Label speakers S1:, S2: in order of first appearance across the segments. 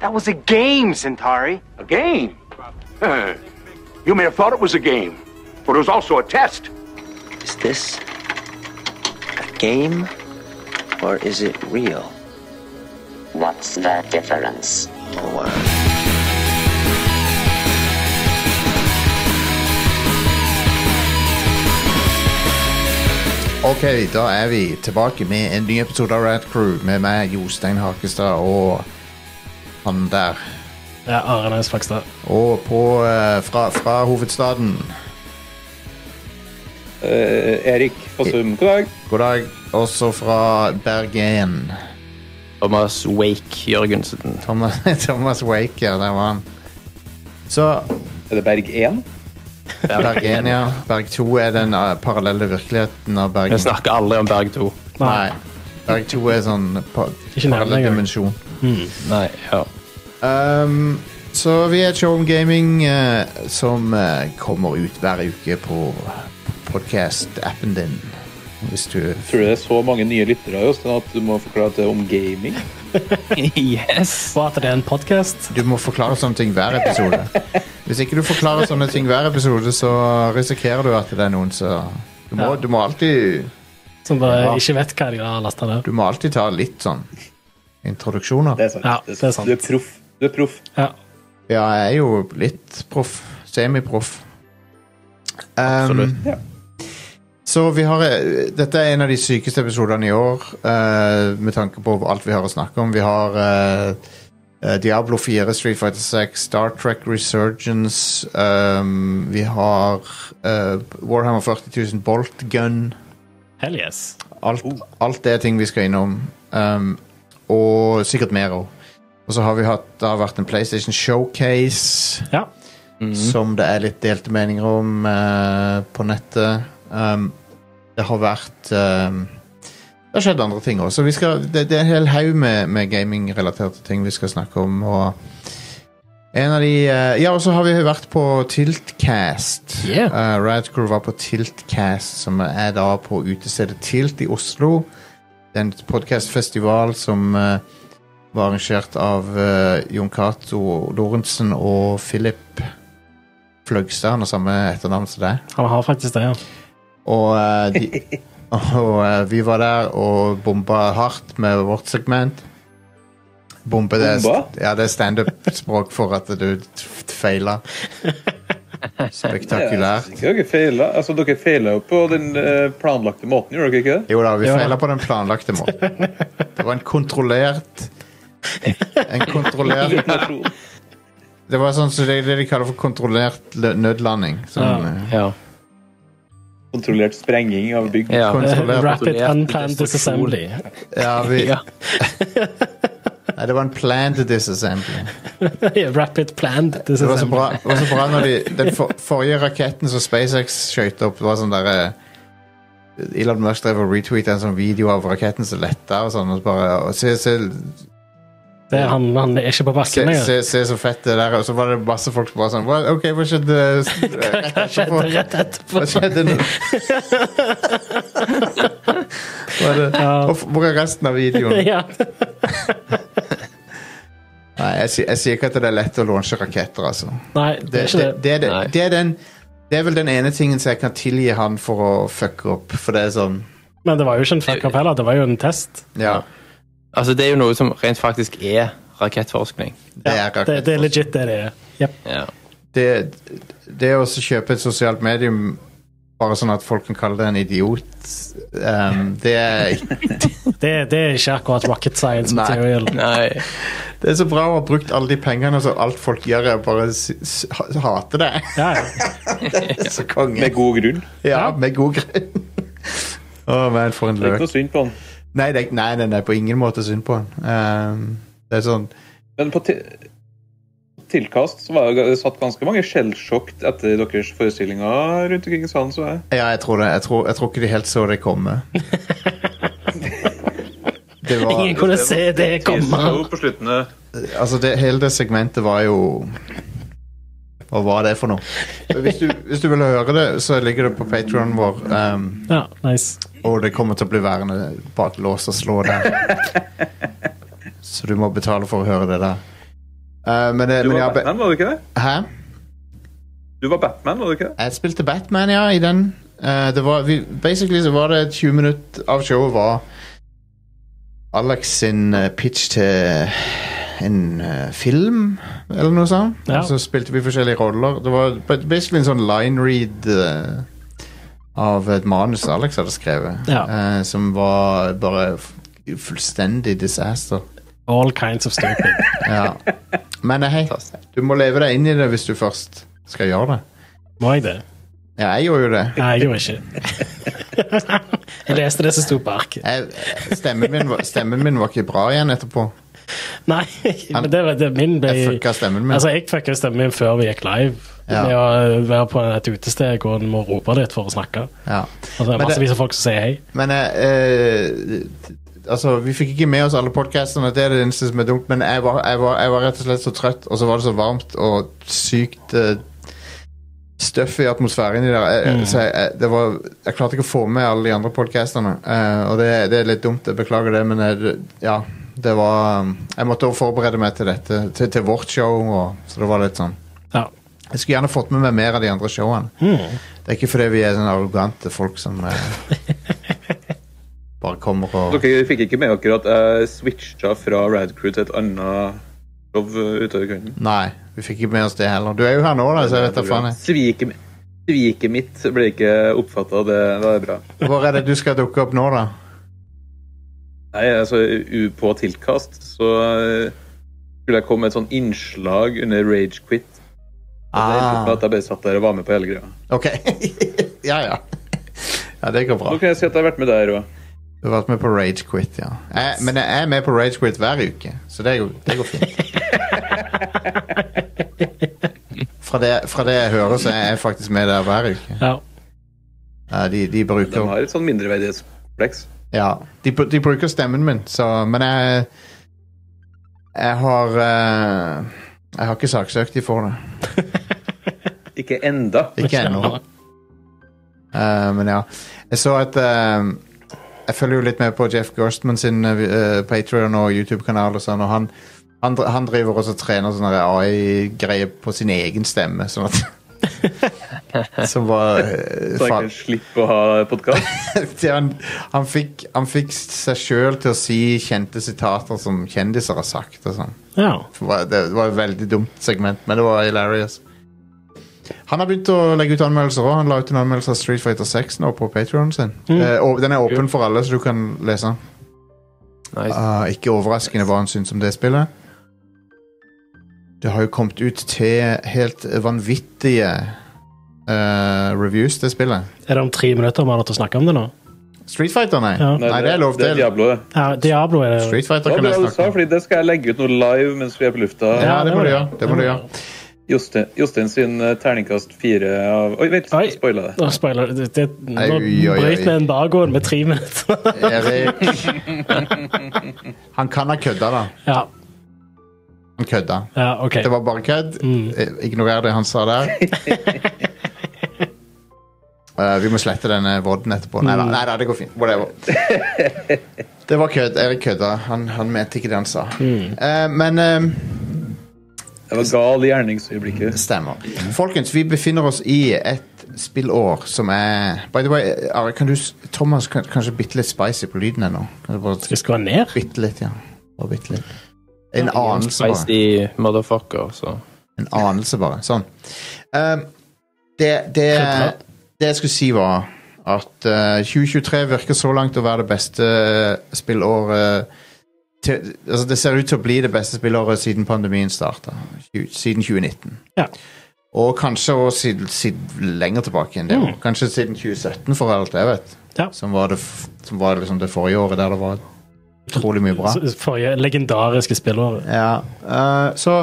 S1: That was a game, Centauri.
S2: A game? you may have thought it was a game, but it was also a test.
S3: Is this a game or is it real?
S4: What's the difference?
S3: Or
S5: Ok, da er vi tilbake med en ny episode av Rad Crew med meg, Jostein Hakestad, og han der.
S6: Ja, Arenes Fakstad.
S5: Og på, eh, fra, fra hovedstaden.
S7: Eh, Erik Fossum, god dag.
S5: God dag. Også fra Bergen.
S8: Thomas Wake Jørgensen.
S5: Thomas, Thomas Wake, ja, der var han. Så
S7: Er det Berg 1?
S5: Bergen, ja. Berg 2 er den eh, parallelle virkeligheten av Bergen.
S8: Jeg snakker aldri om Berg 2.
S5: Nei. Berg 2 er sånn pa
S6: Ikke nærmere
S5: parallell
S6: engang.
S5: dimensjon.
S8: Nei, ja.
S5: Um, så vi er Showroom Gaming, eh, som eh, kommer ut hver uke på podcast-appen din. Hvis du
S7: Tror du det er så mange nye lyttere Jostein, at du må forklare at det er om gaming?
S8: Yes!
S6: Og at det er en podkast.
S5: Du må forklare sånne ting hver episode. Hvis ikke du forklarer sånne ting hver episode, så risikerer du at det er noen som du, må- du må alltid
S6: Som bare ikke vet hva de har lasta ned.
S5: Du må alltid ta litt sånn introduksjoner.
S7: Det er sant.
S6: Ja, det er sant.
S7: Du er proff. Du er proff.
S6: Ja.
S5: Ja, jeg er jo litt proff. Semiproff. Um,
S8: Absolutt.
S7: Ja.
S5: Så vi har eh, Dette er en av de sykeste episodene i år, eh, med tanke på alt vi har å snakke om. Vi har eh, eh, Diablo 4, Street Fighter 6, Star Trek Resurgence um, Vi har eh, Warhammer 40 000 Bolt Gun.
S6: Hell yes.
S5: Alt, alt det er ting vi skal innom. Um, og sikkert mer òg. Og så har vi hatt, det har vært en PlayStation Showcase
S6: Ja.
S5: som det er litt delte meninger om eh, på nettet. Um, det har vært um, Det har skjedd andre ting òg. Det, det er en hel haug med, med gamingrelaterte ting vi skal snakke om. Og en av de eh, Ja, og så har vi vært på Tiltcast.
S6: Yeah.
S5: Eh, Radcrew var på Tiltcast, som er da på utestedet Tilt i Oslo. Det er en podcastfestival som eh, var arrangert av eh, Jon Cato Lorentzen og Philip Fløgstad. Han har samme etternavn som deg.
S6: Han har faktisk det, ja.
S5: Og, eh, de, og eh, vi var der og bomba hardt med vårt segment. Bombe det, er st-
S7: Bomba?
S5: ja, det er standup-språk for at du feila. Spektakulært.
S7: Jeg synes ikke Dere feila altså, dere feila jo på den eh, planlagte måten, gjorde dere ikke det?
S5: Jo da, vi
S6: Ja.
S5: feila på den planlagte måten. Det var en kontrollert En kontrollert
S7: Informasjon.
S5: Det var sånn som det, det de kaller for kontrollert lø- nødlanding. Sånn,
S6: Ja.
S5: eh,
S8: Ja.
S7: Kontrollert sprenging av bygg.
S8: ja.
S5: Kontrollert.
S6: Rapid Eh, unplanned
S8: Destruksjon.
S6: disassembly.
S5: ja, vi,
S8: Ja.
S5: Nei, det var en planned disassembly.
S6: Rapid planned
S5: Det var så
S6: disassembly.
S5: bra, det var så bra når de, den for, forrige raketten som SpaceX skjøt opp, det var sånn der eh, Elon Musk drev og retweetet en sånn video av raketten som letta og sånn. Og så bare, og se, se,
S6: Det, er han, han er ikke på
S5: se,
S6: bakken lenger.
S5: se, se så fett det der er. Og så var det masse folk som bare sånn «Hva- OK, hva skjedde? eh,
S6: Hva skjedde rett etterpå?
S5: Hva skjedde nå? Var det,
S6: Ja.
S5: og hvor er resten av videoen?
S6: Ja.
S5: Nei, jeg, sier- jeg sier ikke at det er lett å launche raketter, altså.
S6: Nei, det er
S5: det,
S6: ikke
S5: det,
S6: det.
S5: det, er det,
S8: Nei.
S5: det er den Det er vel den ene tingen som jeg kan tilgi han for å fucke opp, for det er sånn
S6: Men det var jo ikke en fuck up heller, det var jo en test.
S5: Ja,
S8: Altså, det er jo noe som rent faktisk er rakettforskning.
S5: det er
S6: Det,
S5: akkurat
S6: det er legit det det er. Jep.
S8: Ja.
S5: det, det å så kjøpe et sosialt medium bare sånn at folk kan kalle deg en idiot ehm, det, er,
S6: Det, det er ikke akkurat rocket science
S5: Nei.
S6: material.
S8: Nei.
S5: det er så bra å ha brukt alle de pengene, så alt folk gjør, er å bare s s ha- hate det.
S6: Ja, ja.
S5: Så konge.
S7: Med god grunn.
S5: Ja, med god grunn. Å, men for en
S7: Det er
S5: løk.
S7: ikke noe synd på han.
S5: Nei, det er, nei, nei, nei, på ingen måte synd på han. Ehm, det er sånn
S7: Men på ti- tilkast så var det ga- satt ganske mange skjellsjokk etter deres forestillinger rundt omkring i salen. Så jeg.
S5: Ja, jeg tror det. Jeg tror, jeg tror ikke de helt så det komme. Det
S6: Ingen
S5: var
S6: kunne se det komme.
S7: Teaser på slutten, eh,
S5: Altså, det, hele det segmentet var jo Hva var det for noe? Hvis du, hvis du vil høre det, så ligger det på Patreon vår. ehm,
S6: Ja, nice.
S5: og det kommer til å bli værende bak lås og slå der. Så du må betale for å høre det der. Eh, men, det-
S7: Du
S5: men
S7: var
S5: ja, be-
S7: Batman, var du ikke det?
S5: Hæ?
S7: Du var Batman, var du ikke det?
S5: Jeg spilte Batman, ja, i den. Eh, det var, vi, basically så var det 20 minutter av showet var Alex sin eh, pitch til en eh, film, eller noe sånt.
S6: Ja.
S5: Og så spilte vi forskjellige roller. Det var ba- basically en sånn line read eh, av et manus Alex hadde skrevet,
S6: Ja.
S5: eh, som var bare f- fullstendig disaster.
S6: All kinds of stupid.
S5: Ja. Men eh, hei, du må leve deg inn i det hvis du først skal gjøre det.
S6: Må jeg det?
S5: Ja, jeg gjorde jo det.
S6: Nei, jeg gjorde ikke Jeg leste det som sto på arket.
S5: Jeg, eh, stemmen, min var, stemmen min var ikke bra igjen etterpå.
S6: Nei, men det, var- det min ble
S5: Jeg fucka stemmen min.
S6: Altså, jeg fucka stemmen min før vi gikk live.
S5: Ja.
S6: Med å være på et utested og en må rope litt for å snakke.
S5: ja.
S6: Altså, det
S5: Men
S6: er
S5: det-
S6: massevis av folk som sier hei.
S5: Men eh, eh, Altså, vi fikk ikke med oss alle podkastene, det er det eneste som er dumt, men jeg var, jeg, var, jeg var rett og slett så trøtt, og så var det så varmt og sykt eh, støff i atmosfæren inni der. Jeg, Så jeg, jeg, det var, jeg klarte ikke å få med alle de andre podkastene, og det, det er litt dumt. Jeg beklager det, men jeg, ja. Det var um, Jeg måtte også forberede meg til dette, til, til vårt show, og, så det var litt sånn.
S6: Ja.
S5: Jeg skulle gjerne fått med meg mer av de andre showene. Det er ikke fordi vi er sånne arrogante folk som eh, bare kommer og
S7: Dere fikk ikke med dere at jeg switcha fra Rad Crew til et annet show eh, utover kvelden?
S5: Nei, vi fikk ikke med oss det heller. Du er jo her nå, da, så jeg vet da faen. jeg.
S7: Sviket mi- sviket mitt ble ikke oppfatta, det, det er bra.
S5: Hvor er det du skal dukke opp nå, da?
S7: Nei, altså, u- på tilkast så eh, skulle jeg komme med et sånn innslag under Rage Quit. Og det endte
S5: Ah.
S7: opp med At jeg bare satt der og var med på hele greia.
S5: Ok. ja, ja. Ja, det går bra.
S7: Så kan jeg si at jeg har vært med der òg.
S5: Du har vært med på Rage Quit, ja. Jeg, men jeg er med på Rage Quit hver uke, så det, er jo- det går fint. Fra det, fra det jeg hører, så er jeg faktisk med der hver uke.
S6: Ja.
S5: Ja, de, de
S7: De
S5: bruker
S7: har et sånn mindreverdighetskompleks.
S5: Ja, de, br- de bruker stemmen min, så Men jeg Jeg har eh, Jeg har ikke saksøkt de for det.
S7: Ikke enda.
S5: Ikke ennå. Eh, men ja. Jeg så at eh, Jeg følger jo litt med på Jeff Gerstman sin uh, Patrion og YouTube-kanal og sånn, og han han, dr- han driver også og trener sånne AI-greier på sin egen stemme, sånn at Som var eh,
S7: Så jeg
S5: fa-
S7: kan slippe å ha podkast.
S5: til han, han, fikk, han fikk seg sjøl til å si kjente sitater som kjendiser har sagt. Og sånn.
S6: ja.
S5: det, var, det var et veldig dumt segment, men det var hilarious. Han har begynt å legge ut anmeldelser òg. Han la ut en anmeldelse av Street Fighter 6 nå på Patreon sin. Eh, og den er åpen for alle, så du kan lese den.
S8: Nice.
S5: Ah, ikke overraskende hva han syns om det spillet. Det har jo kommet ut til helt vanvittige eh, reviews, det spillet.
S6: Er det om tre minutter vi har til å snakke om det nå?
S5: Street Fighter, nei.
S6: Ja.
S5: Nei, det er lov
S7: eh, Det er
S5: til.
S7: Diablo, det.
S6: Ja, Diablo er det.
S5: Street Fighter
S7: Det var
S5: kan
S7: bra
S5: jeg
S7: du sa,
S5: snakke om.
S7: fordi det skal jeg legge ut noe live mens vi er på lufta.
S5: Ja, det må du
S6: det.
S5: gjøre. Det må du gjøre.
S7: Jostein, Jostein sin eh, terningkast fire av Oi, vent,
S6: Oi.
S7: jeg spoila det.
S6: Nå spoiler det, det, Nå
S5: Ai, oi, oi, oi.
S6: brøt vi en dagoen med tre minutter.
S5: Erik Han kan ha kødda, da.
S6: ja,
S5: Han kødda.
S6: ja, OK.
S5: Det var bare kødd. Eh, Ignorer det han sa der. Eh, vi må slette denne vodden etterpå. Nei da, nei da, det går fint. Whatever. Det var kødd. Erik kødda. Han, han mente ikke det han sa. Eh, men eh,
S7: Jeg var gal i gjerningsøyeblikket.
S5: Stemmer. Folkens, vi befinner oss i et spillår som er By the way, eh, Are, kan du, s- Thomas, kan, kanskje bitte litt spicy på lyden ennå? Kan du
S6: Skal
S5: bare
S6: jeg skru den ned?
S5: bitte litt, ja. Bare bitte litt. En anelse, bare.
S8: sånn Spicy motherfucker, så
S5: En anelse, bare. Sånn. Eh, det, det, det jeg skulle si, var at eh, 2023 virker så langt å være det beste eh, spillåret til, altså Det ser ut til å bli det beste spillåret siden pandemien starta. Siden 2019.
S6: Ja.
S5: Og kanskje også siden, siden lenger tilbake enn det. Kanskje siden 2017, for alt jeg vet.
S6: Ja.
S5: Som var, det, f- som var liksom det forrige året der det var utrolig mye bra.
S6: S- Forrige legendariske spillåret.
S5: Ja, eh, så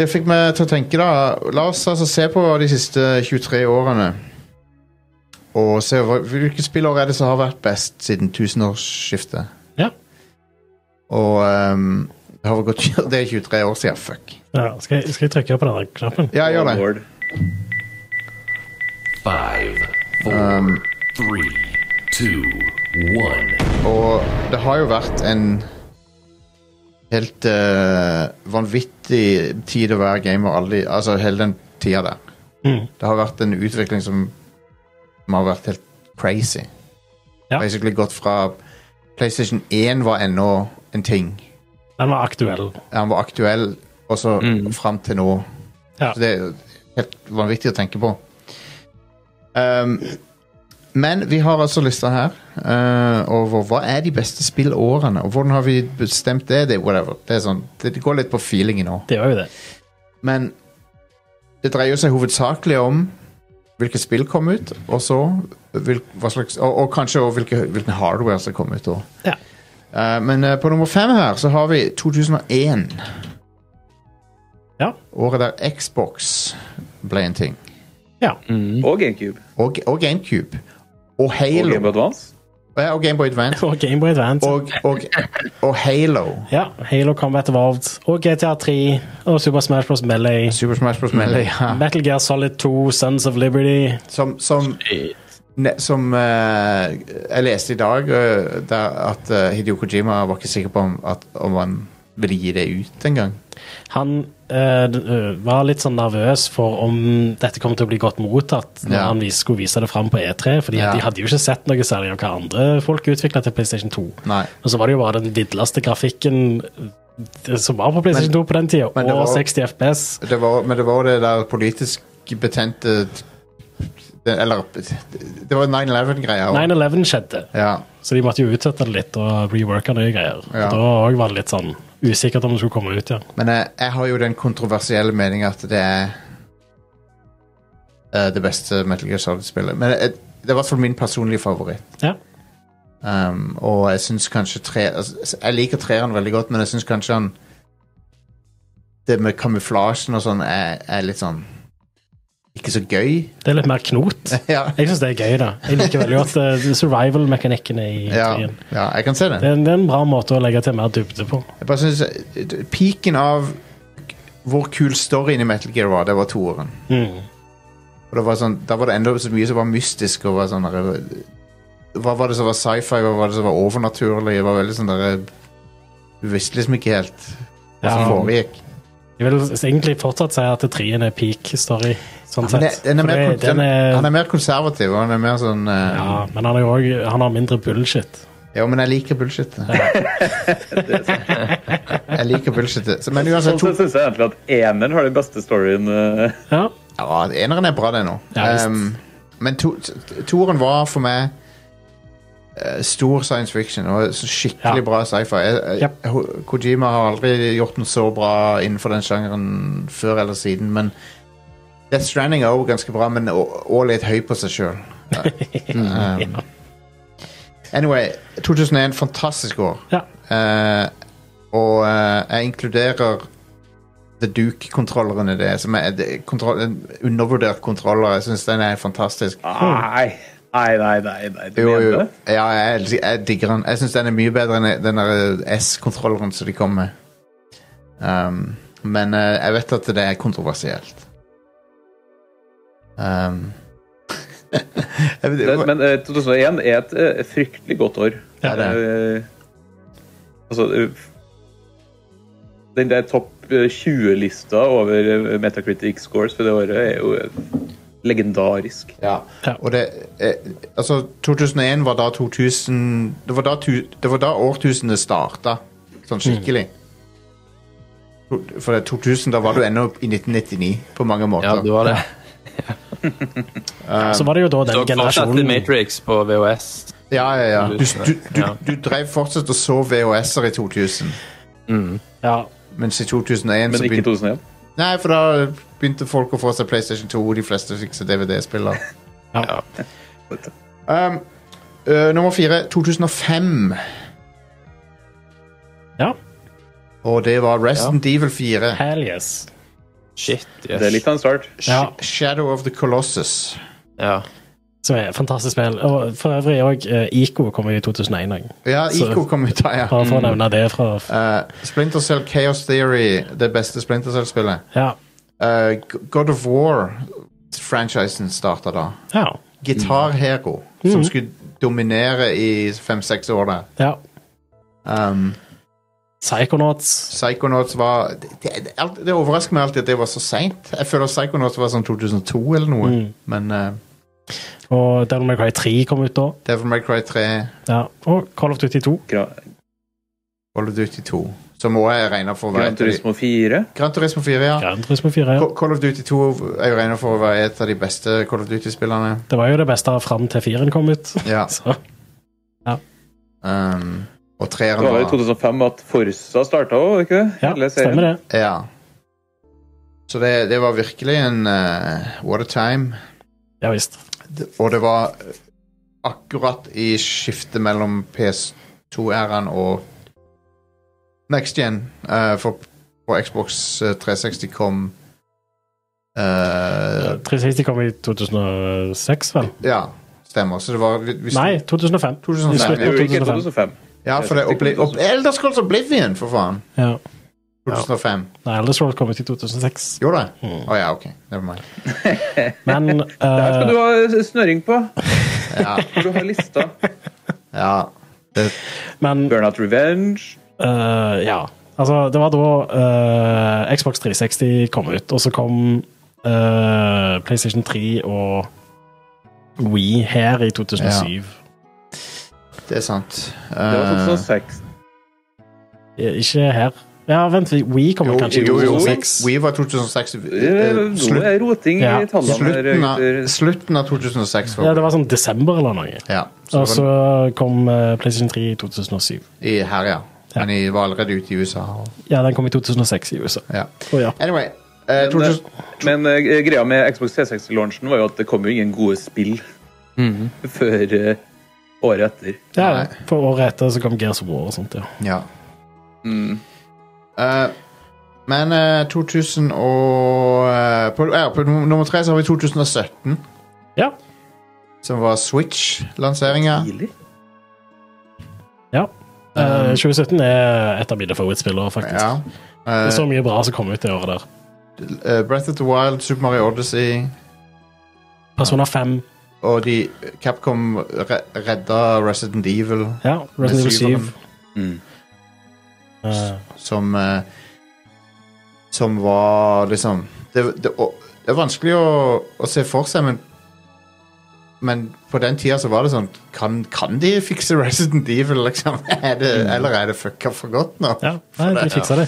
S5: det fikk meg til å tenke da La oss altså se på de siste 23 årene Og se hva- hvilke spillår er det som har vært best siden tusenårsskiftet
S6: Ja.
S5: Og ehm, det har vel gått Det er 23 år siden, fuck
S6: Ja, skal, jeg, skal jeg trykke på den der knappen?
S5: Ja, gjør det
S7: Lord.
S9: Five, four, three, two, one.
S5: Og det har jo vært en Helt eh, vanvittig tid å være gamer, alle, de- altså hele den tida der.
S6: Mm.
S5: Det har vært en utvikling som, som har vært helt crazy.
S6: Ja.
S5: Basically gått fra PlayStation 1 var ennå en ting.
S6: Den var aktuell.
S5: Han var aktuell, og så
S8: Mm.
S5: fram til nå.
S6: Ja.
S5: Så det er helt vanvittig å tenke på. Um, men vi har altså lista her eh, over hva er de beste spillårene, og hvordan har vi bestemt det? Det, whatever. det, er sånn, det går litt på feelingen nå.
S6: Det var jo det.
S5: Men det dreier seg hovedsakelig om hvilke spill kom ut, og så hvil, hva slags, og, og kanskje også hvilke, hvilken hardware som kom ut. Også.
S6: Ja.
S5: Eh, men eh, på nummer fem her så har vi 2001.
S6: Ja.
S5: Året der Xbox ble en ting.
S6: Ja.
S7: Og GameCube.
S5: Og, og GameCube. Og
S7: Og
S5: Halo.
S7: Game Boy Advance.
S5: Ja, og Gameboy Advance.
S6: Og Gameboy Advance.
S5: Og, og, og Halo.
S6: ja, Halo Combat Evolved. Og GTA 3. Og Super Smash Bros. Melee.
S5: Super Smash Bros. Melee. Ja.
S6: Metal Gear Solid 2, Sons of Liberty.
S5: Som, som, ne, som eh, jeg leste i dag, eh, der at eh, Hideo Kojima var ikke sikker på om, at, om han ville gi det ut engang.
S6: Han eh, d- eh, var litt sånn nervøs for om dette kom til å bli godt mottatt når
S5: Ja.
S6: han vis, skulle vise det fram på E E3, for
S5: Ja.
S6: de hadde jo ikke sett noe særlig av hva andre folk utvikla til PlayStation 2.
S5: Nei.
S6: Og så var det jo bare den villeste grafikken eh, som var på PlayStation
S5: Men-
S6: 2 på den tida,
S5: men det
S6: og
S5: var-
S6: 60 FPS.
S5: Det var, men det var det der politisk betente det, Eller Det var 9-11-greia. også.
S6: 9-11 skjedde,
S5: Ja.
S6: så de måtte jo utsette det litt og reworke nye greier.
S5: Ja.
S6: Og da òg var det litt sånn usikkert om det skulle komme ut igjen.
S5: Men jeg, jeg har jo den kontroversielle mening at det er eh, det beste Metal Gear Solid-spillet. Men jeg, det er i hvert fall min personlige favoritt.
S6: Ja.
S5: Um, og jeg syns kanskje tre altså, Jeg liker treeren veldig godt, men jeg syns kanskje han Det med kamuflasjen og sånn er, er litt sånn Ikke så gøy.
S6: Det er litt mer knot.
S5: ja.
S6: Jeg syns det er gøy, da. Jeg liker veldig godt eh, survival-mekanikkene i
S5: Ja,
S6: trien.
S5: ja, jeg kan se det.
S6: Det er, en- det er en bra måte å legge til mer dybde på.
S5: Jeg bare synes eh, Piken av hvor kul storyen i Metal Gear var, det var toeren.
S6: Mm.
S5: Og det var sånn, Da var det enda så mye som var mystisk. og var sånn der, Hva var det som var sci-fi, hva var det som var overnaturlig? Det var veldig sånn der, Du visste liksom ikke helt hva som
S6: Ja.
S5: foregikk.
S6: Jeg vil s- egentlig fortsatt si at trien er peak story, sånn
S5: Men det,
S6: sett.
S5: den er
S6: For
S5: mer,
S6: det-
S5: kon- den,
S6: den er-
S5: han er mer konservativ, og han er mer sånn eh,
S6: ja, men han, er jo også, han har mindre bullshit.
S5: Ja, men jeg liker bullshit. jeg liker bullshit. Så, men
S7: Sånn
S5: uansett, to,
S7: sett syns jeg egentlig at eneren har den beste storyen. eh,
S6: Ja,
S5: Ja, eneren er bra, det nå.
S6: Ja, visst.
S5: Ehm, men to, t- toeren var for meg eh, stor science fiction og så skikkelig
S6: Ja.
S5: bra sci-fi. Jeg- jeg-
S6: Yep.
S5: Ho- Kojima har aldri gjort noe så bra innenfor den sjangeren før eller siden, men Death Stranding er også ganske bra, men å- også litt høy på seg sjøl. Anyway, 2001, fantastisk år.
S6: Ja.
S5: Eh, og eh, jeg inkluderer The Duke-kontrolleren i det. Som er det, kontroll, en undervurdert kontroller. Jeg syns den er fantastisk.
S7: Nei, nei, nei. nei, nei. Du
S5: Jo,
S7: mener
S5: jo.
S7: det?
S5: Ja, jeg, elsker- jeg digger den. Jeg syns den er mye bedre enn den der eh, S-kontrolleren som de kom med. Um, men eh, jeg vet at det er kontroversielt. Um. jeg vet,
S7: Det- Men eh, 2001 er et eh, fryktelig godt år.
S5: Ja, det
S7: Eh, altså eh, Den der topp eh, 20-lista over eh, Metacritic scores for det året er jo eh, legendarisk.
S5: Ja.
S6: Ja.
S5: Og det eh, Altså, 2001 var da 2000 Det var da, tu, det var da årtusenet starta, sånn skikkelig. To- For det, 2000, da var du ennå i 1999, på mange
S8: Ja,
S5: måter.
S8: det var det.
S6: Så var det jo da den
S8: Dere fortsatte
S6: generasjonen
S8: Matrix på VHS.
S5: ja, ja, ja. Du, du, du,
S8: Ja.
S5: du drev fortsatt og så VHS-er i 2000,
S6: ja,
S5: mens i 2001
S7: Men
S5: så
S7: ikke
S5: begynte
S7: 2001.
S5: Nei, for da begynte folk å få seg PlayStation 2, de fleste fikk seg DVD-spiller.
S6: Ja.
S5: Um, ø, nummer fire, 2005.
S6: Ja.
S5: Og det var Resident Evil 4.
S6: Hell yes.
S8: Shit, yes.
S7: Det er litt av en start.
S6: Ja.
S5: Sh- Shadow of the Colossus.
S8: Ja.
S6: Som er et fantastisk spill. Og for øvrig òg Ico kom jo i 2001, også.
S5: Ja,
S6: Så-
S5: IK kom ut av, ja.
S6: bare
S7: Mm.
S6: for å nevne det. Fra,
S5: Uh, Splinter Cell Chaos Theory, det beste Splinter Cell-spillet.
S6: ja.
S5: Uh, G- God of War-franchisen starta da.
S6: Ja.
S5: Guitar
S6: Mm.
S5: Hero, som skulle dominere i fem-seks år der.
S6: ja.
S5: Um,
S6: Psychonauts.
S5: Psychonauts var Det, det, alt- det overrasker meg alltid at det var så seint. Jeg føler Psychonauts var sånn 2002 eller noe.
S6: Mm.
S5: Men eh,
S6: Og Devil May Cry 3 kom ut da.
S5: Devil May Cry 3,
S6: Ja. Og Call of Duty 2.
S7: Gra
S5: Call of Duty 2, som også er regna for å være
S7: Gran
S5: et av de-
S7: Turismo 4.
S5: Gran Turismo 4, ja.
S6: Gran Turismo 4. Ja.
S5: Ca- Call of Duty 2 er jo regna for å være et av de beste Call of Duty-spillerne.
S6: Det var jo det beste fram til 4-en kom ut.
S5: Ja.
S6: Så
S5: Um, og
S7: Det
S5: treeren
S7: var jo i
S5: var
S7: 2005 at Forsa starta òg, ikke det?
S6: ja,
S7: Hele serien.
S6: stemmer det.
S5: Ja. Så det, det var virkelig en eh, what a time.
S6: Ja visst.
S5: Det- Og det var akkurat i skiftet mellom PS2-æraen og Next Gen. eh, for på Xbox eh, 360 kom eh,
S6: 360 kom i 2006, vel?
S5: Ja, stemmer. Så det var vi- vi-
S6: Nei, 2005. I
S5: 2005.
S7: Det er
S6: slutten av
S7: jo ikke
S6: 2005.
S7: 2005.
S5: Ja, for det er Obli Ob Elder Scrolls Oblivion, for faen!
S6: Ja.
S5: 2005.
S6: Nei, Elder Scrolls kom ut i 2006.
S5: Gjorde det? Å
S7: Hmm.
S6: Mm.
S5: ja, ok. Never mind.
S6: Men
S7: Der skal
S6: eh,
S7: du ha snøring på,
S5: Ja.
S7: for du har lista.
S5: ja. Det,
S6: Men
S7: Burnout Revenge.
S6: eh, ja. Altså, det var da eh, Xbox 360 kom ut, og så kom eh, PlayStation 3 og Wii her i 2007.
S5: det er sant.
S7: Det var
S5: Eh,
S7: 2006.
S6: Eh, Ikke her. Ja, vent, Wii kom
S5: Jo,
S6: jo, kanskje i
S5: jo, jo.
S6: 2006.
S5: Wii var 2006.
S7: Eh,
S5: eh,
S7: Nå
S5: slutt,
S7: er eh, roting
S6: Ja.
S7: i tallene.
S5: slutten, av,
S7: Reuter.
S5: slutten av 2006.
S6: Ja,
S5: Var,
S6: det var sånn desember eller noe.
S5: ja, så
S6: Og
S5: det var
S6: så kom eh, PlayStation 3 i 2007.
S5: i, her, ja.
S6: Ja.
S5: Men jeg var allerede ute i USA. Og,
S6: Ja, den kom i 2006 i USA.
S5: ja.
S6: Å ja.
S5: Anyway. eh, 2000,
S7: Men eh, greia med Xbox 360-launchen var jo at det kom jo ingen gode spill
S6: Mm.
S7: før eh, året etter.
S6: ja.
S5: Nei.
S6: For året etter så kom Gears of War og sånt, ja.
S5: ja.
S7: Mm.
S5: Eh, men eh, 2000 og eh, på, ja, på num- nummer tre så har vi 2017,
S6: Ja,
S5: som var Switch-lanseringa.
S7: Tidlig.
S5: Um,
S6: ja. Eh, 2017 er et av mine favorittspillere, faktisk.
S5: Ja.
S6: Det er
S5: Eh,
S6: så mye bra som kom ut det året der.
S5: eh, Breath of the Wild, Super Mario Odyssey
S6: Persona 5,
S5: og de Capcom re redda Resident Evil.
S6: ja,
S5: med
S6: Resident Evil
S5: syveren.
S6: 7.
S7: Mm.
S6: eh,
S5: som eh, Som var liksom Det, det, og, det er vanskelig å, å se for seg, men men på den tida så var det sånn Kan, kan de fikse Resident Evil, liksom? Er det, eller er det fucka for godt nå?
S6: Mm. ja, nei,
S5: det,
S6: de fiksa det.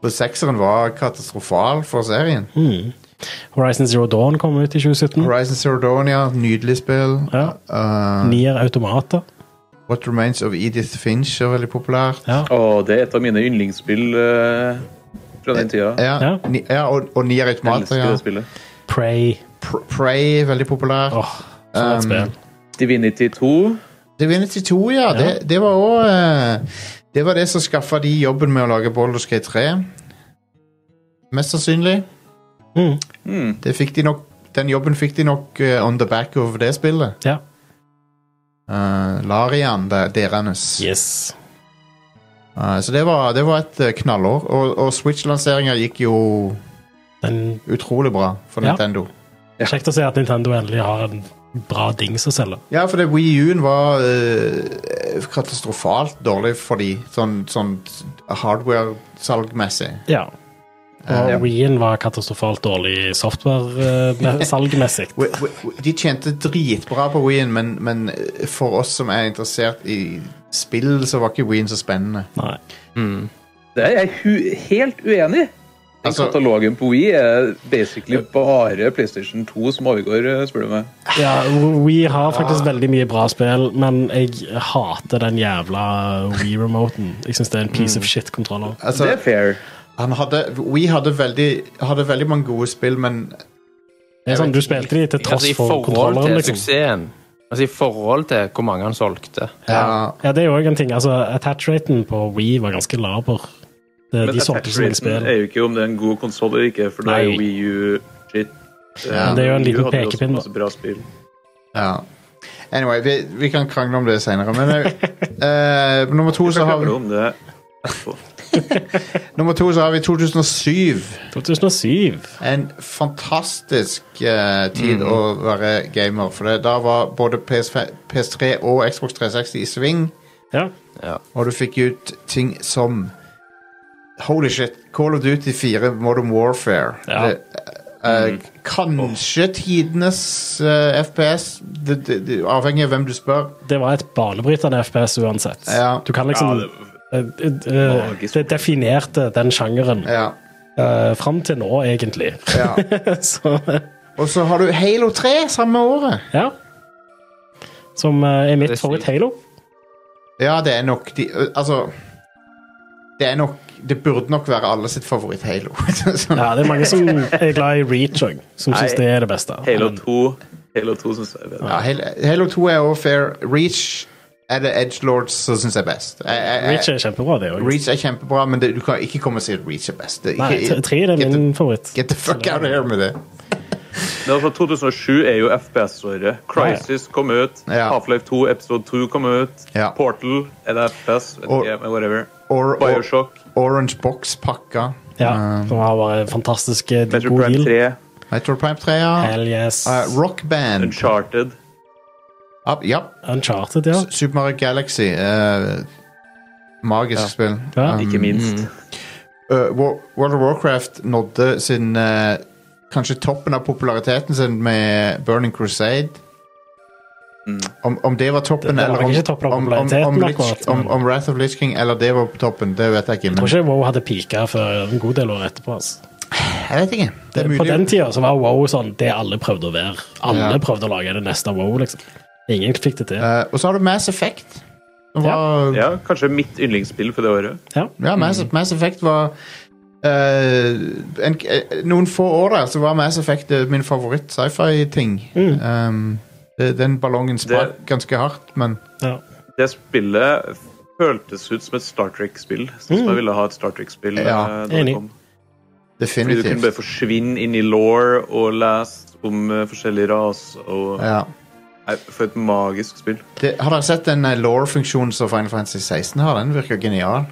S5: For sekseren var katastrofal for serien.
S6: Mm. Horizon Zero Dawn kom ut i 2017.
S5: Horizon Zero Dawn, ja. Nydelig spill.
S6: Mm. Ja. Mm.
S5: Uh,
S6: Nier Automata.
S5: What Remains of Edith Finch er veldig populært.
S6: Ja.
S7: Og det er et av mine yndlingsspill eh, fra den tida.
S5: Ja,
S6: Ja.
S5: Ni, ja og, og Nier Automata,
S7: Elsker
S5: ja.
S7: det spillet.
S6: Prey.
S5: Pr Prey, veldig populært.
S6: Åh, for et
S5: Um,
S6: spill.
S7: Divinity 2.
S5: Divinity 2, ja. Det, det var òg Det var det som skaffa de jobben med å lage Baldur's Gate 3. Mest sannsynlig.
S6: Mm.
S7: Mm.
S5: Det fikk de nok, den jobben fikk de nok eh, on the back of det spillet.
S6: Ja.
S5: Eh, Larian, det- deres.
S6: Yes.
S5: Eh, så det var, det var et eh, knallår. Og, og Switch-lanseringa gikk jo
S6: Den,
S5: utrolig bra for
S6: Ja.
S5: Nintendo.
S6: kjekt å se at Nintendo endelig har en bra dings å selge.
S5: Ja, for det Wii U-en var eh, katastrofalt dårlig for de, sånn, sånn hardware-salgmessig.
S6: Ja. Og
S5: Eh,
S6: Wii-en var katastrofalt dårlig software-salgmessig.
S5: Wi- wi- wi- De tjente dritbra på Wien, men, men eh, for oss som er interessert i spill, så var ikke Wien så spennende.
S6: Nei.
S8: Mm.
S7: Det er jeg hu helt uenig i. Den
S5: Altså-
S7: katalogen på Wii er basically bare PlayStation 2 som overgår, eh, spør du meg.
S6: Ja, Wii har faktisk veldig mye bra spill, men jeg hater den jævla Wii-remoten. Jeg syns det er en piece of shit-kontroller.
S5: Altså,
S7: det er fair.
S5: han hadde, Wii hadde veldig, hadde veldig mange gode spill, men
S6: Det er sånn, Du spilte de til tross
S8: Altså, I
S6: for
S8: forhold
S6: kontrolleren,
S8: til
S6: liksom.
S8: suksessen. Altså i forhold til hvor mange han solgte.
S5: ja,
S6: Ja, det er jo òg en ting. Altså, Attach-raten på Wii var ganske laber. Det-
S7: Men
S6: De solgte så mange
S7: attach-raten
S6: spill.
S7: er jo ikke om det er en god konsoll eller ikke, for det er jo
S6: Nei.
S7: Wii U shit.
S5: Ja,
S6: det er jo en
S7: Wii U
S6: liten
S7: hadde jo også
S6: pekepinn, da.
S7: masse Bra spill.
S5: ja. Anyway, vi, vi kan krangle om det senere, men eh, på nummer to så
S7: Hva
S5: har
S7: klager du
S5: vi,
S7: om det?
S5: nummer to så har vi 2007.
S8: eh,
S6: 2007.
S5: En fantastisk eh, tid å være gamer, for det, da var både PS5, PS3 og Xbox 360 i sving.
S6: Ja.
S5: Og du fikk ut ting som Holy shit. Call of Duty 4, Modern Warfare.
S6: Ja.
S5: Det, eh, kanskje tidenes eh, FPS, det, det, det, avhengig av hvem du spør.
S6: Det var et banebrytende FPS uansett.
S5: Ja.
S6: Du kan liksom
S7: Ja,
S6: eh, eh, Det definerte den sjangeren
S5: Ja.
S6: uh, fram til nå, egentlig.
S5: Ja.
S6: Så
S5: Og så har du Halo 3 samme året.
S6: ja. Som eh, er mitt
S8: Det er sykt.
S6: favoritt-halo.
S5: Ja, det er nok de, ø, Altså Det er nok Det burde nok være alle sitt favoritt-Halo. sånn.
S6: Ja, det er mange som er glad i Reach òg, som syns
S7: Nei.
S6: det er det beste.
S7: Halo
S6: Men-
S7: 2, Halo 2 synes jeg er bedre.
S5: ja, Halo- Halo 2 er også fair. Reach er det Edge Lords som syns er best. Jeg- jeg- jeg-
S6: Reach er kjempebra, det òg.
S5: Reach er kjempebra, men det, du kan ikke komme og si at Reach er best. Det,
S6: Nei,
S5: ikke,
S6: tre- tre er
S5: get the-
S6: min favoritt.
S5: Get the fuck out of here med det.
S7: Men altså, 2007 er jo FPS-året. Crisis kom ut.
S5: Ja.
S7: Half-Life 2 episode 2 kom ut.
S5: Ja.
S7: Portal er det FPS. Vet
S5: Og-
S7: ikke, men whatever.
S5: Or, or,
S7: Bioshock.
S5: Orange Eh, Box-pakka. Um,
S6: Ja, som har bare fantastisk eh,
S7: Metro
S6: god
S7: Prime
S6: deal.
S7: 3.
S5: Metro Prime 3, ja.
S6: Hell yes.
S5: Uh, Rock Band.
S7: Uncharted.
S5: Up, ja.
S6: Uncharted, ja.
S5: Super Mario Galaxy. eh, magisk spill.
S6: Ja.
S5: Um,
S7: Ikke minst.
S5: Uh, War- World of Warcraft nådde sin uh, Kanskje toppen av populariteten sin med Burning Crusade. Om, om det var toppen,
S6: Det- det var
S5: eller om,
S6: ikke toppen av
S5: om, om, om,
S6: populariteten
S5: Lich-
S6: akkurat, men-
S5: om, om Wrath of Lich King, eller det var på toppen, det vet jeg ikke.
S6: Jeg
S5: Men
S6: tror ikke WoW hadde pika før en god del år etterpå. ass.
S5: jeg vet ikke. Det er
S6: På den
S5: mulig.
S6: tida så var WoW sånn det alle prøvde å være. Alle
S5: Ja.
S6: prøvde å lage det neste WoW, liksom. Ingen fikk det til.
S5: Uh, og så har du Mass Effect. Som
S6: Ja. Mm.
S5: var, ja.
S7: Ja, kanskje mitt yndlingsspill for det året.
S6: Ja.
S5: Mass, Mass Effect var uh, en, eh, Noen få år der så var Mass Effect eh, min favoritt sci-fi-ting.
S6: Mm.
S5: Um, det- den ballongen sprakk ganske hardt, men
S6: Ja.
S7: Det spillet føltes ut som et Star Trek-spill. Sånn som jeg ville ha et Star Trek-spill.
S5: Mm. Ja,
S7: eh, da det
S6: enig.
S7: kom. Fordi du
S5: definitivt.
S7: kunne bare forsvinne inn i law og lese om eh, forskjellige raser. Og...
S5: Ja.
S7: Nei, For et magisk spill.
S5: Det, har dere sett den law-funksjonen som Final Fantasy 16 har? Den virker genial.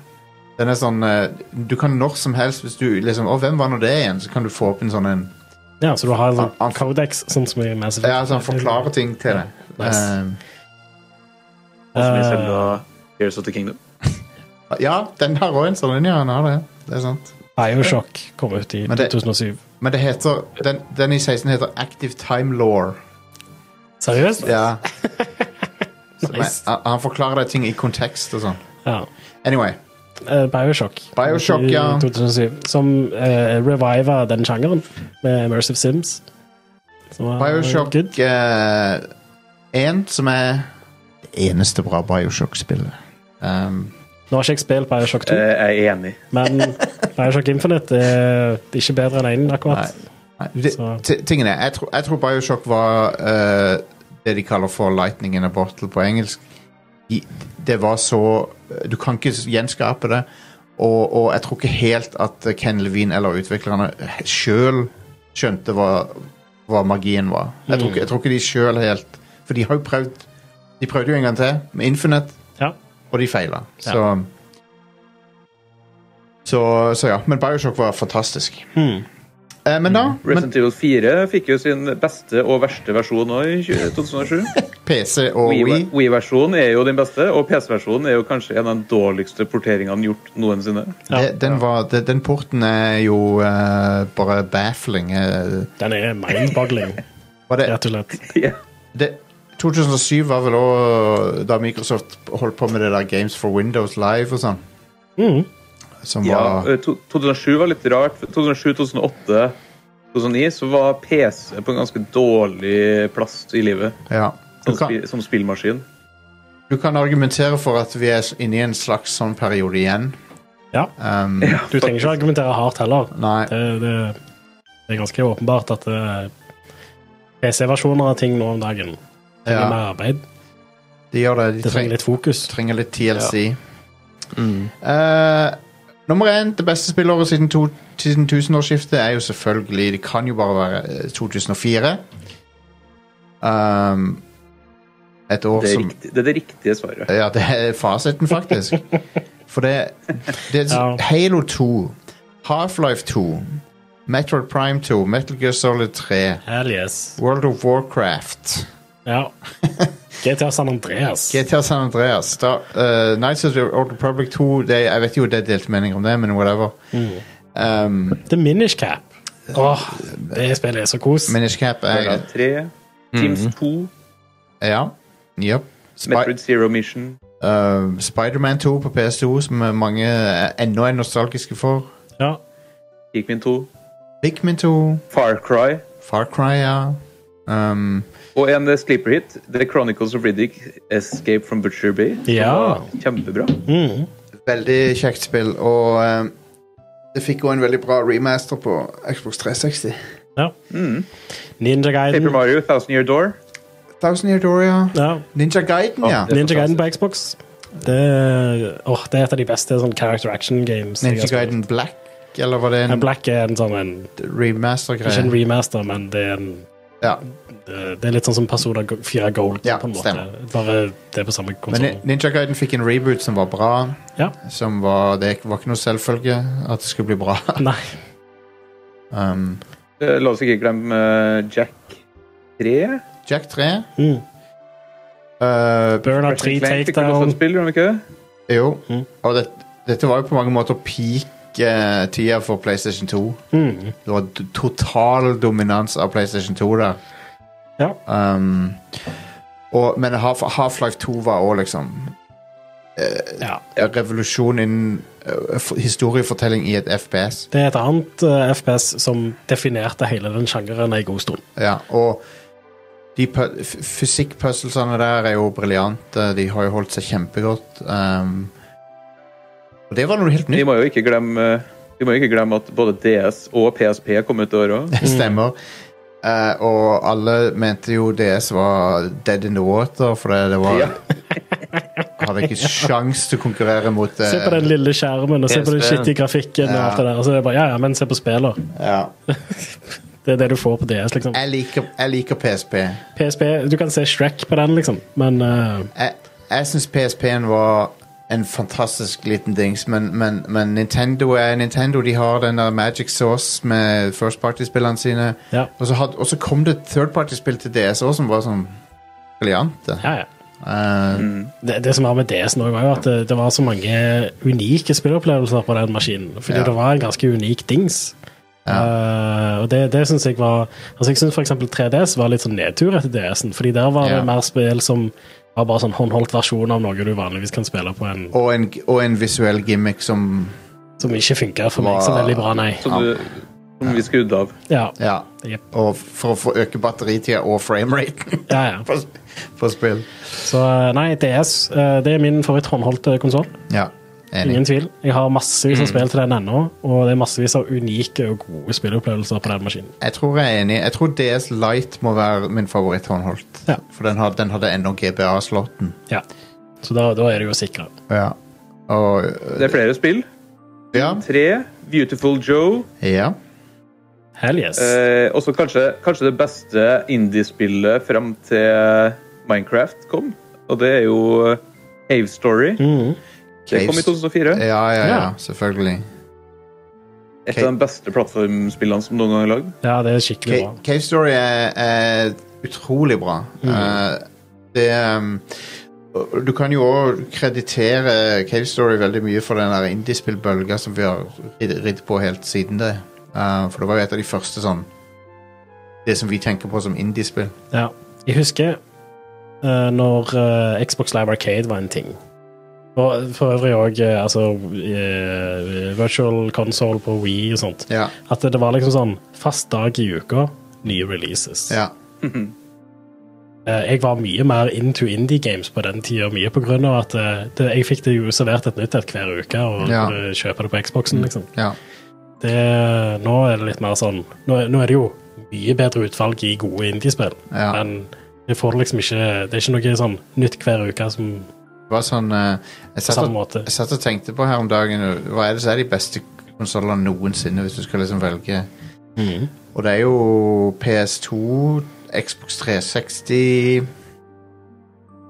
S5: Den er sånn eh, Du kan når som helst, hvis du liksom Å, hvem var nå det igjen? Så kan du få opp en sånn en
S6: ja, så du har en
S5: Han- han-
S6: sånn codex, sånn som i Mass Effect.
S5: Ja, så han forklarer ting til deg.
S6: Nice.
S7: Og som i
S6: Eh.
S7: Zelda Tears of the Kingdom.
S5: Eh, ja, den har òg en sånn en, ja. Den har det. Det er sant.
S6: Bioshock kom ut i
S5: Men det-
S6: 2007.
S5: Men det heter Den, den i 16 heter Active Time Law.
S6: Seriøst?
S5: Ja. Så, men,
S6: Nice.
S5: han- han forklarer deg ting i kontekst og sånn.
S6: Ja.
S5: Anyway.
S6: Eh, Bioshock.
S5: Bioshock,
S6: I
S5: ja.
S6: 2007, som uh, reviva den sjangeren med Immersive Sims. Som var
S5: Bioshock
S6: good.
S5: 1, som er det eneste bra Bioshock-spillet. Um,
S6: Nå har ikke jeg spilt Bioshock 2,
S7: Eh,
S5: Eh.
S7: Jeg er enig.
S6: men Bioshock Infinite er ikke bedre enn én, akkurat.
S5: nei, det,
S6: Så-
S5: ti- tingen er, jeg, tror- jeg tror Bioshock var eh, det de kaller for 'lightning in a bottle' på engelsk. I, det var så eh, Du kan ikke gjenskape det. Og, og jeg tror ikke helt at Ken Levine eller utviklerne sjøl skjønte hva, hva magien var. Jeg
S6: Mm.
S5: tror, ikke- jeg tror ikke de sjøl helt For de har jo prøvd De prøvde jo en gang til med Infinite.
S6: Ja.
S5: Og de feila.
S6: Ja.
S5: Så, så Så ja. Men Bioshock var fantastisk.
S6: Hmm.
S5: Eh, men da men
S7: Resident Evil 4 fikk jo sin beste og verste versjon nå i 20- 2007.
S5: PC og Wii,
S7: Wii- Wii-versjonen er jo den beste, og PC-versjonen er jo kanskje en av de dårligste porteringene gjort noensinne.
S5: det, den, var, det, den porten er jo eh, bare baffling. eh.
S6: Den er mind-boggling,
S5: var det,
S6: rett og slett.
S7: Ja.
S5: det, 2007 var vel òg da Microsoft holdt på med det der Games for Windows Live og sånn.
S6: Mhm.
S5: Som
S7: Ja,
S5: var
S7: eh, to- 2007 var litt rart. for 2007, 2008, 2009 så var PC på en ganske dårlig plass i livet
S5: Ja. Du
S7: som,
S5: kan,
S7: spi- som spillmaskin.
S5: du kan argumentere for at vi er inne i en slags sånn periode igjen.
S6: Ja.
S5: Um,
S6: Du trenger ikke argumentere hardt heller.
S5: Nei.
S6: Det, det, det er ganske åpenbart at eh, PC-versjoner av ting nå om dagen trenger
S5: Ja,
S6: mer arbeid.
S5: de gjør det. De
S6: Det trenger
S5: trenger
S6: litt fokus.
S5: trenger litt TLC. Eh, nummer én, det beste spillåret siden, to, siden tusenårsskiftet, er jo selvfølgelig Det kan jo bare være eh, 2004. Um, et år
S7: Det er,
S5: som
S7: riktig, det er det riktige svaret.
S5: Ja, det er fasiten, faktisk. For det, det er
S6: Ja.
S5: Halo 2, Half-Life 2, Metroid Prime 2, Metal Gear Solid 3,
S6: Hell yes.
S5: World of Warcraft
S6: Ja. GTA San Andreas.
S5: GTA San Andreas. Da, eh, Knights of the Old Republic 2 det, Jeg vet jo det er delte meninger om det, men whatever.
S6: Mm.
S5: Um,
S6: The Minish Cap. Åh, det spillet er så kos.
S5: Minish Cap er
S7: Fallout 3, Teams 2,
S5: Ja. Yep. Spi
S7: Metroid Zero Mission.
S5: uh, Spiderman 2 på PS2, som er mange eh, ennå er nostalgiske for.
S6: Ja.
S7: Pikmin 2,
S5: Pikmin 2,
S7: Far Cry
S5: Far Cry, ja. Um,
S7: og en eh, sleeper hit. The Chronicles of Riddick, Escape from Butcher Bay. som
S6: Ja.
S7: var Kjempebra.
S6: Mm.
S5: veldig kjekt spill, og um, det fikk jo en veldig bra remaster på Xbox 360.
S6: Ninja
S7: Paper
S6: Guiden.
S7: Mario, Thousand Year Door.
S5: Thousand Year Doria.
S6: Ja.
S5: Ninja Guiden, ja.
S7: det er
S6: Ninja Guiden
S7: fantastisk.
S6: på Xbox. Det, er- åh, det er et av de beste sånn character action games. jeg har
S5: Ninja
S6: spilt.
S5: Guiden Black, eller var det
S6: Men
S5: en
S6: Black er en sånn en, ikke en
S5: remaster-greie?
S6: remaster, men det er, en,
S5: Ja.
S6: det er litt sånn som Persona 4 Gold.
S5: Ja,
S6: på en måte.
S5: stemmer.
S6: Bare det er på samme
S5: Men
S6: konsoll.
S5: Ni- Ninja Guiden fikk en reboot som var bra.
S6: Ja.
S5: Som var, det var ikke noe selvfølge at det skulle bli bra.
S6: Nei.
S5: Um,
S7: Eh, La oss ikke glemme eh, Jack 3.
S5: Jack 3.
S6: Mm.
S5: Uh,
S6: Burnout 3
S7: Ratchet Clank fikk vel også
S6: Takedown.
S7: et spill, gjorde de ikke det?
S5: jo.
S6: Mm.
S5: Og det, dette var jo på mange måter peak-tida for PlayStation 2.
S6: Mm.
S5: Det var d- total dominans av PlayStation 2 der.
S6: Ja.
S5: Um, og, men Half- Half-Life 2 var òg liksom
S6: ja.
S5: en revolusjon innen eh, f- historiefortelling i et FPS.
S6: Det er et annet eh, FPS som definerte hele den sjangeren en god stund.
S5: Ja, og de pu- f- fysikkpuzzlesene der er jo briljante. De har jo holdt seg kjempegodt. Um, og det var noe helt
S7: Vi
S5: nytt.
S7: må jo ikke glemme eh, vi må jo ikke glemme at både DS og PSP kom ut i år òg.
S6: Mm.
S5: Stemmer. Eh, og alle mente jo DS var dead in the water, for det, det var Hadde ikke sjans til å konkurrere mot eh, det.
S6: Se på den lille skjermen og se på den
S8: PSP.
S6: skittige grafikken. og
S5: Ja.
S6: alt det der. Og så er det bare, ja, ja, men se på spillet.
S5: Ja.
S6: Det er det du får på DS. liksom.
S5: Jeg, liker, jeg liker PSP.
S6: PSP, Du kan se Shrek på den, liksom, men eh,
S5: Jeg, jeg syns PSP-en var en fantastisk liten dings, men, men, men Nintendo er Nintendo. De har den der magic sauce med first party-spillene sine.
S6: ja.
S5: Og så, had, og så kom det third party-spill til DS også, som var sånn briljante.
S6: ja, Mm. ja.
S5: Eh,
S6: Det, det som var med DS nå, var jo at det, det var så mange unike spilleopplevelser på den maskinen. Fordi
S5: Ja.
S6: det var en ganske unik dings. Eh, og det, det syns jeg var Altså jeg syns f.eks. 3DS var litt sånn nedtur etter DS-en. Fordi der var
S5: Ja.
S6: det mer spill som var bare sånn håndholdt versjon av noe du vanligvis kan spille på en
S5: og, en, og en visuell gimmick som
S6: som ikke funker for meg så
S5: Var-
S6: veldig bra, nei.
S7: Som, du- som vi skrudde av.
S6: Ja,
S5: Ja.
S6: Jep.
S5: Og for å få øke batteritida og frameraten
S6: ja, ja.
S5: på, på spill.
S6: Så eh, nei, DS eh, det er min favoritt-håndholdte konsoll.
S5: Ja, enig. Mm.
S6: Ingen tvil. Jeg har massevis av spill til den ennå, og det er massevis av unike og gode spilleopplevelser på den maskinen.
S5: Jeg tror jeg er enig. Jeg tror DS Light må være min favoritt-håndholdt.
S6: Ja.
S5: For den, har, den hadde ennå GBA-slåtten.
S6: Ja. Så da, da er du jo sikra.
S5: Ja. Og
S7: Det er flere spill.
S5: ja.
S7: Tre. Beautiful Joe.
S5: ja.
S6: Hell yes.
S7: Eh, også kanskje, kanskje det beste indiespillet fram til Minecraft kom. Og det er jo eh, Cave Story.
S6: Mhm.
S7: Det kom i
S5: Caves- Eh,
S7: 2004.
S5: Ja, ja, ja.
S6: Ja.
S5: Selvfølgelig.
S7: Et av de beste plattformspillene som noen gang er lagd.
S6: Ja, det er skikkelig
S5: Ca-
S6: bra. Mm.
S5: Cave Story er, er utrolig bra. Eh, det um, og Du kan jo òg kreditere Cave Story veldig mye for den der indiespillbølga som vi har ridd ridd på helt siden det. Eh, for det var jo et av de første sånn Det som vi tenker på som indiespill.
S6: Ja. Jeg husker eh, når eh, Xbox Live Arcade var en ting. Og for øvrig òg altså, eh, virtual console på Wii og sånt.
S5: Ja.
S6: At det var liksom sånn fast dag i uka, nye releases.
S5: ja.
S6: Eh, Jeg var mye mer into indie games på den tida, mye på grunn av at eh, det, jeg fikk det jo servert et nytt et hver uke, og
S5: Ja.
S6: kunne kjøpe det på Xboxen, liksom.
S5: ja.
S6: Det, nå er det litt mer sånn Nå, er- nå er det jo mye bedre utvalg i gode indiespill,
S5: Ja.
S6: men jeg får det liksom ikke Det er ikke noe sånn nytt hver uke som
S5: Det var sånn eh, jeg,
S6: på
S5: satt
S6: samme
S5: og,
S6: måte.
S5: jeg satt og tenkte på her om dagen Hva er det som er de beste konsollene noensinne, hvis du skal liksom velge?
S8: Mm.
S6: Mhm.
S5: Og det er jo PS2, Xbox 360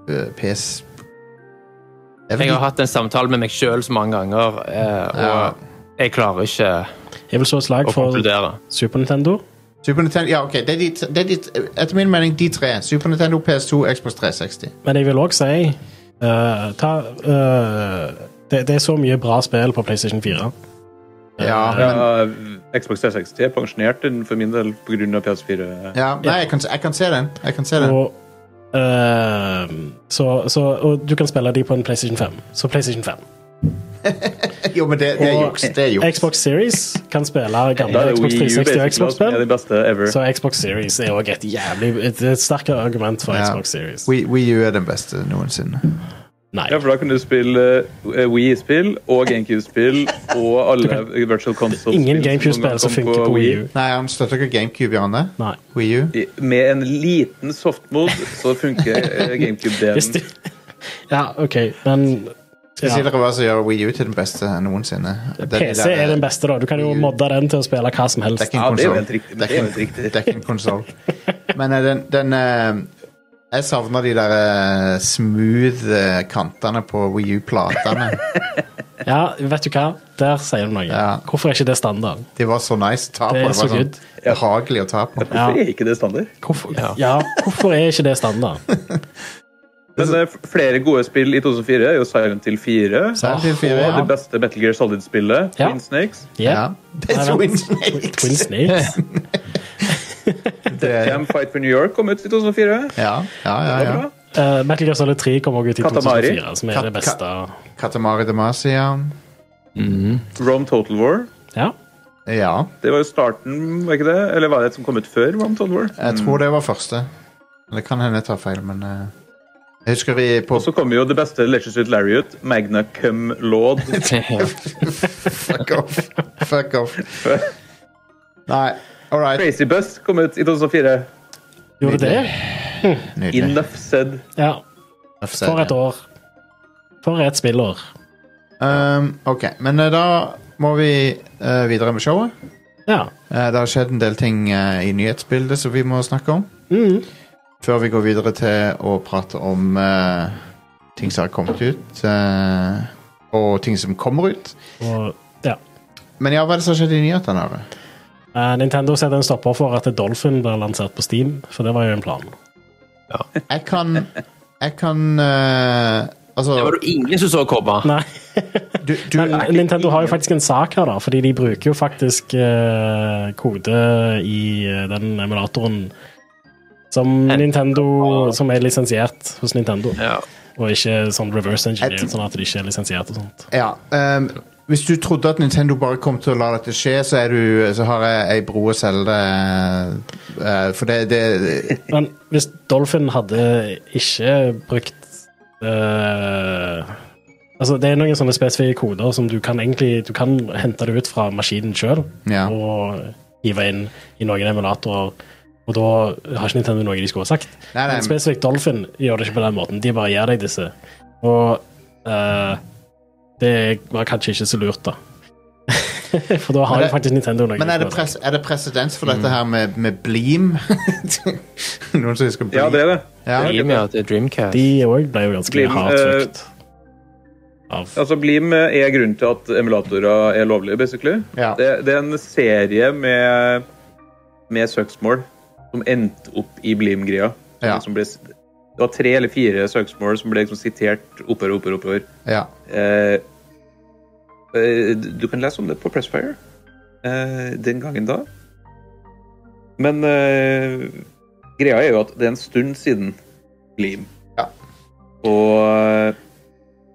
S5: øh, PS Det er vel
S8: Jeg har
S5: de-
S8: hatt en samtale med meg sjøl så mange ganger, eh, og jeg klarer ikke
S6: Jeg vil slå et slag
S8: å
S6: for
S8: konkludere.
S6: Super Nintendo,
S5: Super Nintendo, ja, ok. Det er, de, t- det er de, t- etter min mening de tre. Super Nintendo, PS2, Xbox 360.
S6: Men jeg vil òg si eh, ta, eh, det, det er så mye bra spill på PlayStation 4.
S5: Ja, men,
S7: Ja, Xbox 360 er pensjonert den for min del pga. PS4.
S5: ja. Nei, jeg kan, se- jeg kan se den. Jeg kan se den.
S6: Og, eh, så, så, og du kan spille de på en PlayStation 5. Så PlayStation 5.
S5: Jo, men det, det er juks. Det er juks.
S6: Xbox Series kan spille
S7: Da
S6: gamle
S7: er det
S6: Xbox
S7: Wii U
S6: 360 og
S7: basically også, som
S6: Xbox-spill.
S7: er det beste ever.
S6: Så Xbox Series er òg et jævlig et, et sterkere argument for
S5: Ja.
S6: Xbox Series.
S5: Wii Wii U er den beste noensinne.
S6: Nei.
S7: Ja, for da kunne du spille eh, Wii-spill og GameCube-spill og alle virtual console
S6: Ingen GameCube-spill som funker på Wii U.
S5: Nei, han støtter ikke GameCube, Janne.
S6: Nei.
S5: Wii U.
S7: Med en liten softmod så funker eh,
S6: Hvis
S7: GameCube-delen.
S6: de- Ja, OK, men
S5: Skal si
S6: ja.
S5: dere hva som gjør Wii U til den beste noensinne. Det de
S6: PC
S5: der-
S6: er den beste, da. Du kan jo
S5: Wii U.
S6: modde den til å spille hva som helst.
S5: Det er ikke en
S7: Ja, det er jo
S5: konsol.
S7: helt riktig, men
S5: Det er
S7: det er jo
S5: ikke-
S7: helt riktig.
S5: det er ikke en konsoll. Men eh, den, den eh, Jeg savner de der eh, smooth eh, kantene på Wii U-platene.
S6: Ja, vet du hva? Der sier du noe.
S5: Ja.
S6: Hvorfor er ikke det standard?
S5: De var så nice å ta på.
S6: Det er
S5: var
S6: så
S5: sånn
S6: good.
S5: behagelig å ta på.
S6: Ja.
S7: Hvorfor er ikke det standard?
S6: Hvorfor, ja, hvorfor er ikke det standard?
S7: Men eh, f- flere gode spill i 2004 er jo Silent Hill 4.
S5: Så er det til fire,
S7: Og
S5: ja.
S7: det beste Metal Gear Solid-spillet,
S6: Ja.
S7: Twin Snakes.
S5: Ja.
S6: Ja.
S5: Det er
S6: Nei,
S5: Twin
S6: vent. Twin
S5: Snakes.
S6: Snakes.
S5: Det er-
S7: Camp Fight for New York kom ut i 2004.
S5: Ja, ja, ja.
S7: Det var
S5: ja.
S7: bra.
S6: Eh, Metal Gear Solid 3 kommer også ut i
S7: Katamari.
S6: 2004, som er
S5: Ka-
S6: det beste.
S5: Katamari Damacia.
S7: Rome Total War.
S6: Ja.
S5: Ja,
S7: Det var jo starten, var ikke det? Eller var det et som kom ut før Rome Total War?
S5: jeg tror det var første. Det kan hende jeg tar feil, men eh, Jeg husker vi på
S7: Og så kom jo det beste Leisure Suit Larry ut, Magna Cum Lord.
S5: Fuck off. Fuck off. Nei, all right.
S7: Crazy Bus kom ut i 2004.
S6: Gjorde det?
S5: Nydelig.
S7: Enough said.
S6: Ja.
S5: Uff, så er
S6: For
S5: det.
S6: et år. For et spillår.
S5: Um, ok, men eh, da må vi eh, videre med showet.
S6: Ja.
S5: Eh, det har skjedd en del ting eh, i nyhetsbildet som vi må snakke om.
S6: Mm.
S5: Før vi går videre til å prate om eh, ting som har kommet ut, eh, og ting som kommer ut.
S6: Og ja.
S5: Men ja, hva er det som har skjedd i nyhetene? Are?
S6: Eh, Nintendo setter en stopper for at Dolphin blir lansert på Steam, for det var jo en plan.
S5: Jeg kan Jeg kan eh, Altså
S8: Det var det ingen som så komme.
S6: Nei.
S5: du, du,
S6: Men Nintendo har jo faktisk en sak her, da, fordi de bruker jo faktisk eh, kode i eh, den emulatoren som Nintendo Som er lisensiert hos Nintendo,
S8: Ja.
S6: og ikke sånn reverse engineer,
S5: Jeg-
S6: sånn at de ikke er lisensiert og sånt.
S5: Ja. ehm, hvis du trodde at Nintendo bare kom til å la dette skje, så, er du, så har jeg ei bro å selge det eh, For det, det
S6: Men hvis Dolphin hadde ikke brukt eh, Altså, det er noen sånne spesifikke koder som du kan egentlig Du kan hente det ut fra maskinen sjøl
S5: Ja.
S6: og hive inn i noen emulatorer. Og da har ikke Nintendo noe de skulle ha sagt.
S5: Nei,
S6: Men
S5: nei,
S6: spesifikt Dolphin gjør det ikke på den måten. De bare gir deg disse. Og eh, det var kanskje ikke så lurt, da. For da
S5: Men
S6: har
S5: det-
S6: jo faktisk Nintendo noe.
S5: men er
S6: de
S5: det,
S6: skulle ha
S5: pres, er det presedens for dette her med, med Bleam? Noen som husker
S7: Ja,
S5: Bleam?
S7: det er det.
S5: Ja.
S8: Dream, ja, det er Dreamcast.
S6: De òg ble jo ganske
S7: Glim,
S6: hardt
S7: eh,
S6: trykt. Av
S7: Altså, Blim er grunnen til at emulatorer er lovlige, basically.
S5: Ja.
S7: Det, det er en serie med, med søksmål som endte opp i Blim-greia. Som
S5: Ja.
S7: liksom ble- Det var tre eller fire søksmål som ble liksom sitert oppover, oppover, oppover.
S5: Ja.
S7: Eh, eh, du kan lese om det på Pressfire eh, den gangen da. Men eh, greia er jo at det er en stund siden Gleam.
S5: Ja.
S7: Og eh,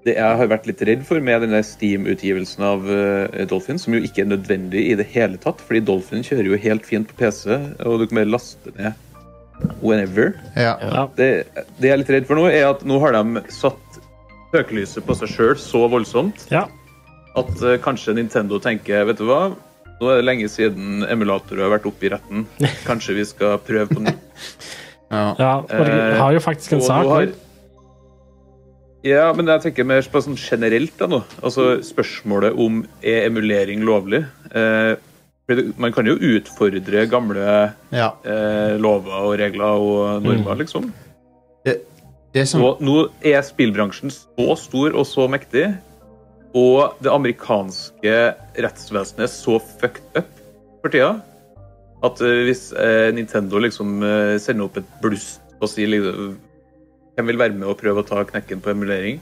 S7: det jeg har vært litt redd for med denne Steam-utgivelsen av eh, Dolphin, som jo ikke er nødvendig i det hele tatt, fordi Dolphin kjører jo helt fint på PC, og du kan bare laste ned whenever
S5: ja.
S6: ja.
S7: det, det jeg er litt redd for nå, er at nå har de satt søkelyset på seg sjøl så voldsomt
S6: ja.
S7: at eh, kanskje Nintendo tenker Vet du hva, nå er det lenge siden emulatorer har vært oppe i retten. Kanskje vi skal prøve på nytt.
S6: ja. Og de
S7: Eh,
S6: har jo faktisk en
S7: og
S6: sak
S7: nå har-
S6: òg.
S7: Ja, men jeg tenker mer på sånn generelt da nå. Altså spørsmålet om er emulering lovlig? Eh, fordi det- man kan jo utfordre gamle
S5: ja.
S7: eh, lover og regler
S6: Mm.
S7: og normer, liksom.
S5: Det, det som
S7: Og nå er spillbransjen så stor og så mektig, og det amerikanske rettsvesenet er så fucked up for tida, At eh, hvis eh, Nintendo liksom eh, sender opp et blust og sier liksom Hvem vil være med og prøve å ta knekken på emulering?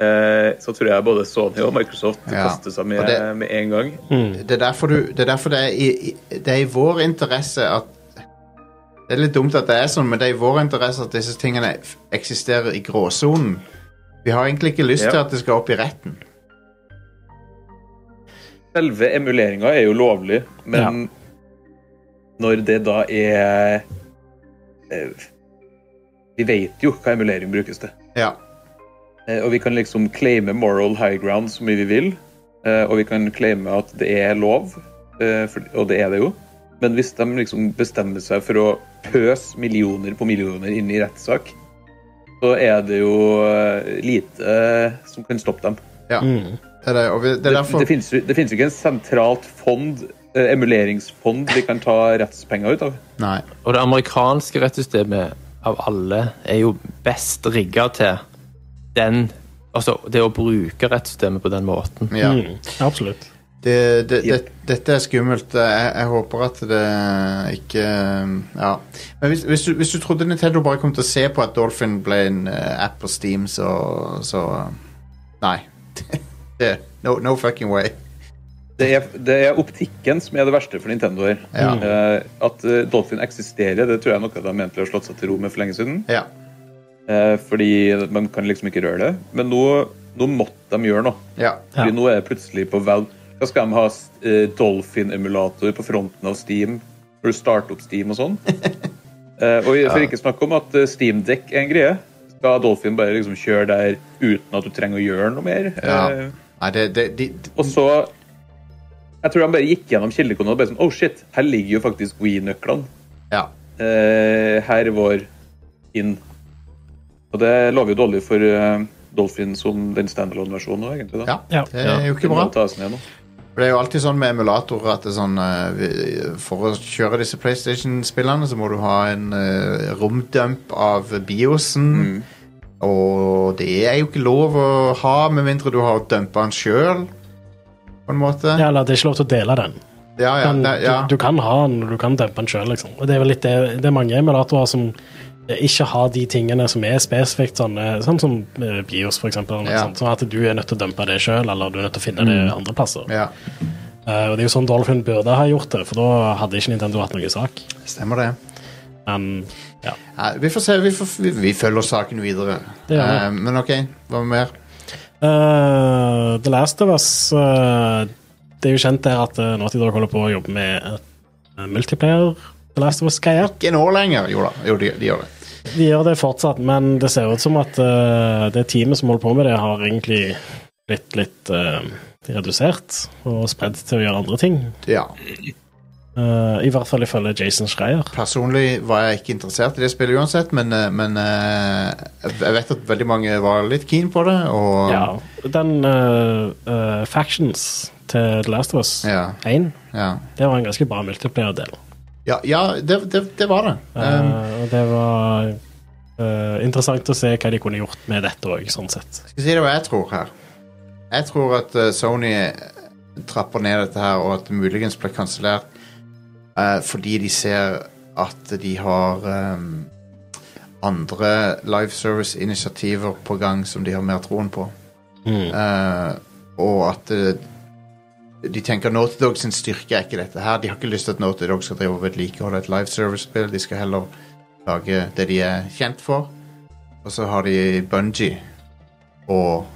S7: Eh, så tror jeg både Sony og Microsoft
S5: Ja.
S7: kaster seg med
S5: Og det-
S7: med en gang.
S5: Det er derfor, du, det, er derfor det, er i, i- det er i vår interesse at Det er litt dumt at det er sånn, men det er i vår interesse at disse tingene f- eksisterer i gråsonen. Vi har egentlig ikke lyst
S7: Ja.
S5: til at det skal opp i retten.
S7: Selve emuleringa er jo lovlig, men når det da er eh, Vi vet jo hva emulering brukes til.
S5: Ja.
S7: Eh, Og vi kan liksom claime moral high ground så mye vi vil. eh, Og vi kan claime at det er lov, eh, for- og det er det jo. Men hvis de liksom bestemmer seg for å pøse millioner på millioner inn i rettssak, så er det jo eh, lite eh, som kan stoppe dem.
S5: ja.
S6: Mm.
S5: Det, er det, og vi, det er
S7: Det,
S5: derfor
S7: det, finnes, jo- det finnes jo ikke en sentralt fond, eh, emuleringsfond, vi kan ta rettspenger ut av.
S5: Nei.
S8: Og det amerikanske rettssystemet av alle er jo best rigga til den Altså det å bruke rettssystemet på den måten.
S5: Ja.
S6: Mm, absolutt.
S5: Det, det,
S7: Yep.
S5: det, dette er skummelt. Jeg, jeg håper at det ikke eh, Ja. Men hvis, hvis, du, hvis du trodde Nintendo bare kom til å se på at Dolphin ble en eh, app på Steam, så, så eh, Nei. det, no, no fucking way.
S7: Det er, det er optikken som er det verste for Nintendo her.
S5: Ja.
S7: Eh, at eh, Dolphin eksisterer, det tror jeg er noe de egentlig har slått seg til ro med for lenge siden.
S5: Ja.
S7: Eh, fordi man kan liksom ikke røre det. Men nå, nå måtte de gjøre noe.
S5: ja.
S7: Fordi
S6: Ja.
S7: nå er det plutselig på Valve. Da skal de ha eh, Dolphin-emulator på fronten av Steam. Når du starter opp Steam og sånn. Eh, og for ikke snakke om at eh, Steam Deck er en greie. Skal Dolphin bare liksom kjøre der uten at du trenger å gjøre noe mer?
S5: ja.
S7: Eh,
S5: Nei, det, det, de, de,
S7: og så Jeg tror han bare gikk gjennom kildekoden og bare sånn Oh shit, her ligger jo faktisk We-nøklene.
S5: ja.
S7: Eh, her var inn. Og det lover jo dårlig for eh, Dolphin som den standalone-versjonen òg, egentlig. da.
S5: ja.
S6: Ja.
S5: Det er jo
S7: Det
S5: ikke
S7: må
S5: bra.
S7: tas ned nå.
S5: For Det er jo alltid sånn med emulatorer at det er sånn, eh, vi- for å kjøre disse PlayStation-spillene, så må du ha en eh, romdump av Biosen. Og det er jo ikke lov å ha, med mindre du har dumpa den sjøl, på en måte.
S6: Ja, eller det er ikke lov til å dele den.
S5: ja, ja,
S6: Men
S5: det, ja.
S6: Du, du kan ha den, og du kan dempe den sjøl, liksom. Og det er vel litt det, det er mange emulatorer som eh, ikke har de tingene som er spesifikt sånn, eh, sånn som eh, BIOS, for eksempel. eller noe
S5: Ja. Mm.
S6: sånt, Sånn at du er nødt til å dempe det sjøl, eller du er nødt til å finne det andre plasser.
S5: ja,
S6: Eh, og det er jo sånn Dolphin burde ha gjort det, for da hadde ikke Nintendo hatt noe sak.
S5: stemmer det.
S6: Men ja.
S5: Nei, vi får se. Vi, får, vi, vi følger saken videre.
S6: Det gjør vi.
S5: Eh, men OK, hva mer?
S6: Eh, The Last of Us eh, Det er jo kjent der at uh, Naughty Dog holder på å jobbe med et eh, multiplayer The Last of Us-greier.
S5: Ikke nå lenger. Jo da, jo, de, de gjør det.
S6: De gjør det fortsatt, men det ser ut som at eh, det teamet som holder på med det, har egentlig blitt litt eh, redusert og spredd til å gjøre andre ting.
S5: Ja.
S6: Eh, I hvert fall ifølge Jason Schreier.
S5: Personlig var jeg ikke interessert i det spillet uansett, men, eh, men eh, jeg vet at veldig mange var litt keen på det, og
S6: Ja, den eh, eh, Factions til The Last of Us
S5: Ja.
S6: 1,
S5: ja.
S6: det var en ganske bra multiplayer-del.
S5: Ja, ja, det, det, det var det.
S6: Eh,
S5: Um,
S6: og det var eh, interessant å se hva de kunne gjort med dette òg, sånn sett.
S5: skal jeg si deg hva jeg tror her. Jeg tror at eh, Sony eh, trapper ned dette her, og at det muligens blir kansellert eh, fordi de ser at de har ehm, andre live service-initiativer på gang som de har mer troen på. Eh, og at eh, de tenker Naughty Dog sin styrke er ikke dette her. De har ikke lyst til at Naughty Dog skal drive og vedlikeholde et live service-spill. De skal heller lage det de er kjent for. Og så har de Bungie og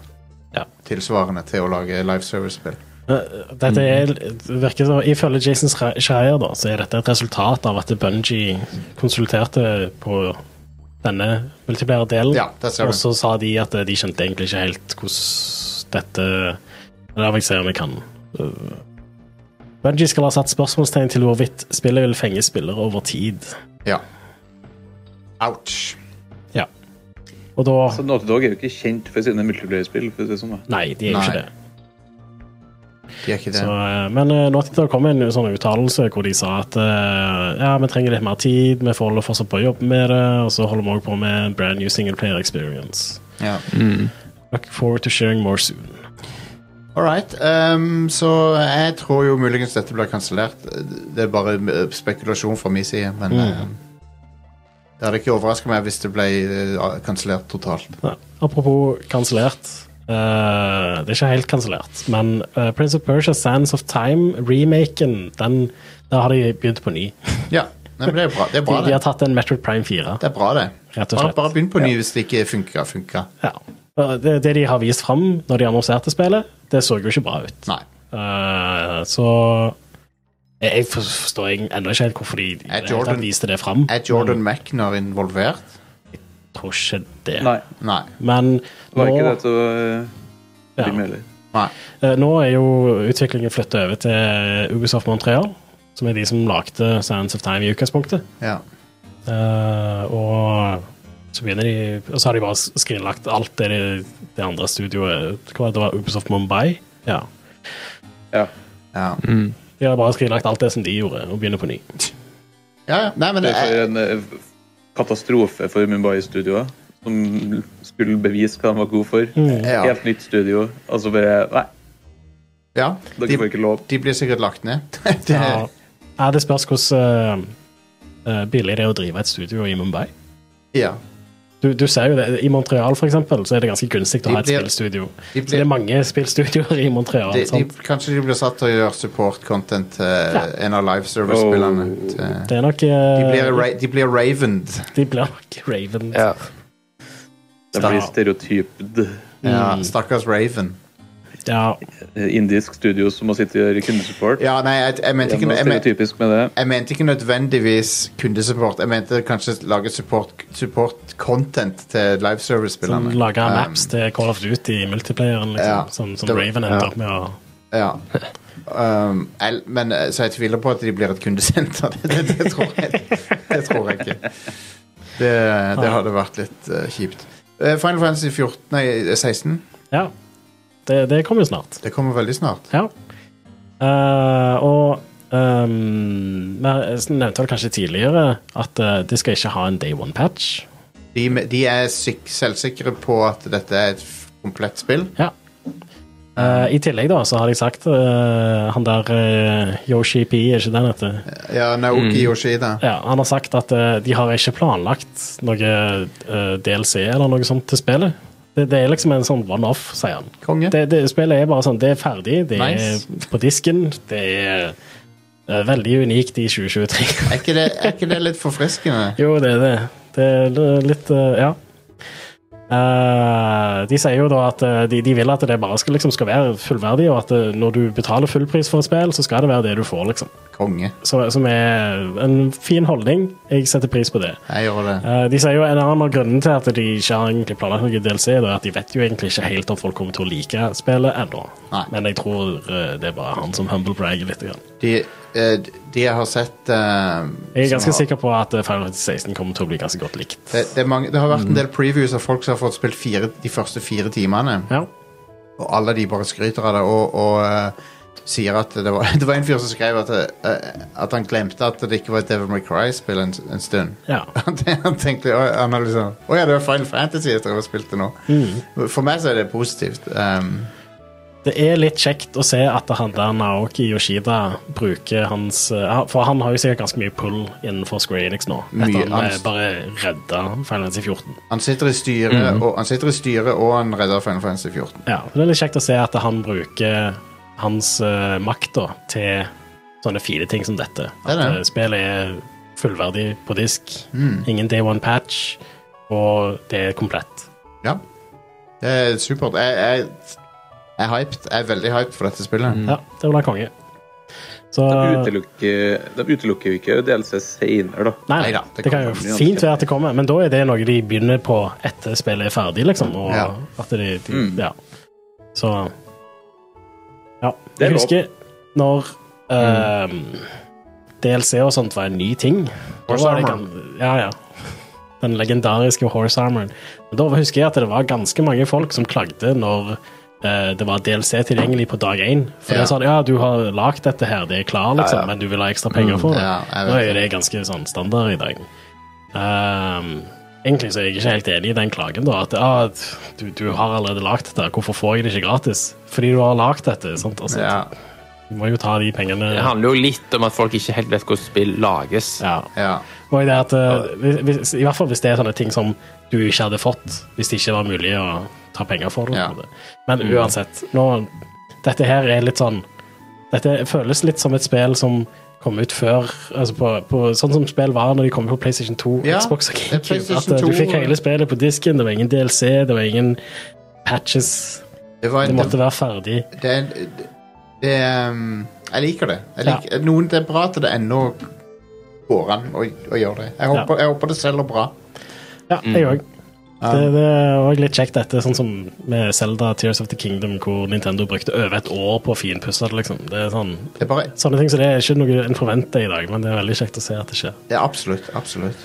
S6: Ja.
S5: tilsvarende til å lage live service-spill.
S6: Eh, Dette er, virker som, Ifølge Jason Schre- Schreier da, så er dette et resultat av at Bungie konsulterte på denne multiplære delen.
S5: Ja, der ser
S6: og
S5: du.
S6: så sa de at eh, de skjønte egentlig ikke helt hvordan dette La meg se om jeg kan eh, Bungie skal ha satt spørsmålstegn til hvorvidt spillet vil fenge spillere over tid.
S5: Ja. Ouch.
S6: Ja. Og da
S7: Så Naughty Dog er jo ikke kjent for sine multiplayer-spill. for å si det sånn da.
S6: Nei, de er jo ikke
S5: Nei.
S6: det.
S5: De er ikke det.
S6: Så, eh, men eh, Naughty Dog kom med en sånn uttalelse hvor de sa at eh, ja, vi trenger litt mer tid, vi får holde fortsatt på å jobbe med det, og så holder vi også på med en brand new single player experience.
S5: Ja.
S6: Look forward to sharing more soon.
S5: All right. ehm, så jeg tror jo muligens dette blir kansellert. Det er bare eh, spekulasjon fra min side, men
S7: Mm.
S5: ehm, det hadde ikke overraska meg hvis det ble eh, kansellert totalt.
S6: Nei. Apropos kansellert. eh, det er ikke helt kansellert, men eh, Prince of Persia Sands of Time-remaken, den der har de begynt på ny.
S5: Ja, Nei, men det er bra. Det er bra,
S6: De, de
S5: det.
S6: har tatt en Metroid Prime 4.
S5: Det er bra det.
S6: Rett og
S5: Bare,
S6: slett.
S5: bare begynn på ny hvis det ikke funker. funker.
S6: Ja. Eh, Det, det de har vist fram når de annonserte spillet, det så jo ikke bra ut.
S5: Nei.
S6: Eh, så jeg, jeg forstår jeg ennå ikke helt hvorfor de i det hele tatt
S5: Jordan-
S6: viste det fram.
S5: Er Jordan Mackner involvert?
S6: tror ikke det.
S7: Nei,
S5: Nei.
S6: Men
S7: det var
S6: nå,
S7: ikke det til å eh,
S6: Ja.
S7: bli med heller.
S5: Nei.
S6: eh, nå er jo utviklingen flyttet over til Ubisoft Montreal, som er de som lagde Sands of Time i utgangspunktet.
S5: Ja.
S6: Eh, og så begynner de Og så har de bare skrinlagt alt det de, det andre studioet Hva var det? det var Ubisoft Mumbai? Ja.
S7: Ja.
S5: Ja.
S6: De har bare skrinlagt alt det som de gjorde, og begynner på ny.
S5: ja, ja. Nei, men
S7: Det
S5: det
S7: er
S5: er,
S7: en eh, katastrofe for Mumbai-studioet, som skulle bevise hva de var gode for.
S6: Mm.
S5: Ja.
S7: Helt nytt studio. Altså bare Nei,
S5: ja.
S7: dere får
S5: De,
S7: ikke lov.
S5: de blir sikkert lagt ned. det,
S6: Ja. Ja, Eh, det spørs hvordan eh, eh, billig det er å drive et studio i Mumbai.
S5: ja.
S6: Du, du ser jo det, I Montreal for eksempel, så er det ganske gunstig å
S5: De
S6: ha et
S5: blir-
S6: spillstudio.
S5: de
S6: Så det
S5: blir-
S6: er mange spillstudioer i Montreal.
S5: De, de,
S6: sant?
S5: kanskje de blir satt til å gjøre support-content til en av liveservice-spillene. til-
S6: det er nok
S5: De blir,
S6: eh,
S5: ra de blir ravened.
S6: De blir nok Raven.
S8: Ja.
S7: Det
S5: Ja.
S7: blir stereotyped
S6: Mm.
S5: Ja, stakkars Raven.
S6: Ja.
S7: eh, indisk studio som må sitte og gjøre kundesupport.
S5: Ja, nei, jeg, jeg, mente
S7: Det er
S5: ikke,
S7: noe
S5: jeg, men-
S7: stereotypisk med det.
S5: jeg mente ikke nødvendigvis kundesupport. Jeg mente kanskje lage support- support-content til
S6: Som
S5: liveservice-spillerne.
S6: lager
S5: Um,
S6: maps til Call of Duty i multiplayeren,
S5: Ja.
S6: liksom. Som, som
S5: Det var-
S6: Raven endte opp med å
S5: Ja. Um, el, men, eh, så jeg tviler på at de blir et kundesenter. Det, det, det, tror, jeg, det tror jeg ikke. Det, det hadde vært litt eh, kjipt. Eh, Final Fantasy 14, nei, 16.
S6: Ja. Det, det kommer jo snart.
S5: Det kommer veldig snart.
S6: Ja. Eh, og ehm, Jeg nevnte vel kanskje tidligere at eh, de skal ikke ha en day one-patch.
S5: De, de er syk, selvsikre på at dette er et f- komplett spill.
S6: Ja. Eh, I tillegg da, så har jeg sagt eh, han der eh, Yoshi P, er ikke det han heter?
S5: Ja, Naoki
S6: Mm.
S5: Yoshida.
S6: Ja, han har sagt at eh, de har ikke planlagt noe eh, DLC eller noe sånt til spillet. Det, det er liksom en sånn one-off, sier han.
S5: Konge.
S6: Det, det, spillet er bare sånn, det er ferdig, det
S5: Nice.
S6: er på disken, det er eh, veldig unikt i 2023.
S5: Er, ikke det, er ikke det litt forfriskende?
S6: jo, det er det. Det er litt, eh, ja. Eh, de sier jo da at eh, de, de vil at det bare skal, liksom, skal være fullverdig, og at eh, når du betaler fullpris for et spill, så skal det være det du får, liksom.
S5: Konge.
S6: Så, som er en fin holdning. Jeg setter pris på det.
S5: Jeg gjør det.
S6: Eh, de sier jo En annen av grunnene til at de ikke har egentlig planlagt noe DLC, det er at de vet jo egentlig ikke helt om folk kommer til å like spillet ennå.
S5: Nei.
S6: Men jeg tror eh, det er bare han som humble bragger litt. Grann.
S5: De, eh, de jeg har sett eh,
S6: Jeg er
S5: som
S6: ganske
S5: har-
S6: sikker på at eh, Final Fantasy 16 kommer til å bli ganske godt likt.
S5: det, det, er mange, det har vært
S6: Mm.
S5: en del previews av folk som har fått spilt fire, de første fire timene.
S6: Ja.
S5: Og alle de bare skryter av det og, og eh, sier at det var, det var en fyr som skrev at, eh, at han glemte at det ikke var et Devil May Cry-spill en, en stund.
S6: ja.
S5: Han ten- han tenkte «Å, han har liksom, Å ja, det var Final Fantasy jeg drev og spilte nå.
S6: Mm.
S5: For meg så er det positivt. Um,
S6: Det er litt kjekt å se at han der Naoki Yoshida bruker hans eh, han- For han har jo sikkert ganske mye pull innenfor Square Enix nå.
S5: Mye.
S6: Etter han eh,
S5: Han-
S6: bare redda Final Fantasy 14.
S5: han, sitter i styret,
S6: Mm.
S5: og, han sitter i styret, og han redder Final Fantasy 14.
S6: Ja, så det er litt kjekt å se at han bruker hans eh, makt da, til sånne fine ting som dette. At
S5: Det er det.
S6: eh, spillet er fullverdig på disk.
S5: Mm.
S6: Ingen day one patch, og det er komplett.
S5: Ja. Det er supert. Jeg, jeg, jeg er hyped. Jeg er veldig hyped for dette spillet.
S6: Ja, det blir konge. Så
S7: De
S6: Nei
S7: utelukker, de utelukker jo ikke DLC senere, da.
S5: Neida,
S6: da,
S5: det
S6: det, kan
S5: kommer
S6: jo fint være at det kommer, men da er det noe de begynner på etter spillet er ferdig, liksom. Og
S5: Ja. Mm.
S6: at de, de Ja. Så Ja.
S7: Det er
S6: Jeg
S7: lov.
S6: husker når
S5: Mm.
S6: eh, DLC og sånt var en ny ting. Da
S5: Horse
S6: var det
S5: armor.
S6: gan- Ja, ja. Den legendariske horse armoren. Men da husker jeg at det var ganske mange folk som klagde når eh, det var DLC tilgjengelig på dag én. For
S5: Ja.
S6: det er sånn, ja, du har lagd dette her, det er klar, liksom, men
S5: Mm.
S6: du vil ha ekstra penger for det.
S5: ja, jeg vet
S6: Nå er
S5: det.
S6: det ganske sånn standard i dag. Ehm, Egentlig så er jeg ikke helt enig i den klagen. da, At ah, du, du har allerede lagd dette, hvorfor får jeg det ikke gratis? Fordi du har lagd dette. sant? Altså,
S5: Ja,
S6: Du må jo ta de pengene.
S8: Det handler jo litt om at folk ikke helt vet hvordan spill lages.
S6: Ja.
S5: ja.
S6: Og i, det at, eh, hvis- hvis, I hvert fall hvis det er sånne ting som du ikke hadde fått hvis det ikke var mulig å ta penger for det. på
S5: Ja. Mm.
S6: en måte. Men uansett, nå, dette her er litt sånn Dette føles litt som et spill som kom ut før altså på, på, Sånn som spill var når de kom på PlayStation 2,
S5: Ja,
S6: Xbox og
S5: det er
S6: GameCube.
S5: PlayStation
S6: At eh,
S5: 2,
S6: du fikk
S5: eh.
S6: hele spillet på disken, det var ingen DLC, det var ingen patches.
S5: Det, var,
S6: Det måtte
S5: det,
S6: være ferdig.
S5: det, er- det, er, um, Jeg liker det. Jeg liker, noen, det er bra at det ennå går an å, å gjøre det. Jeg håper, jeg håper det selger bra.
S6: Ja, jeg òg. Det, det er òg litt kjekt, dette, sånn som med Zelda Tears of the Kingdom, hvor Nintendo brukte over et år på å finpusse det. liksom. Det er sånn,
S5: Det er, bare,
S6: sånne ting, så det er ikke noe en forventer i dag, men det er veldig kjekt å se at det skjer.
S5: det er absolutt. Absolutt.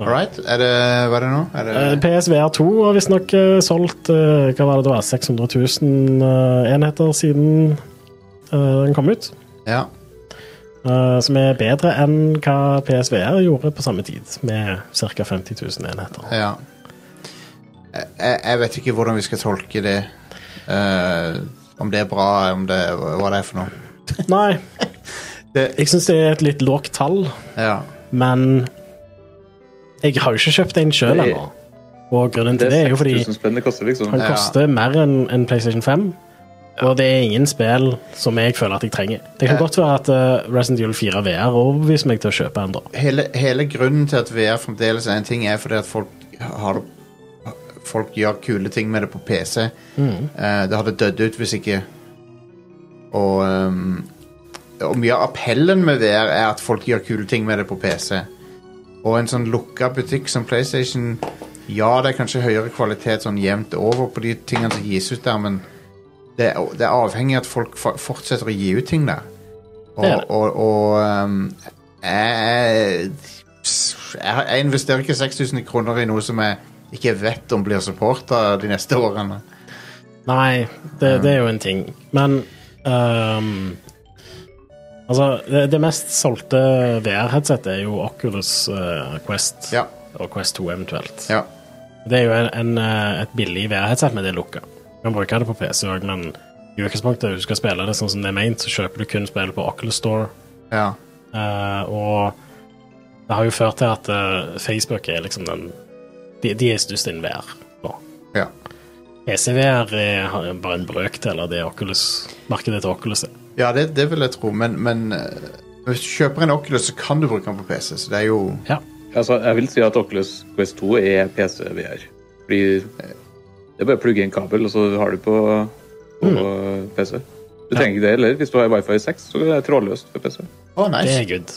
S5: All right. Er det Hva er det nå? Er
S6: Eh,
S5: det,
S6: PSVR 2 har visstnok eh, solgt eh, hva var det det var, 600 000 eh, enheter siden eh, den kom ut.
S5: ja.
S6: eh, som er bedre enn hva PSVR gjorde på samme tid, med ca. 50 000 enheter.
S5: Ja. Jeg, jeg- jeg vet ikke hvordan vi skal tolke det. Eh, om det er bra, om det Hva det er for noe.
S6: Nei,
S5: Det-
S6: jeg syns det er et litt lågt tall.
S5: Ja.
S6: Men jeg har jo ikke kjøpt en sjøl
S7: Nei.
S6: ennå. Og grunnen til
S7: Det
S6: det er
S7: er
S6: jo fordi
S7: 6000 spenn det koster, liksom.
S6: han
S5: Ja.
S6: koster mer enn enn PlayStation 5. Og det er ingen spill som jeg føler at jeg trenger. Det kan
S5: Ja.
S6: godt være at uh, Resident Evil 4 VR overbeviser meg til å kjøpe en, da.
S5: hele, hele grunnen til at VR fremdeles er en ting, er fordi at folk har det Folk gjør kule ting med det på PC. Eh, det hadde dødd ut hvis ikke. Og, ehm, og mye av appellen med VR er at folk gjør kule ting med det på PC. Og en sånn lukka butikk som PlayStation Ja, det er kanskje høyere kvalitet sånn jevnt over på de tingene som gis ut der, men det er, det er avhengig av at folk fa- fortsetter å gi ut ting der. Og,
S6: Det er det.
S5: og, og ehm, jeg, jeg, jeg investerer ikke 6000 kroner i noe som jeg ikke vet om blir supporta de neste årene.
S6: Nei, det, det er jo en ting. Men ehm, Altså, det, det mest solgte VR-headsetet er jo Oculus eh, Quest
S5: Ja.
S6: og Quest 2 eventuelt.
S5: Ja.
S6: Det er jo en, en, eh, et billig VR-headset, men det er lukka. Du kan bruke det på PC òg, men i utgangspunktet, hvis du skal spille det sånn som det er ment, så kjøper du kun spill på Oculus Store.
S5: ja.
S6: Eh, og det har jo ført til at eh, Facebook er liksom den De, de er størst innen VR nå.
S5: Ja.
S6: ECVR er har jo bare en brøkdel av det Oculus, markedet til Oculus er.
S5: ja det, det vil jeg tro, men, men eh, hvis du kjøper en Oculus, så kan du bruke den på PC, så det er jo
S6: Ja.
S7: Altså, jeg vil si at Oculus Quest 2 er PC-VR. Fordi eh, det er bare å plugge inn kabel, og så har du på, på PC. Du trenger ikke det heller. Hvis du har wifi 6, så er det trådløst for PC.
S5: Å,
S6: Det
S5: nice.
S6: er good.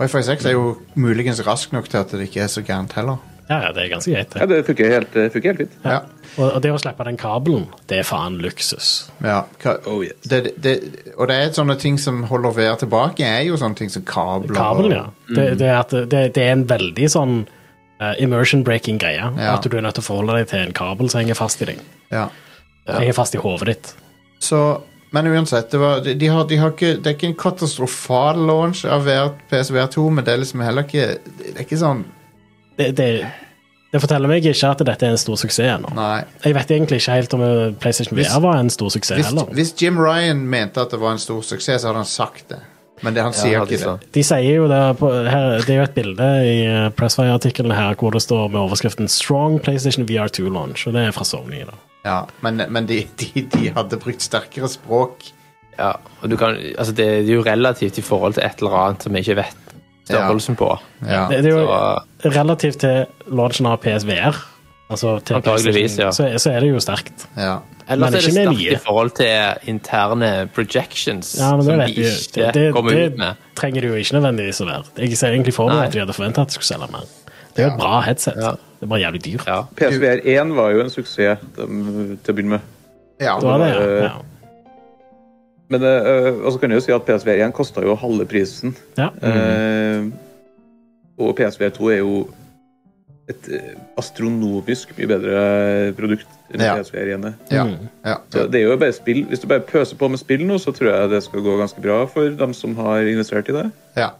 S5: Wifi 6 er jo muligens rask nok til at det ikke er så gærent heller.
S6: Ja, ja, det er ganske greit,
S7: Ja,
S6: det.
S7: det funker helt, det funker helt fint.
S5: Ja.
S6: Og, og det å slippe den kabelen, det er faen luksus.
S5: ja. Hva,
S7: Oh, yes.
S5: det, det, og det er sånne ting som holder VR tilbake, er jo sånne ting som kabler.
S6: Kabelen, ja.
S5: Mm.
S6: Det, det, er at det, det er en veldig sånn eh, immersion breaking greie.
S5: Ja.
S6: At du er nødt til å forholde deg til en kabel som henger fast i deg.
S5: ja.
S6: Henger fast i hodet ditt.
S5: Så, men uansett, det, var, de, de har, de har ikke, det er ikke en katastrofal launch av VR, PSVR2, men det er liksom heller ikke Det er ikke sånn
S6: Det, det, det forteller meg ikke at dette er en stor suksess ennå.
S5: Nei.
S6: Jeg vet egentlig ikke helt om eh, PlayStation
S5: Hvis-
S6: VR var en stor suksess
S5: Hvis,
S6: heller.
S5: hvis Jim Ryan mente at det var en stor suksess, så hadde han sagt det. Men det, han sier
S8: hadde sånn.
S5: ikke det.
S8: sagt.
S6: De sier jo det på, her, Det er jo et bilde i eh, Pressfire-artikkelen her hvor det står med overskriften 'Strong PlayStation VR2 Launch', og det er fra Sony. da.
S5: Ja, men men de, de, de hadde brukt sterkere språk.
S8: Ja, og du kan, altså det er jo relativt i forhold til et eller annet som vi ikke vet størrelsen på.
S5: Ja. eh,
S6: Det, det er jo
S8: Så-
S6: Relativt til launchen av PSVR, altså til
S8: Antageligvis,
S6: PlayStation,
S8: ja.
S6: så, er- så er det jo sterkt.
S5: Ja.
S8: Ellers
S6: Men
S8: er det
S6: ikke med
S8: sterkt
S6: mye.
S8: i forhold til interne projections
S6: Ja, men det
S8: som de
S6: vet vi jo.
S8: ikke
S6: Det- det-
S8: kommer
S6: det-
S8: ut med.
S6: trenger det jo ikke nødvendigvis å være. Jeg ser egentlig for meg
S8: Nei.
S6: at de hadde forventa at de skulle selge mer. Det er jo et bra headset.
S8: Ja.
S6: Det er bare jævlig dyrt.
S8: Ja.
S7: PSVR 1 var jo en suksess de, til å begynne med.
S5: ja.
S6: Det var det, ja.
S7: Eh,
S6: ja.
S7: Men eh, og så kan jeg jo si at PSVR 1 kosta jo halve prisen.
S6: Ja. Mm.
S7: Eh, og PSVR 2 er jo et eh, astronomisk mye bedre produkt enn
S5: Ja.
S7: PSVR 1 er.
S5: ja,
S6: Mm.
S5: ja,
S7: Så det er jo bare spill. Hvis du bare pøser på med spill nå, så tror jeg det skal gå ganske bra for dem som har investert i det.
S5: ja.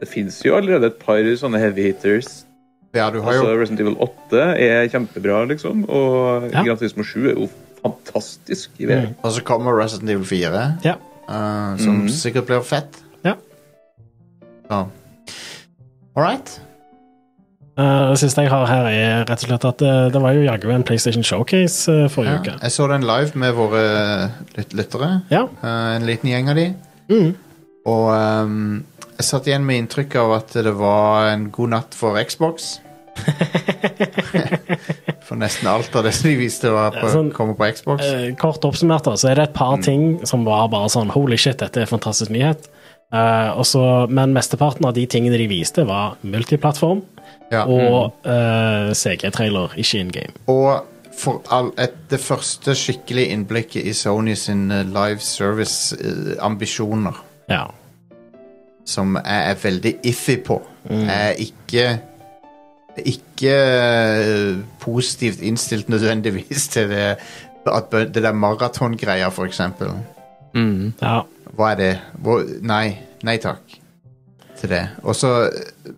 S7: Det fins jo allerede et par sånne heavy hitters
S5: Ja, du har
S7: Altså,
S5: jo
S7: Resident Evil 8 er kjempebra, liksom. Og
S6: Ja.
S7: Gran Turismo 7 er jo fantastisk i VR.
S5: Og så kommer Resident Evil 4,
S6: Ja.
S5: eh, som
S7: Mhm.
S5: sikkert blir fett.
S6: Ja.
S5: Så. All right.
S6: Eh, Det siste jeg har her, er rett og slett at eh, det var jo jaggu en PlayStation Showcase eh, forrige
S5: Ja.
S6: uke.
S5: Jeg så den live med våre eh, lyt lyttere.
S6: Ja.
S5: eh, en liten gjeng av de.
S6: Mm.
S5: Og ehm, jeg satt igjen med inntrykk av at det var en god natt for Xbox. for nesten alt av det som de viste, var på,
S6: Ja, sånn-
S5: kommer på Xbox.
S6: Eh, Kort oppsummert da, så er det et
S8: Mm.
S6: par ting som var bare sånn Holy shit, dette er en fantastisk nyhet. Eh, og så- men mesteparten av de tingene de viste, var multiplattform
S5: ja. Mm.
S6: og eh, CG-trailer, ikke in game.
S5: Og for all, et, det første skikkelige innblikket i Sony sin eh, live service-ambisjoner,
S6: Ja.
S5: som jeg er veldig iffy på.
S6: Mm.
S5: Jeg er ikke ikke eh, positivt innstilt nødvendigvis til det, at bø- det der maratongreia, for eksempel.
S8: Mm.
S6: ja.
S5: Hva er det? Hvor, nei, nei takk til det. Og så eh,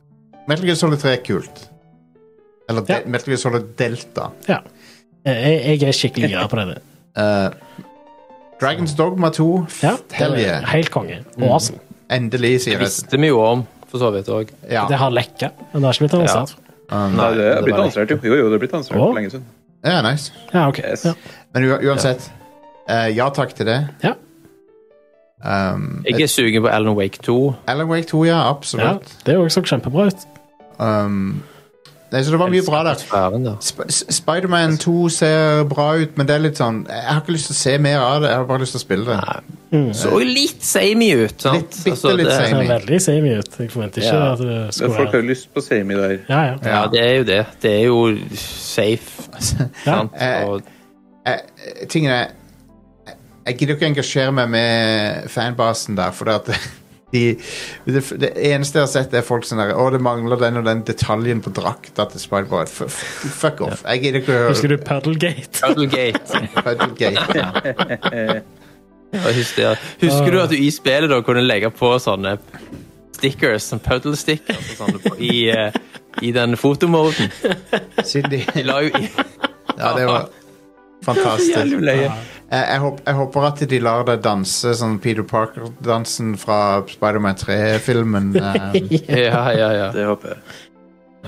S5: Metal Gear Solid 3 er kult. Eller de,
S6: Ja.
S5: Metal Gear Solid Delta.
S6: Eh, Jeg, jeg er skikkelig gira på det.
S5: Eh, Dragons Dogma 2.
S6: Ja,
S5: Hell
S6: det er
S5: yeah.
S6: Helt konge. Awesome.
S5: Endelig,
S8: Det
S5: sier jeg.
S8: visste vi jo om, for så vidt òg.
S5: Ja.
S6: Det har lekka, men det har ikke blitt annonsert.
S5: Um,
S7: Nei, det er blitt
S8: var
S7: ansvert, jo. Jo, jo, det er blitt ansvert
S6: Å.
S7: for lenge siden.
S5: ja, nice.
S6: Ja, ok.
S7: Yes.
S6: Ja.
S5: Men u uansett eh, Ja takk til det.
S6: Ja.
S5: Um,
S8: Jeg er sugen på Alan Wake 2.
S5: Alan Wake 2, ja.
S6: Ja,
S5: Absolutt.
S6: det òg så kjempebra ut.
S5: Um, nei, så det var mye bra der.
S8: Sfæren der.
S5: Sp S- Spiderman 2 ser bra ut, men det er litt sånn Jeg har ikke lyst til å se mer av det, jeg har bare lyst til å spille det.
S8: Så jo litt samey ut. sant?
S5: Mm.
S8: Altså,
S5: Litt- bitte litt
S8: det,
S6: Det ser
S5: samey.
S6: veldig samey ut. Jeg forventer ikke
S8: Ja.
S6: at det
S7: Men
S6: skulle
S7: folk har
S6: være
S7: jo lyst på Sami der.
S6: ja, ja.
S8: Ja, det er jo det. Det er jo safe. Sant?
S5: Eh,
S8: Og,
S5: Eh, Tingen er jeg- Jeg gidder ikke engasjere meg med fanbasen der, for det at de, det, det eneste jeg har sett, er folk sånn der Å, det mangler den og den detaljen på drakta til Spiderboard. F- f- Fuck off. Jeg gidder ikke å
S6: Husker du Puddlegate?
S8: Puddlegate.
S5: Puddlegate.
S8: og hysteri. Husker du at du i spillet da kunne legge på sånne stickers, sånn puddle stickers og sånne på, i, eh, i den fotomoden?
S5: Siden de
S8: De la jo i
S5: Ja, det var fantastisk. Eh,
S8: Jævlig løye.
S5: Jeg, jeg, håp, jeg håper at de lar deg danse sånn Peter Parker-dansen fra Spiderman 3-filmen. Um,
S8: Ja, ja, ja.
S7: Det håper jeg.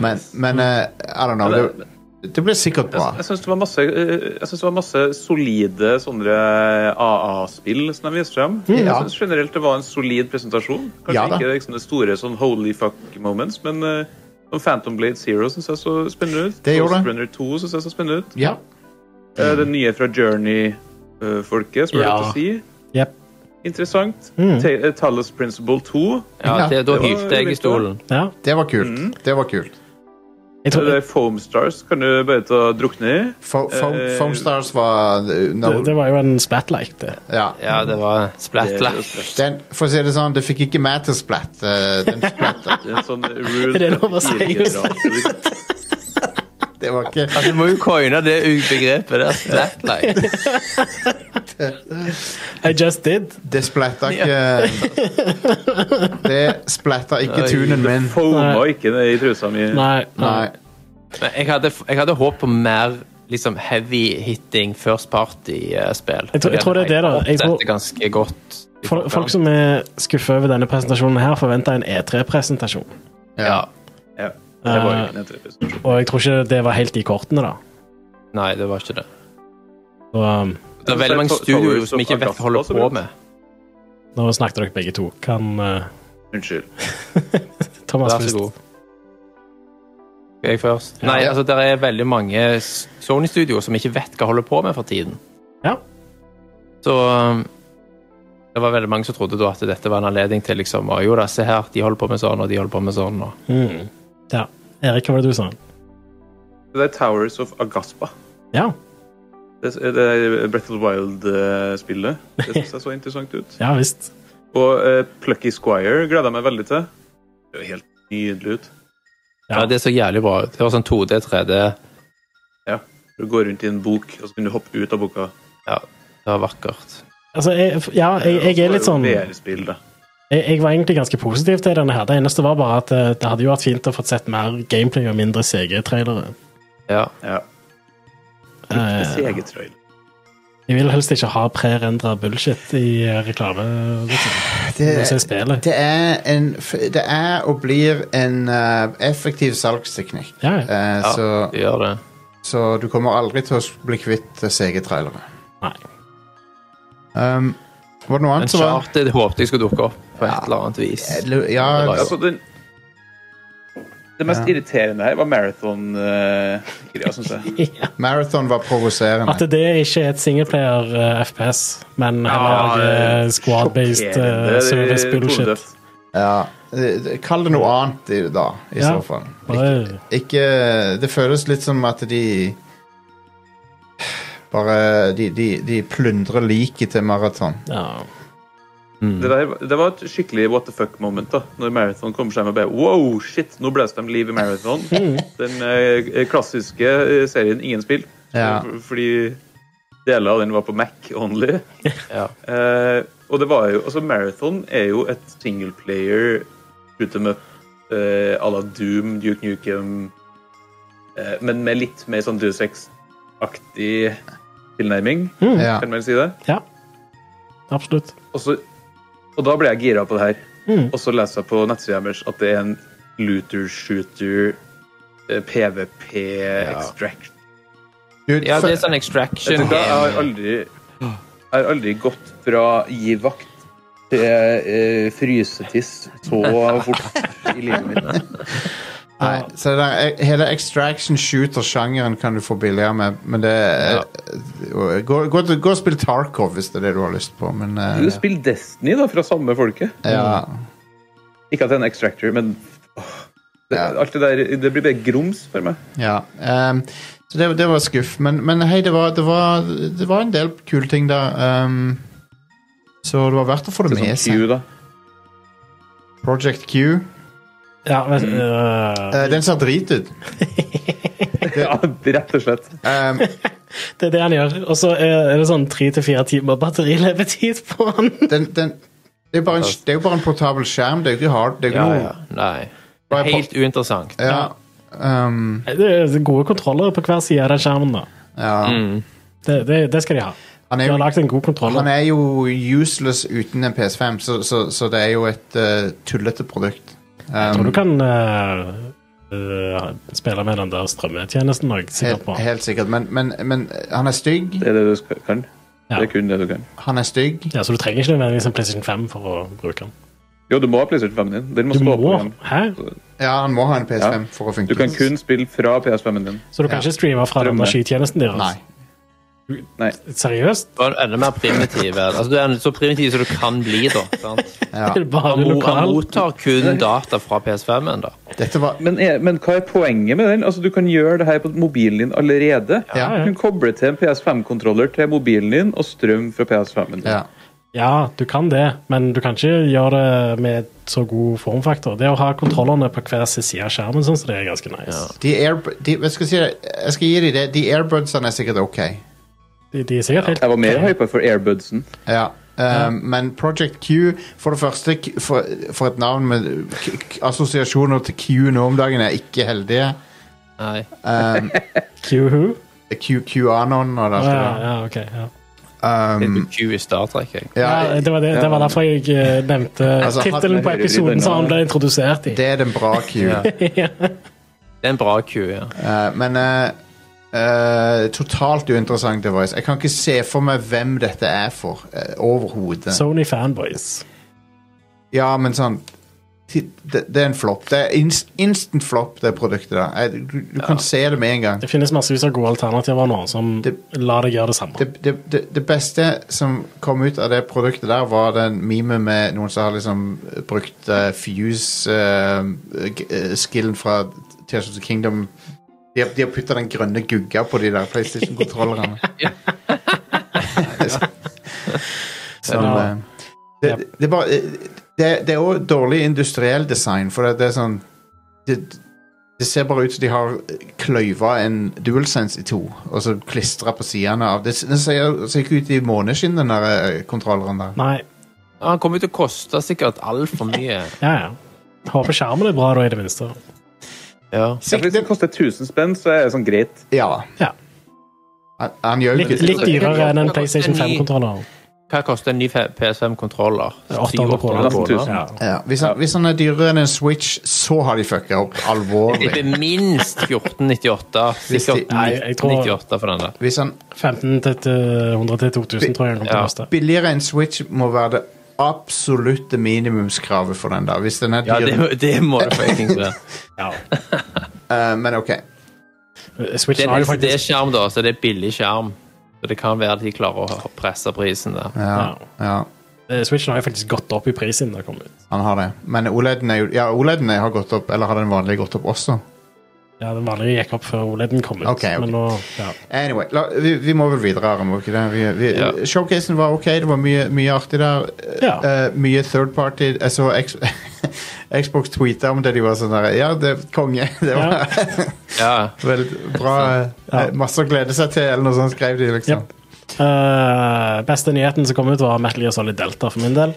S5: men men eh, I don't know. Det, det blir sikkert bra.
S7: Jeg syns det, var masse, eh, jeg synes det var masse solide sånne AA-spill som de viste frem.
S5: Ja.
S7: Jeg syns generelt det var en solid presentasjon. Kanskje
S5: Ja da.
S7: ikke liksom, det store sånn holy fuck moments, men eh, om Phantom Blade Zero syns jeg så spennende ut.
S5: Det gjorde det.
S7: Ghost Runner 2 syns jeg så spennende ut.
S5: Ja.
S7: Eh, Det nye fra eh, Journey-folket, spør du
S6: Ja.
S7: ja. å si.
S6: Jep.
S7: Interessant.
S6: Mm.
S7: Ta- eh, Talos Principle 2.
S8: ja det, da
S7: Det var
S8: hylte jeg i
S7: litt
S8: stolen.
S6: Ja.
S5: Det var kult.
S8: Mm.
S7: Mhm.
S5: Det var kult.
S6: Jeg
S7: Eh, Det
S6: tror,
S7: der Foam Stars kan du bare ta og drukne i.
S5: Fo- fo-
S7: Eh,
S5: Foamstars var eh, no,
S6: det, det var jo en spatlight, det.
S5: ja.
S8: Ja, det var
S7: Det er
S8: splatla.
S7: jo spesielt.
S5: den, For å si det sånn, det fikk ikke meg til å splatte. eh, Den splatta.
S7: Det er en sånn rude
S6: Er det lov å si?
S7: papirgeneral.
S5: Det var ikke
S8: Altså, du må jo coine det begrepet der. Splatla.
S6: I just did.
S5: Det splatta ikke Det splatta ikke tunen min.
S7: Foama ikke det i trusa mi.
S6: Nei.
S5: Nei.
S8: Men jeg hadde, jeg hadde håp på mer liksom heavy hitting first eh, party-spill.
S6: Jeg tror- jeg tror det er det, da. Jeg tror-
S8: Dette ganske godt.
S6: Folk, folk som er skuffa over denne presentasjonen her, forventa en E3-presentasjon.
S8: Ja.
S7: Ja, det var
S6: Eh.
S7: jo ikke en etterpris.
S6: Og jeg tror ikke det var helt i kortene, da.
S8: Nei, det var ikke det.
S6: Så, um,
S8: Det er veldig mange studioer som ikke vet hva holder på med.
S6: nå snakket dere begge to. Kan uh,
S7: Unnskyld.
S6: Thomas
S8: Vær så
S6: først?
S8: god. Skal jeg først? Nei, altså, det er veldig mange s- Sony-studioer som ikke vet hva holder på med for tiden.
S6: Ja.
S8: Så um, det var veldig mange som trodde da at dette var en anledning til liksom å, Jo da, se her, de holder på med sånn, og de holder på med sånn, og
S6: Mm. Ja. Erik, hva var det du sa?
S7: Det er Towers of Agaspa.
S6: Ja.
S7: Det det er Breath of the Wild-spillet. Det synes jeg så interessant ut.
S6: Ja visst.
S7: Og eh, Plucky Squire gleder jeg meg veldig til. Det er jo helt nydelig ut.
S8: Ja, det så jævlig bra ut. Det var sånn 2D, 3D
S7: Du går rundt i en bok, og så kan du hoppe ut av boka.
S8: Ja, det var vakkert.
S6: Altså, jeg, ja, jeg, jeg er litt sånn
S7: Det er jo VR-spill, da.
S6: jeg, jeg var egentlig ganske positiv til denne her. Det eneste var bare at eh, det hadde jo vært fint å få sett mer gameplay og mindre CG-trailere.
S8: Ja.
S6: Eh, jeg vil helst ikke ha prerendra bullshit i eh, reklame. Liksom.
S5: Det-
S6: Mens jeg spiller.
S5: Det er, en, f- det er og blir en eh, effektiv salgsteknikk.
S6: Ja, ja.
S5: Eh,
S8: Ja.
S5: så,
S8: Det gjør det.
S5: så du kommer aldri til å bli kvitt eh, CG-trailere.
S6: Nei.
S5: Um, var det noe
S8: Men
S5: annet som var
S8: Charted håpte jeg skulle dukke opp på et eller annet vis.
S5: Ja,
S8: Det var jo-
S7: Altså, den, det mest
S5: Ja.
S7: irriterende her var marathon-greia, syns jeg.
S5: Marathon var provoserende.
S6: At det ikke er et singleplayer eh, FPS, men heller eh, squad-based eh,
S7: Sjokkerende
S6: service bullshit.
S7: tonedøft.
S5: Ja. eh, det- Kall det noe annet, i- da, i
S6: Ja.
S5: så fall.
S6: Bare-
S5: Ikke Det føles litt som at de Bare De, de, de plundrer liket til maraton.
S6: Ja.
S7: Det, der, det var et skikkelig what the fuck-moment da Når Marathon kommer seg med bare Wow, shit, nå blåste de liv i Marathon.
S5: Mm.
S7: Den eh, klassiske eh, serien Ingen spill.
S5: Ja.
S6: Mm.
S7: F- Fordi deler av den var på Mac only.
S8: Ja.
S7: Eh, og det var jo Altså, Marathon er jo et singleplayer shoot em up eh, à la Doom, Duke Nukem eh, Men med litt mer sånn Deus Ex-aktig tilnærming,
S5: Ja.
S7: kan man si det.
S6: ja. Absolutt.
S7: Og, så, og da ble jeg gira på det her.
S6: Mm.
S7: Og så leser jeg på nettsida deres at det er en looter shooter eh, PVP extract.
S5: Dude,
S8: ja, det er
S5: fe-
S8: sånn
S7: Jeg,
S8: extraction.
S7: tror ikke jeg har aldri jeg har aldri gått fra gi vakt til eh, frysetiss så fort i livet mitt.
S5: Nei, så det der, hele extraction shooter-sjangeren kan du få billigere med, men det er- gå, gå, til- gå og spill Tarkov hvis det er det du har lyst på, men eh,
S7: Du spiller Destiny da, fra samme folket.
S5: ja.
S7: Ikke at det er en extractor, men åh, det,
S5: Ja.
S7: alt det der det blir bare grums for meg.
S5: ja. Ehm, så det, det var skuff, men, men hei, det var, det, var, det var en del kule ting der. ehm, så det var verdt å få det
S7: Det er
S5: med
S7: sånn Q,
S5: seg.
S7: da.
S5: Project Q.
S6: Ja, men
S5: Mm.
S6: eh,
S5: Eh, den ser drit ut.
S7: Ja, rett og slett.
S5: Ehm,
S6: Det er det han gjør. Og så er er det sånn tre til fire timer batterilevetid på han.
S5: den, den, det, er bare en, det er jo bare en portabel skjerm. Det er jo ikke hard. Det er jo
S8: Ja,
S5: ikke
S8: ja. Nei. Det er helt uinteressant.
S5: noe ja. ehm,
S6: Det er gode kontroller på hver side av den skjermen. da.
S5: ja.
S6: Det, det, det skal de ha.
S5: Han er
S6: De
S5: jo
S6: har lagd en god
S5: Han
S6: kontroller.
S5: er jo useless uten en PS5, så, så, så det er jo et eh, tullete produkt.
S6: Jeg
S5: Um,
S6: tror du kan eh, eh, spille med den der strømmetjenesten òg, sikkert.
S5: helt,
S6: på.
S5: helt sikkert. Men, men, men han er stygg.
S7: Det er det du skal- kan.
S6: Ja.
S7: Det er kun det du kan.
S5: Han er stygg.
S6: Ja, Så du trenger ikke nødvendigvis en PlayStation 5 for å bruke den.
S7: Jo, du må ha PlayStation 5 din. Den må
S6: Du
S7: stå på
S6: må,
S7: igjen.
S6: hæ?
S5: Ja, han må ha en PS5
S7: Ja.
S5: for å funke.
S7: Du kan kun spille fra PS5-en din.
S6: Så du kan
S5: Ja.
S6: ikke streame fra den
S7: Strømme.
S6: der skytjenesten deres?
S5: Nei.
S6: Seriøst?
S8: Du er enda mer primitiv. Altså, du er en- så primitiv som du kan bli, da. Sant?
S5: Ja.
S6: Det er bare
S8: Han, mo- han
S6: lokal.
S8: mottar kun data fra PS5-en, da.
S5: Dette var
S7: Men, er, men hva er poenget med den? Altså, Du kan gjøre det her på mobilen din allerede.
S5: Ja.
S7: Du kan koble til en PS5-kontroller til mobilen din og strøm fra PS5-en din.
S5: ja.
S6: Ja, du kan det, men du kan ikke gjøre det med så god formfaktor. Det å ha kontrollene på hver sin side av skjermen, sånn, så det er ganske nice.
S5: de Airb- de, jeg, skal si det, jeg skal gi deg det. De airbudsene er sikkert OK.
S6: De, de er sikkert helt
S7: Jeg var mer hypa for airbudsen.
S5: Ja. Um, Men Project Q, for det første k- For, for et navn med k k assosiasjoner til Q nå om dagen, er ikke heldige.
S8: Nei.
S5: Um,
S6: Q-who.
S5: Q, QAnon og det
S6: Ja,
S5: der.
S6: ja, ok. Ja.
S5: Um,
S8: Litt Q i Star Trek, jeg.
S5: ja,
S6: Ja, det, var det, det var derfor jeg eh, nevnte
S5: Altså, han-
S6: tittelen på episoden som han ble introdusert i.
S5: Det er den bra Q.
S6: Ja.
S8: Det er en bra Q, ja.
S5: Eh, men eh, eh, totalt uinteressant device. Jeg kan ikke se for meg hvem dette er for. eh, Overhodet.
S6: Sony fanboys.
S5: Ja, men sånn ti- det, det er en flopp. Det er inst, instant flopp, det produktet der. Eh, Du, du kan se det med en gang.
S6: Det finnes massevis av gode alternativer nå som
S5: Det-
S6: lar deg gjøre det samme.
S5: Det, det, det, det beste som kom ut av det produktet der, var den meme med noen som har liksom eh, brukt eh, Fuse-skillen eh, fra Tears of the Kingdom. De har, de har putta den grønne gugga på de der PlayStation-kontrollerne. Som,
S6: Ja.
S5: eh, det, det, er bare, eh, det, det er òg dårlig industriell design, for det, det er sånn det, det ser bare ut som de har kløyva en DualSense i to og så klistra på sidene av Det, det ser, ser ikke ut i måneskinn, den der eh, kontrolleren der.
S6: Nei.
S8: Han kommer jo til å koste sikkert altfor mye.
S6: Ja, ja. Håper skjermen er bra, da, i det minste.
S8: Ja.
S7: Ja, for hvis det koster 1000 spenn, så er det sånn greit.
S5: Ja.
S6: Ja.
S5: Han, han gjør jo
S6: Litt,
S5: det.
S6: litt dyrere enn en PlayStation 5-kontroller.
S8: Hva koster en ny PS5-kontroller?
S6: 800 kroner.
S7: 800 kroner.
S6: Ja.
S5: Ja, hvis, han, hvis han er dyrere enn en Switch, så har de fucka opp
S8: Det
S5: alvorlig.
S8: er minst 1498.
S5: Hvis de-
S8: Sikkert
S6: Nei, jeg tror-
S8: 98 for den der.
S5: Hvis han
S6: 15 til til 100 til 2000, tror jeg den kommer til å
S8: Ja.
S6: koste.
S5: billigere enn Switch, må være det absolutte minimumskravet for den. da Hvis den er
S8: Ja, det,
S5: dyr.
S8: må- det må det fuckings være.
S6: Ja.
S5: Eh, men OK.
S8: Det
S6: Switchen
S8: er
S6: har
S8: en
S6: jo faktisk
S8: SD-skjerm, da, så det er billig skjerm. Så det kan være at de klarer å presse prisen der.
S5: Ja,
S6: Ja.
S5: ja,
S6: Eh, Switchen har jo faktisk gått opp i pris siden det kom ut.
S5: han har det. Men OLED-en er jo Ja, OLED-en har gått opp, eller har den vanlige gått opp også?
S6: Ja, Den vanlige gikk opp før OLED-en kom ut.
S5: Ok, ok.
S6: Men nå, ja.
S5: Anyway, la, vi, vi må vel videre, Aram. må vi Ikke det? Vi, vi,
S8: Ja.
S5: Showcasen var ok, det var mye, mye artig der. Eh,
S6: Ja.
S5: eh, mye third party. Jeg så X, Xbox tweeta om det, de var sånn der Ja, det er konge. Det var
S6: Ja.
S8: Ja.
S5: vel bra. eh,
S6: Ja.
S5: Masse å glede seg til, eller noe sånt, skrev de, liksom.
S6: Japp. Eh, beste nyheten som kom ut, var Metal Gear Solid Delta for min del.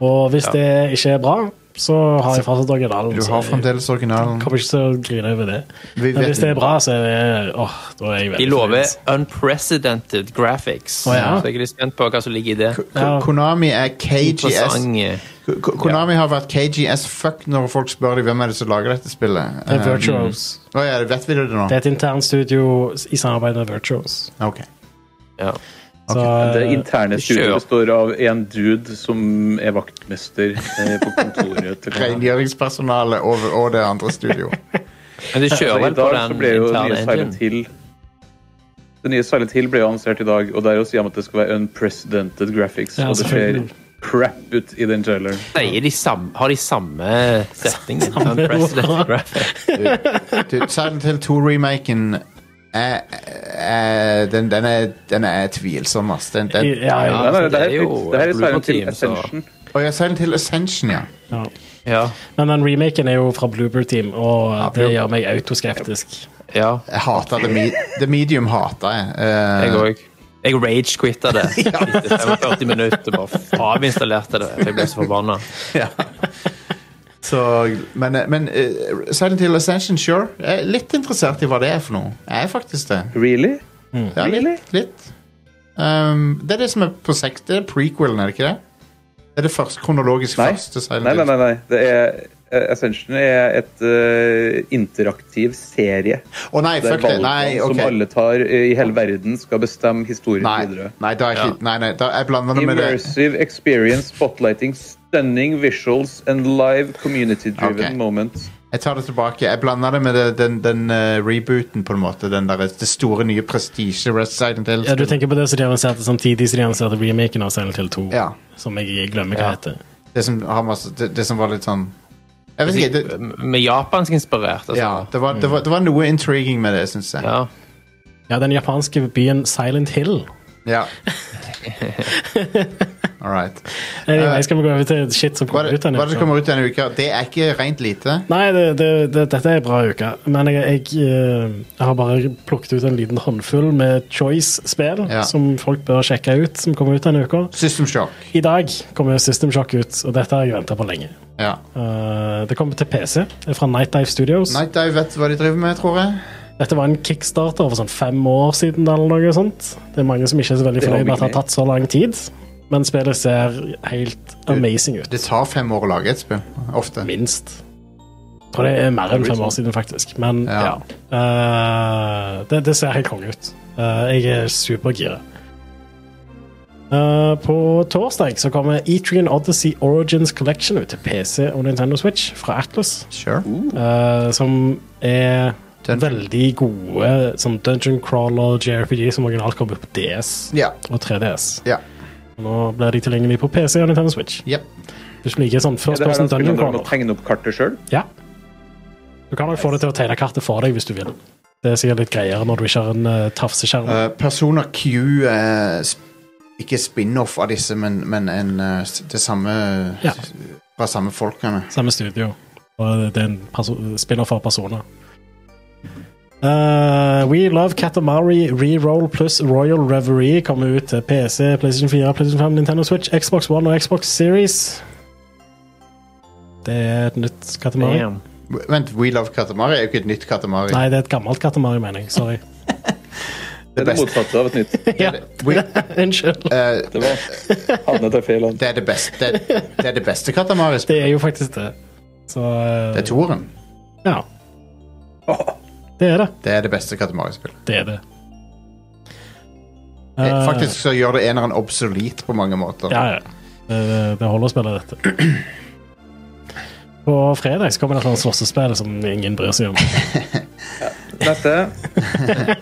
S6: Og hvis det ikke er bra, så har jeg fortsatt originalen.
S5: Du
S6: så
S5: har
S6: jeg
S5: fremdeles originalen.
S6: Kommer ikke til å grine over det.
S5: Vi
S6: Men
S5: vet
S6: hvis det er
S5: ikke.
S6: bra, så er det åh, da er jeg veldig
S8: De lover
S6: fornøyd.
S8: unprecedented graphics.
S6: Å, ja.
S8: Så jeg er litt spent på hva som ligger i det.
S5: Ko- Konami er KGS.
S8: Interessant.
S5: Ko- Ko- Konami har vært KGS fuck når folk spør dem hvem er det som lager dette spillet.
S6: Det er
S5: Eh,
S6: Virtuos.
S5: Å ja, vet vi det nå?
S6: Det er et internt studio i samarbeid med Virtuos.
S5: Ok.
S8: Ja.
S6: Så, eh,
S7: Det interne
S8: Kjør.
S7: studioet består av en dude som er vaktmester eh, på kontoret. til
S5: Rengjøringspersonale og, og det andre studioet.
S8: Men de
S7: Så
S8: kjører
S7: I
S8: vel på
S7: dag så
S8: den
S7: ble jo det
S8: interne
S7: nye Silent
S8: engine.
S7: Hill Det nye Silent Hill ble jo annonsert i dag, og der også sier man at det skal være unprecedented graphics.
S6: Ja,
S7: og det ser
S6: selvfølgelig.
S7: crap ut i den traileren.
S8: Sier de samme, har de samme setningen? Unprecedented graphics.
S5: Du, Silent Hill 2-remaken er, er, den, den er Den er tvilsom, ass. Den, den,
S6: ja, ja,
S7: Nei, nei,
S8: altså,
S7: det,
S8: det
S7: her
S8: er
S7: er
S8: jo
S7: fint. det her er
S8: Blooper
S7: Silent Hill
S8: Team, så-
S7: Ascension.
S5: Å ja, Silent Hill Ascension, ja.
S6: ja.
S8: Ja.
S6: Men den remaken er jo fra Bloober Team, og det
S5: Bloober.
S6: gjør meg autoskeptisk.
S8: ja.
S5: Jeg hater The, me the Medium. hater jeg. Eh,
S8: Jeg òg. Jeg rage-quitta det etter 45 minutter. Bare avinstallerte det. Jeg ble så forbanna.
S5: så, men men eh, Silent Hill Ascension, sure. Jeg er litt interessert i hva det er for noe. Jeg er faktisk det.
S7: Really?
S5: Ja,
S7: Really?
S5: litt. litt. Um, det er det som er på sekt. Det er prequelen, er det ikke det? Det er det første, kronologisk
S7: Nei.
S5: første Silent
S7: Nei, nei,
S5: Hill.
S7: nei. nei. Det er, eh, Ascension er et eh, interaktiv serie.
S5: Å nei,
S7: Der
S5: fuck det.
S7: valgene
S5: Nei,
S7: som
S5: ok.
S7: alle tar eh, i hele verden, skal bestemme historien
S5: Nei,
S7: videre.
S5: nei, da er ikke, nei, nei da, jeg blander det med det.
S7: Immersive experience, spotlighting, stunning visuals and live community-driven
S5: Ok.
S7: moments.
S5: Jeg tar det tilbake. Jeg blander det med det, den, den eh, rebooten, på en måte. Den der, eh, det store nye prestige Rest Silent Hill.
S6: Ja, du tenker på det som de annonserte samtidig som de annonserte remaken av Silent Hill 2,
S5: Ja.
S6: som jeg glemmer hva
S8: Ja.
S6: heter.
S5: Det som, har masse, det, det som var litt sånn Jeg vet ikke. Det,
S8: Med japansk inspirert, altså.
S5: ja, det, var, det, var, det var noe intriguing med det, syns jeg.
S8: Ja.
S6: Ja, den japanske byen Silent Hill.
S5: Ja. All right.
S6: Anyway, Eh, skal vi gå over til shit som
S5: Hva er
S6: kommer
S5: det
S6: ut denne
S5: hva er det som kommer ut denne uka? Det er ikke rent lite.
S6: Nei, det, det, det, dette er en bra uke, men jeg, jeg, eh, jeg har bare plukket ut en liten håndfull med Choice-spill
S5: Ja.
S6: som folk bør sjekke ut, som kommer ut denne uka.
S5: System Shock.
S6: I dag kommer System Shock ut, og dette har jeg venta på lenge.
S5: Ja.
S6: Eh, det kommer til PC, det er fra Night Dive Studios.
S5: Night Dive vet hva de driver med, tror jeg.
S6: Dette var en kickstarter for sånn fem år siden. eller noe sånt. Det er mange som ikke er så veldig
S7: Det var
S6: fornøyd med at det har
S7: mye.
S6: tatt så lang tid, men spillet ser helt amazing ut.
S5: Det tar fem år å lage et spill. Ofte.
S6: Minst. Jeg tror det er mer enn fem år siden, faktisk. Men ja.
S5: Ja.
S6: Eh, det, det ser helt konge ut. Eh, jeg er supergira. Eh, på torsdag så kommer Etrian Odyssey Origins Collection ut til PC og Nintendo Switch fra Atlas.
S5: Sure.
S7: Uh.
S6: eh, som er
S5: Dungeon.
S6: veldig gode som Dungeon Crawler JRPG som originalt kom ut på DS
S5: Ja.
S6: og 3DS.
S5: Ja.
S6: Nå blir de tilgjengelige på PC og Nintendo Switch.
S5: Yep.
S6: Hvis du liker sånn
S7: Er det her
S6: førstperson
S7: han spiller
S6: Dungeon
S7: når han må
S6: Crawler.
S7: tegne opp kartet sjøl?
S6: Ja. Du kan nok få det til å tegne kartet for deg hvis du vil. Det er sikkert litt greiere når du ikke har en uh, tafseskjerm.
S5: Eh, Persona Q er sp ikke spin-off av disse, men, men en, eh, s- det samme
S6: Ja.
S5: Fra samme folkene.
S6: Samme studio. Og det er en perso- spiller for personer. Eh, We Love Katamari Reroll pluss Royal Reverie kommer ut til PC, PlayStation 4, PlayStation 5, Nintendo Switch, Xbox One og Xbox Series. Det er et nytt Katamari.
S8: Damn.
S5: Vent, We Love Katamari er jo ikke et nytt Katamari.
S6: Nei, det er et gammelt Katamari, mener jeg. Sorry.
S7: Det er det motsatte av et nytt.
S6: ja,
S5: We,
S6: Unnskyld.
S5: eh,
S7: Det var Hanne tar feil. Han.
S5: det er det beste Det, det er det beste Katamari.
S6: Det er jo faktisk det. Så eh,
S5: Det er toeren.
S6: Ja.
S7: Åh,
S6: Det er det.
S5: Det er det beste Katamari-spillet.
S6: Det er det.
S5: Eh,
S6: Eh,
S5: Faktisk så gjør det eneren obsolet på mange måter.
S6: Ja, ja. Det, det holder å spille dette. På fredag så kommer det et eller annet slåssespill som ingen bryr seg om.
S7: Neste.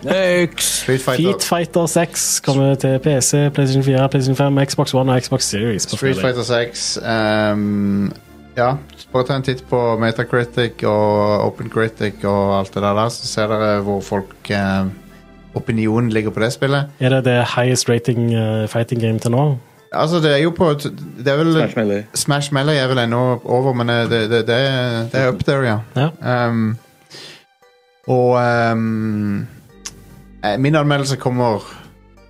S8: Next.
S5: Street Fighter,
S6: Heat Fighter 6 kommer til PC, PlayStation 4, PlayStation 5, Xbox One og Xbox Series. På
S5: Street
S6: fredag.
S5: Fighter 6 ehm, Ja, bare ta en titt på Metacritic og OpenCritic og alt det der, der så ser dere hvor folk ehm, Opinionen ligger på det spillet.
S6: Er det det highest rating eh, fighting game til nå?
S5: Altså, det er jo på Det er vel
S7: Smash Melee.
S5: Smash Melee er vel ennå over, men eh, det, det, det, er- det er up there, ja.
S6: Ja.
S5: Ehm, og ehm, eh, min anmeldelse kommer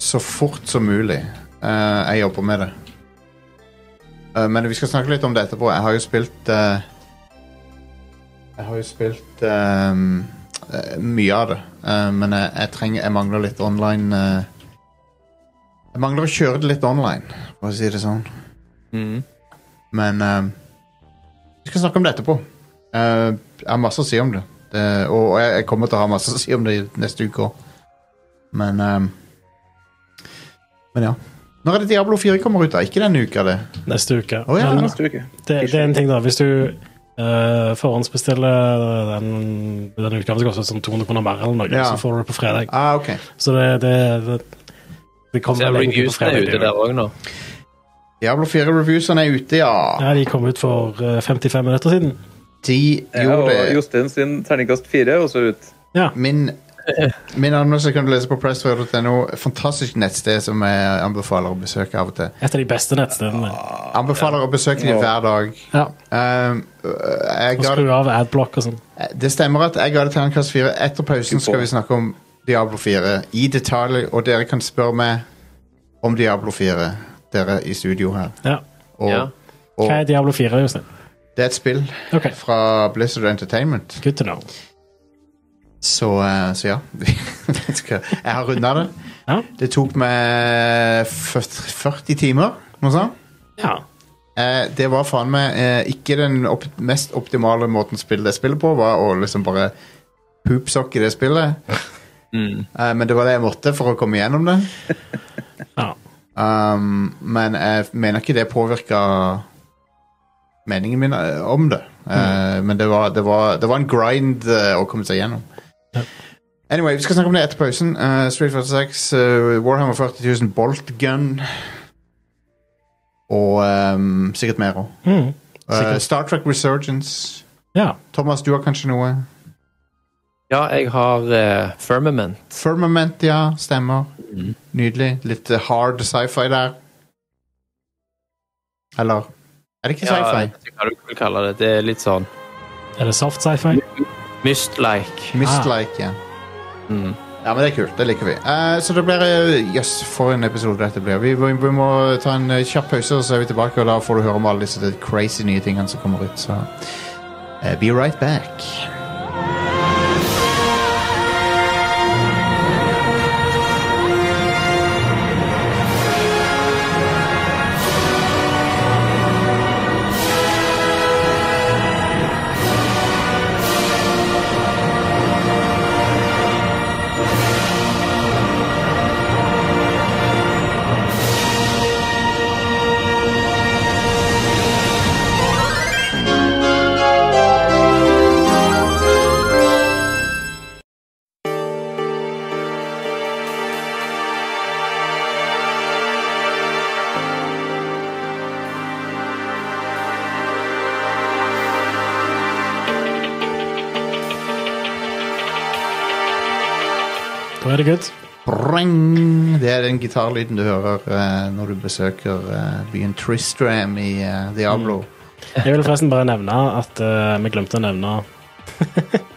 S5: så fort som mulig. Eh, jeg jobber med det. Eh, men vi skal snakke litt om det etterpå. Jeg har jo spilt eh, Jeg har jo spilt ehm, eh, mye av det, Eh, men jeg, jeg trenger Jeg mangler litt online eh, Jeg mangler å kjøre det litt online, for å si det sånn. Men eh, vi skal snakke om det etterpå. Eh, jeg har masse å si om det. det og jeg, jeg kommer til å ha masse å si om det i neste uke òg. Men eh, Men ja. Når er det Diablo 4 kommer ut? da? Ikke denne uka, det.
S6: Neste uke.
S5: Å, ja.
S6: Men
S7: Neste uke.
S6: det, det er en ting, da. Hvis du eh, forhåndsbestiller den, den utgaven som koster sånn 200 kroner mer, eller noe,
S5: Ja.
S6: så får du det på fredag.
S5: Ah, ok.
S6: Så det, det, det, det kommer
S8: Ser
S6: vel egentlig på
S8: reviews er
S6: fredag, det
S8: ute
S6: er jo-
S8: der òg nå.
S5: Diablo 4-reviewsene er ute, ja.
S6: Ja, de kom ut for eh, 55 minutter siden.
S5: De
S7: Ja, og
S5: gjorde det.
S7: Jostein sin terningkast fire, og så ut.
S6: Ja.
S5: Min, min anmeldelse kan du lese på pressfire.no. Fantastisk nettsted som jeg anbefaler å besøke av og til.
S6: Et av de beste nettstedene.
S5: Anbefaler å besøke dem hver dag.
S6: Ja.
S5: Um, øh, jeg
S6: Og
S5: ga
S6: skru av adblock og sånn.
S5: Eh, det, det stemmer at jeg ga det terningkast 4. Etter pausen skal vi snakke om Diablo 4 i detalj, og dere kan spørre meg om Diablo 4, dere i studio her.
S6: Ja.
S5: Og,
S8: Ja.
S5: og
S6: Hva er Diablo 4, Jostein?
S5: det er et spill
S6: Ok,
S5: fra Blizzard Entertainment,
S6: good to know.
S5: så, eh, så ja. Jeg skal- jeg har runda det.
S6: Ja.
S5: Det tok meg først 40 timer, noe sånt.
S6: Ja.
S5: Eh, det var faen meg eh, ikke den opp mest optimale måten å spille det spillet på, var å liksom bare poopsokke det spillet. Eh, men det var det jeg måtte for å komme gjennom det.
S6: ja.
S5: Um, men jeg mener ikke det påvirka meningen min eh, om det.
S6: Mm.
S5: Eh, Men det var, det, var, det var en grind eh, å komme seg gjennom.
S6: Ja.
S5: Anyway, vi skal snakke om det etter pausen. Eh, Street Fighter 6, eh, Warhammer 40 000, Bolt Gun og ehm, sikkert mer òg.
S6: Mm. Sikkert.
S5: Star Trek Resurgence.
S6: ja.
S5: Thomas, du har kanskje noe?
S8: Ja, jeg har eh, Firmament.
S5: Firmament, ja. Stemmer. Nydelig. Litt eh, hard sci-fi der. Eller Er det ikke sci-fi?
S8: Ja, hva du vil kalle det. Det er litt sånn
S6: Er det soft sci-fi?
S8: Myst-like.
S5: Mistlike, ja.
S8: Mm.
S5: Ja, men det er kult. Det liker vi. Eh, så det blir eh, Jøss, for en episode dette blir. Vi, vi, vi må ta en eh, kjapp pause, og så er vi tilbake, og da får du høre om alle disse crazy nye tingene som kommer ut. Så eh, be right back.
S6: Da er det good.
S5: Breng! Det er den gitarlyden du hører eh, når du besøker eh, byen Tristram i eh, Diablo.
S6: Jeg vil forresten bare nevne at eh, vi glemte å nevne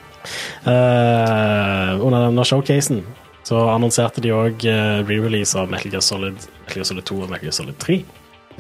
S6: Eh, under denne showcasen så annonserte de òg re-release av Metal Gear, Solid, Metal Gear Solid 2 og Metal Gear Solid 3.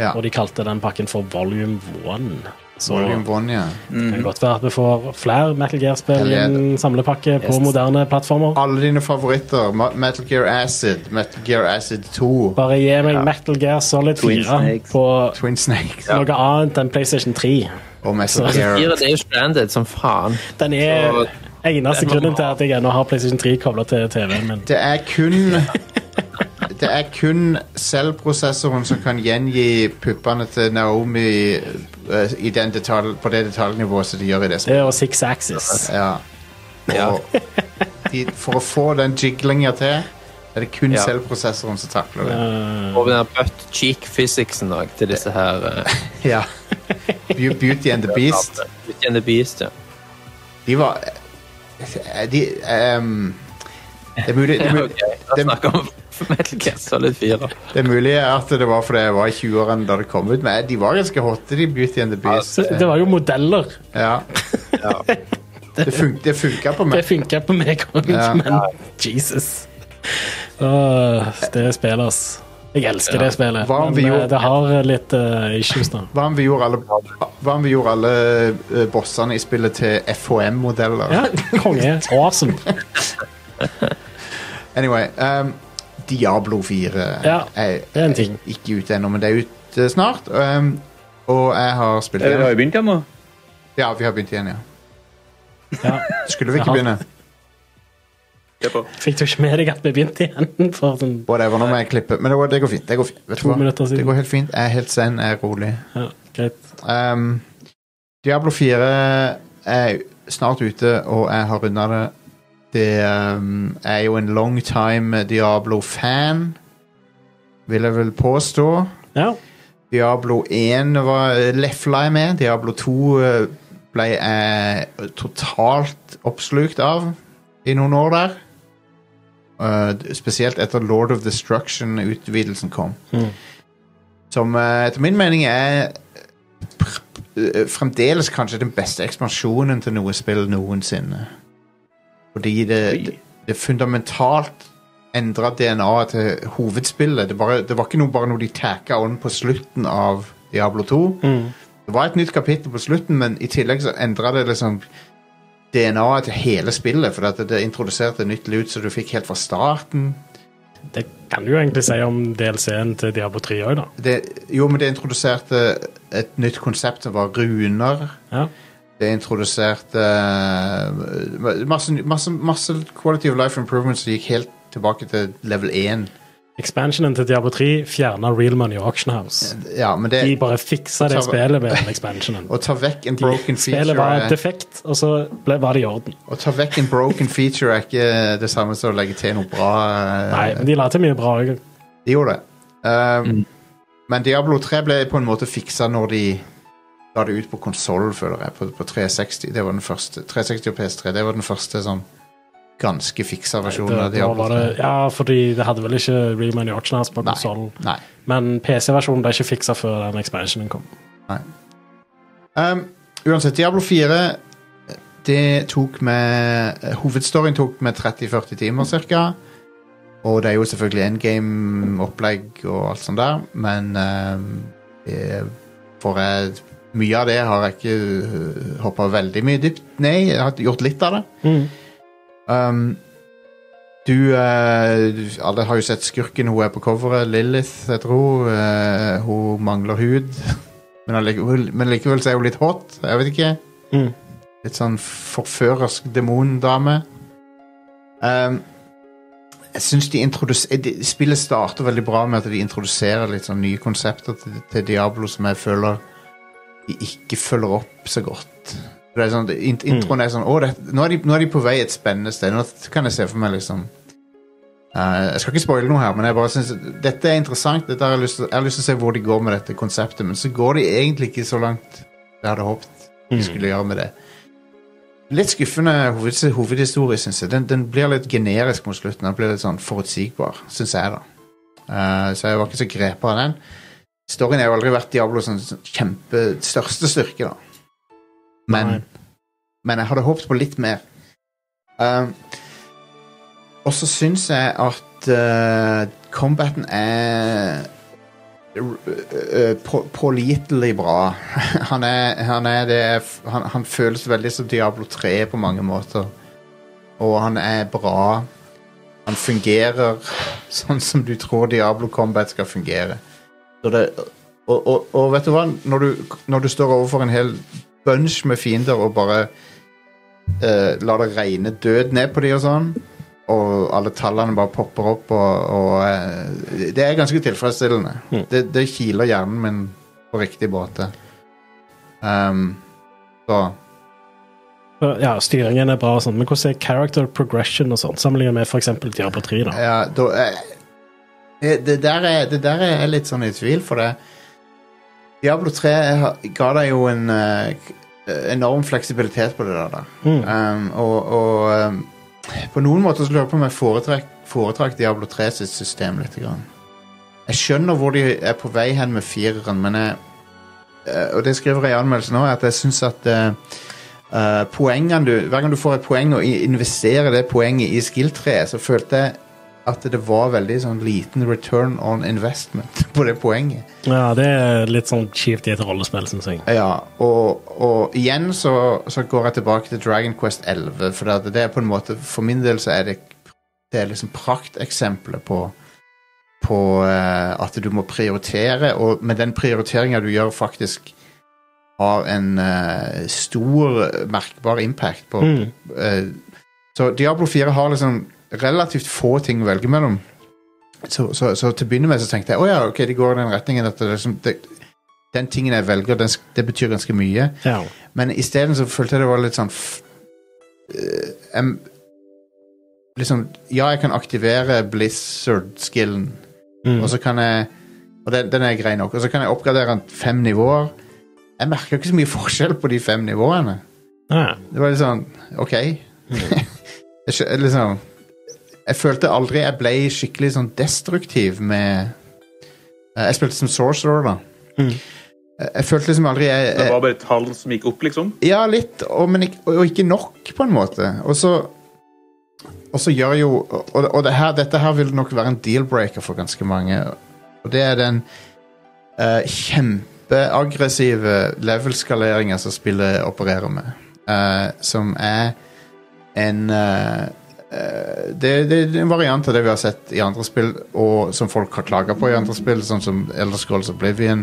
S5: Ja.
S6: Og de kalte den pakken for Volume 1. Så
S5: Volume Mhm. one, ja.
S6: det kan godt være at vi får flere Metal Gear-spill i
S5: Helvete.
S6: en samlepakke på moderne plattformer.
S5: Alle dine favoritter. Ma- Metal Gear Acid, Metal Gear Acid 2,
S6: Bare gi meg Metal Gear Solid
S7: Twin
S6: 4
S7: Snakes.
S6: på
S5: Twin Snakes
S6: noe annet enn PlayStation 3.
S5: og Metal Gear
S8: Fire det er jo stranded som faen.
S6: Den er
S8: Så-
S6: eneste grunnen til at jeg ennå har PlayStation 3 kobla til TV-en min.
S5: Det er kun Det er kun selvprosessoren som kan gjengi puppene til Naomi eh, i den detalj, på det detaljnivået som de gjør i det spillet.
S6: Det og Six Axis.
S5: Ja. Og de, for å få den jiglinga til, er det kun
S8: Ja.
S5: selvprosessoren som takler det.
S8: Og den der butt cheek physicsen da, til disse her eh,
S5: Ja. Be- Beauty and the Beast.
S8: Beauty and the Beast, ja.
S5: De var De ehm, Det er mulig, det er
S8: Ja,
S5: mulig,
S8: ok. Da
S5: det,
S8: snakker vi om Metal Gear Solid 4.
S5: det er mulig at det var fordi jeg var i 20-årene da det kom ut, men de var ganske hotte, de Beauty and the Beast.
S6: Så Det var jo modeller.
S5: Ja. Det, fun det funka på
S6: Det
S5: meg.
S6: funka på meg òg,
S5: Ja.
S6: men Jesus. Åh, det spillet, ass. Jeg elsker det spillet,
S5: Hva om vi
S6: men eh,
S5: gjorde-
S6: det har litt eh, issues nå.
S5: Hva om vi gjorde alle, hva om vi gjorde alle eh, bossene i spillet til FHM-modeller?
S6: Ja, konge. Awesome.
S5: Anyway, ehm, Diablo 4
S6: Ja,
S5: er,
S6: det er en ting.
S5: ikke ute ennå, men det er ute snart. ehm, og jeg har spilt
S7: Eller Eh, har
S5: igjen.
S7: jo begynt igjen nå.
S5: Ja, vi har begynt igjen, ja.
S6: Ja.
S5: Skulle vi ikke
S6: Jaha.
S5: begynne?
S6: Fikk du ikke med deg at vi begynte igjen? For sånn,
S5: Whatever, nå må jeg klippe. Men det, går- det går fint. Det går, fint. Vet du
S6: To
S5: hva?
S6: minutter siden.
S5: det går helt fint. Jeg er helt zen, jeg er rolig.
S6: ja, greit.
S5: Ehm, Diablo 4 er snart ute, og jeg har runda det. Det ehm, er jo en long time Diablo-fan, vil jeg vel påstå.
S6: Ja,
S5: Diablo 1 var eh, lefla jeg med. Diablo 2 eh, ble jeg totalt oppslukt av i noen år der. Eh, d- spesielt etter Lord of Destruction-utvidelsen kom.
S6: Mhm.
S5: Som eh, etter min mening er pr- eh, fremdeles kanskje den beste ekspansjonen til noe spill noensinne. Fordi det, det, det fundamentalt endra DNA-et til hovedspillet. Det, bare, det var ikke noe, bare noe de tacka on på slutten av Diablo 2. Det var et nytt kapittel på slutten, men i tillegg så endra det liksom DNA-et til hele spillet, for at det, det introduserte nytt lut som du fikk helt fra starten.
S6: det kan du jo egentlig si om DLC-en til Diabo 3 òg, da.
S5: Det, jo, men det introduserte et nytt konsept som var runer.
S6: Ja.
S5: Det introduserte eh, masse, masse, masse quality of life improvements som gikk helt tilbake til level 1.
S6: Expansionen til Diabo 3 fjerna Real Money Auction House.
S5: Ja, men det,
S6: De bare fiksa det
S5: Så-
S6: spillet med den expansionen.
S5: å ta vekk en broken feature
S6: Spillet var
S5: er-
S6: defekt, og så ble, var det i orden.
S5: Å ta vekk en broken feature er ikke det samme som å legge til noe bra. eh,
S6: Nei, men de la til mye bra òg.
S5: De gjorde det. Um, Men Diablo 3 ble på en måte fiksa når de la det ut på konsoll, føler jeg. På, på 360. Det var den første. 360 og PS3. Det var den første sånn ganske fiksa versjonen av Diablo 3.
S6: Ja, fordi det hadde vel ikke Real Money Auction House på
S5: Nei.
S6: konsollen.
S5: Nei.
S6: Men PC-versjonen ble ikke fiksa før den expansionen kom.
S5: Um, uansett, Diablo 4 Det tok med eh, Hovedstoryen tok med 30-40 timer cirka Og det er jo selvfølgelig endgame-opplegg og alt sånt der Men um, eh, For jeg, mye av det har jeg ikke eh, hoppet veldig mye dypt ned i. Jeg har gjort litt av det
S6: Mm.
S5: Um, du, eh, du Alle har jo sett skurken hun er på coveret. Lilith, jeg tror. eh, hun mangler hud. Men allikevel, men likevel så er hun litt hot. Jeg vet ikke.
S6: Mm.
S5: Litt sånn forførersk demondame. Um, jeg syns de introduserer Spillet starter veldig bra med at de introduserer litt sånn nye konsepter til, til Diablo som jeg føler de ikke følger opp så godt. Det er sånn, det- int- introen er sånn Å, det, nå, er de, nå er de på vei et spennende sted. Nå kan jeg se for meg, liksom Eh, Jeg skal ikke spoile noe her, men jeg bare synes at dette er interessant. Dette har jeg, lyst til, jeg har lyst til å se hvor de går med dette konseptet, men så går de egentlig ikke så langt jeg hadde håpet de skulle gjøre med det. Litt skuffende hoved, hovedhistorie, syns jeg. Den, den blir litt generisk mot slutten. Den blir litt sånn forutsigbar, syns jeg, da. Eh, så jeg var ikke så grepet av den. Storyen har jo aldri vært Diablos sånn, sånn kjempe største styrke, da. Men,
S6: Nei.
S5: men jeg hadde håpet på litt mer. Um, og så syns jeg at eh, combaten er eh, på- pålitelig bra. han er, han, er det, han, han føles veldig som Diablo 3 på mange måter. Og han er bra. Han fungerer sånn som du tror Diablo Combat skal fungere. Så det, og, og, og vet du hva? Når du, når du står overfor en hel bunch med fiender og bare eh, lar det regne død ned på de og sånn, og alle tallene bare popper opp, og, og eh, Det er ganske tilfredsstillende. Det, det kiler hjernen min på riktig måte. Um, så
S6: Ja, styringen er bra og sånn, men hvordan er character progression og sånn, sammenlignet med for eksempel Diablo 3 da?
S5: Ja, da eh, det, det, der er, det der er jeg litt sånn i tvil, for det Diablo 3 jeg har- ga deg jo en eh, enorm fleksibilitet på det der. da.
S6: Mm.
S5: Um, og og um, på noen måter så lurer jeg på om jeg foretrekk, foretrakk Diablo 3 sitt system litt. Grann. Jeg skjønner hvor de er på vei hen med fireren, men jeg eh, Og det skriver jeg i anmeldelsen òg, at jeg syns at eh, eh, poengene du Hver gang du får et poeng og i- investerer det poenget i skill-treet, så følte jeg at det var veldig sånn liten return on investment på det poenget.
S6: Ja, det er litt sånn kjipt i et rollespill, synes jeg.
S5: Ja, og, og igjen så, så går jeg tilbake til Dragon Quest 11, for det, det er på en måte For min del så er det, det er liksom prakteksempelet på på eh, at du må prioritere, og med den prioriteringa du gjør, faktisk har en eh, stor, merkbar impact på eh, Så Diablo 4 har liksom relativt få ting å velge mellom. Så, så, så til å begynne med så tenkte jeg å ja, ok, det går i den retningen at det, er liksom, det, den tingen jeg velger, den, sk- det betyr ganske mye.
S6: Ja.
S5: Men isteden så følte jeg det var litt sånn f, eh, em, Liksom, ja, jeg kan aktivere Blizzard-skillen,
S6: Mhm. Mm.
S5: og så kan jeg Og den, den er grei nok. Og så kan jeg oppgradere den fem nivåer. Jeg merker ikke så mye forskjell på de fem nivåene.
S6: Ja.
S5: Det var litt sånn OK. jeg, skjø- liksom, jeg følte aldri jeg ble skikkelig sånn destruktiv med Eh, Jeg spilte som sorcerer, da.
S6: Mhm.
S5: Jeg, jeg følte liksom aldri jeg,
S7: Det
S5: jeg,
S7: var bare tall som gikk opp, liksom.
S5: Ja, litt, og, men ikke, og ikke nok, på en måte. Og så og så gjør jo Og, og det her, dette her vil nok være en deal-breaker for ganske mange. Og det er den eh, kjempeaggressive level-skaleringa som spillet opererer med. eh, som er en eh, eh, det, det er en variant av det vi har sett i andre spill, og som folk har klaga på i andre spill, sånn som Elder Scrolls Oblivion.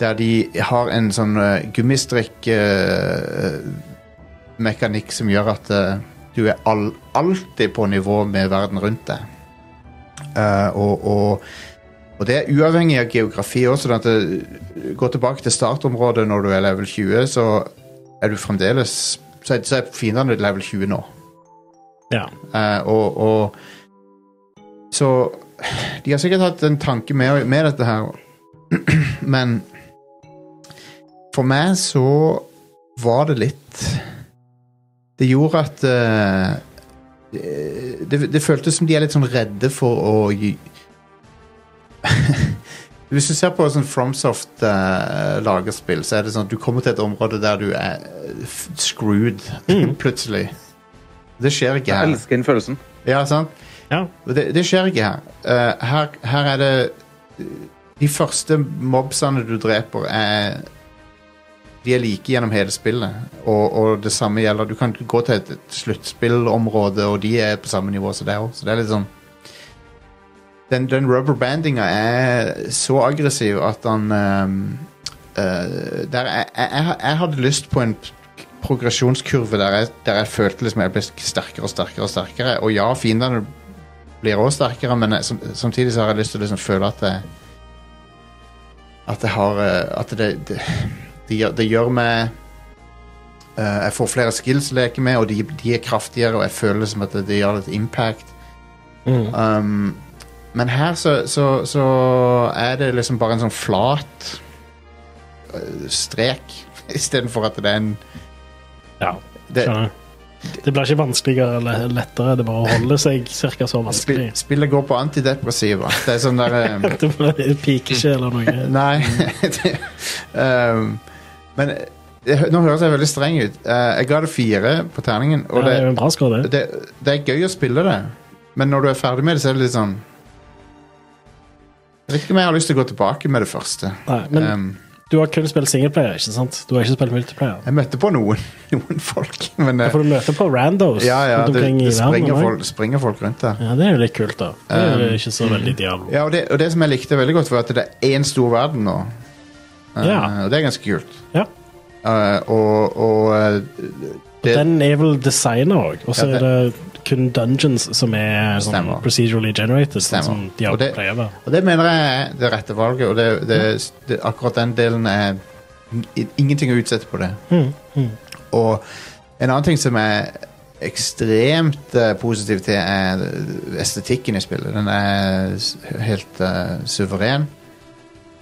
S5: Der de har en sånn uh, gummistrikk-mekanikk eh, som gjør at eh, du er all, alltid på nivå med verden rundt deg. Eh, og, og, og det er uavhengig av geografi også. Sånn at det, gå tilbake til startområdet når du er level 20, så er du fremdeles Så er, så er fiendene level 20 nå.
S6: Ja.
S5: Eh, og, og Så de har sikkert hatt en tanke med, med dette her, men for meg så var det litt Det gjorde at eh, det, det føltes som de er litt sånn redde for å gi Hvis du ser på sånn Fromsoft eh, lagerspill, så er det sånn at du kommer til et område der du er eh, f- screwed plutselig. Det skjer ikke
S7: Jeg
S5: her.
S7: elsker den følelsen.
S5: Ja, sant?
S6: Ja.
S5: Og Det, det skjer ikke her. Eh, her. Her er det De første mobsene du dreper, er De er like gjennom hele spillet. Og, og det samme gjelder Du kan gå til et, et sluttspillområde, og de er på samme nivå som deg òg, så det er litt sånn Den, den rubberbandinga er så aggressiv at han eh, eh, der jeg, jeg, jeg hadde lyst på en progresjonskurve der jeg, der jeg følte liksom jeg ble sterkere og sterkere og sterkere. Og ja, fiendene blir også sterkere, men jeg, sam- samtidig så har jeg lyst til å liksom føle at jeg At jeg har eh, At det, det, det, gjør, det gjør meg eh, Jeg får flere skills å leke med, og de, de er kraftigere, og jeg føler liksom at det, det gjør litt impact. Um, men her så, så, så er det liksom bare en sånn flat eh, strek, istedenfor at det er en
S6: Ja,
S5: det,
S6: skjønner. Det blir ikke vanskeligere eller lettere, det bare holder seg cirka så
S5: Spill,
S6: vanskelig.
S5: spillet går på antidepressiva. Det er sånn der eh,
S6: Det blir- det piker ikke eller noe.
S5: Nei. det, um, men jeg, Nå høres jeg veldig streng ut. Eh, jeg ga det fire på terningen, og
S6: Ja, det er jo en
S5: det,
S6: bra score, det.
S5: det, det er gøy å spille det. Men når du er ferdig med det, så er det litt sånn Jeg vet ikke om jeg har lyst til å gå tilbake med det første.
S6: Nei, men
S5: Ehm,
S6: du har kun spilt singleplayer, ikke sant? Du har ikke spilt multiplayer.
S5: jeg møtte på noen, noen folk, men eh,
S6: For du møter på randos
S5: ja, ja,
S6: rundt
S5: det,
S6: omkring
S5: det
S6: i verden.
S5: springer,
S6: også.
S5: folk, springer folk rundt der.
S6: Ja, det er jo litt kult, da. Det er jo ikke så veldig Diablo.
S5: Ja, og det, og det som jeg likte veldig godt, var at det er én stor verden nå. Eh,
S6: Ja.
S5: Og det er ganske kult.
S6: Ja.
S5: Eh, og og eh, det,
S6: Den er vel designer òg, og så
S5: Ja,
S6: er det kun dungeons som er sånn
S5: Stemmer.
S6: procedurally generated. Sånn
S5: Stemmer.
S6: som
S5: Og
S6: Diablo
S5: det-
S6: pleier å være.
S5: Og det mener jeg er det rette valget, og det, det, det, akkurat den delen er i- ingenting å utsette på det.
S6: Hmm,
S5: Og en annen ting som er ekstremt eh, positiv til, er estetikken i spillet. Den er s- helt eh, suveren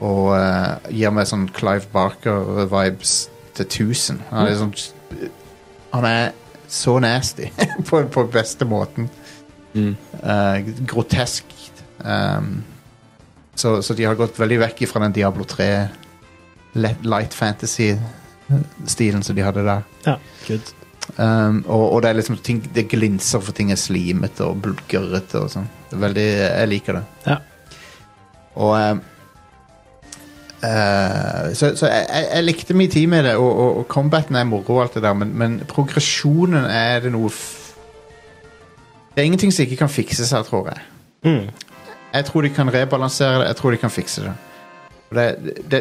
S5: og eh, gir meg sånn Clive Barker-vibes til 1000. Han
S6: Hmm.
S5: er, sånn, han er så nasty på, på beste måten. Eh, grotesk. Um, så, så de har gått veldig vekk fra den Diablo 3 let- light fantasy-stilen som de hadde der.
S6: Ja, good.
S5: Um, og, og det er liksom ting, det glinser for ting er slimete og bulkerete og sånn. Det er Veldig, jeg liker det.
S6: Ja.
S5: Og um, eh, så, så jeg, jeg- jeg likte mye tid med det, og, og, og combaten er moro, og alt det der, men, men progresjonen er det noe f Det er ingenting som ikke kan fikses her, tror jeg.
S6: Mm.
S5: Jeg tror de kan rebalansere det. Jeg tror de kan fikse det. Og det, det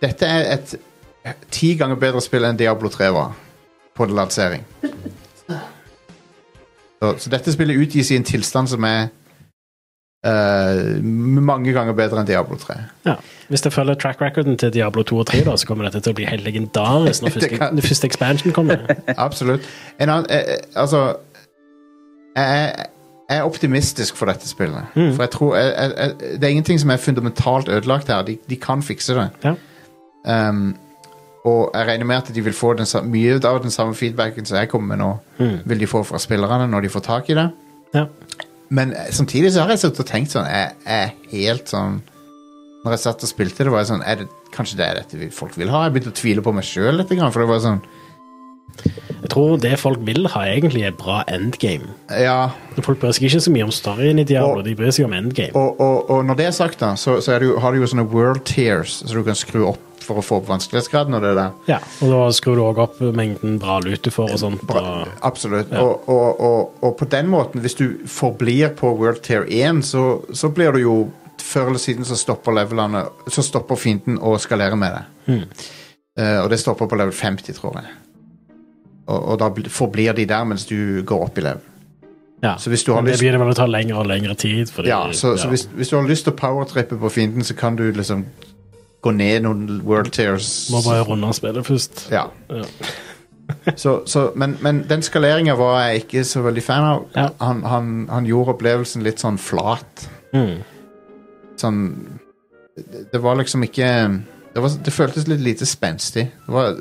S5: dette er et ti ganger bedre spill enn Diablo 3 var på lansering. Så, så dette spillet utgis i en tilstand som er eh, mange ganger bedre enn Diablo 3.
S6: Ja. Hvis jeg følger track recorden til Diablo 2 og 3, da, så kommer dette til å bli helt legendarisk når
S5: Det
S6: første,
S5: kan-
S6: når første expansion kommer.
S5: Absolutt. En annen, eh, eh, altså jeg, er- jeg er optimistisk for dette spillet. For jeg tror jeg, jeg, jeg, Det er ingenting som er fundamentalt ødelagt her. De, de kan fikse det.
S6: Ja.
S5: Um, og jeg regner med at de vil få den, sa- mye av den samme feedbacken som jeg kommer med nå, vil de få fra spillerne når de får tak i det.
S6: Ja.
S5: Men eh, samtidig så har jeg sittet og tenkt sånn Jeg jeg er helt sånn Når jeg satt og spilte det, var jeg sånn er det, Kanskje det er dette vi- folk vil ha? Jeg begynte å tvile på meg sjøl litt, for det var sånn
S6: Jeg tror det folk vil ha, egentlig er bra endgame.
S5: Ja,
S6: Folk bryr seg ikke så mye om storyen i Diablo,
S5: Og-
S6: de bryr seg om endgame.
S5: og, og, og når det er sagt, da, så, så er det jo, har du jo sånne world tears som du kan skru opp for å få opp vanskelighetsgraden og det der.
S6: Ja, og da skrur du òg opp mengden bra lut du får og sånt.
S5: Bra,
S6: Og,
S5: absolutt. Og, og, og, og på den måten, hvis du forblir på World Tier 1, så, så blir du jo Før eller siden så stopper levelene Så stopper fienden å skalere med deg.
S6: Hmm.
S5: Eh, og det stopper på level 50, tror jeg. Og, og da bl- forblir de der mens du går opp i level.
S6: ja.
S5: Så hvis du har
S6: Men det
S5: lyst
S6: begynner vel å ta lengre og lengre tid. Fordi,
S5: ja, så, så hvis, hvis du har lyst til å powertrippe på fienden, så kan du liksom gå ned noen World Tears.
S6: Må bare runde av spillet først.
S5: Ja.
S6: Ja.
S5: så, så, men, men den skaleringa var jeg ikke så veldig fan av.
S6: Ja.
S5: Han, han, han gjorde opplevelsen litt sånn flat.
S6: Mm.
S5: Sånn Det, det var liksom ikke det, var, det føltes litt lite spenstig. Det var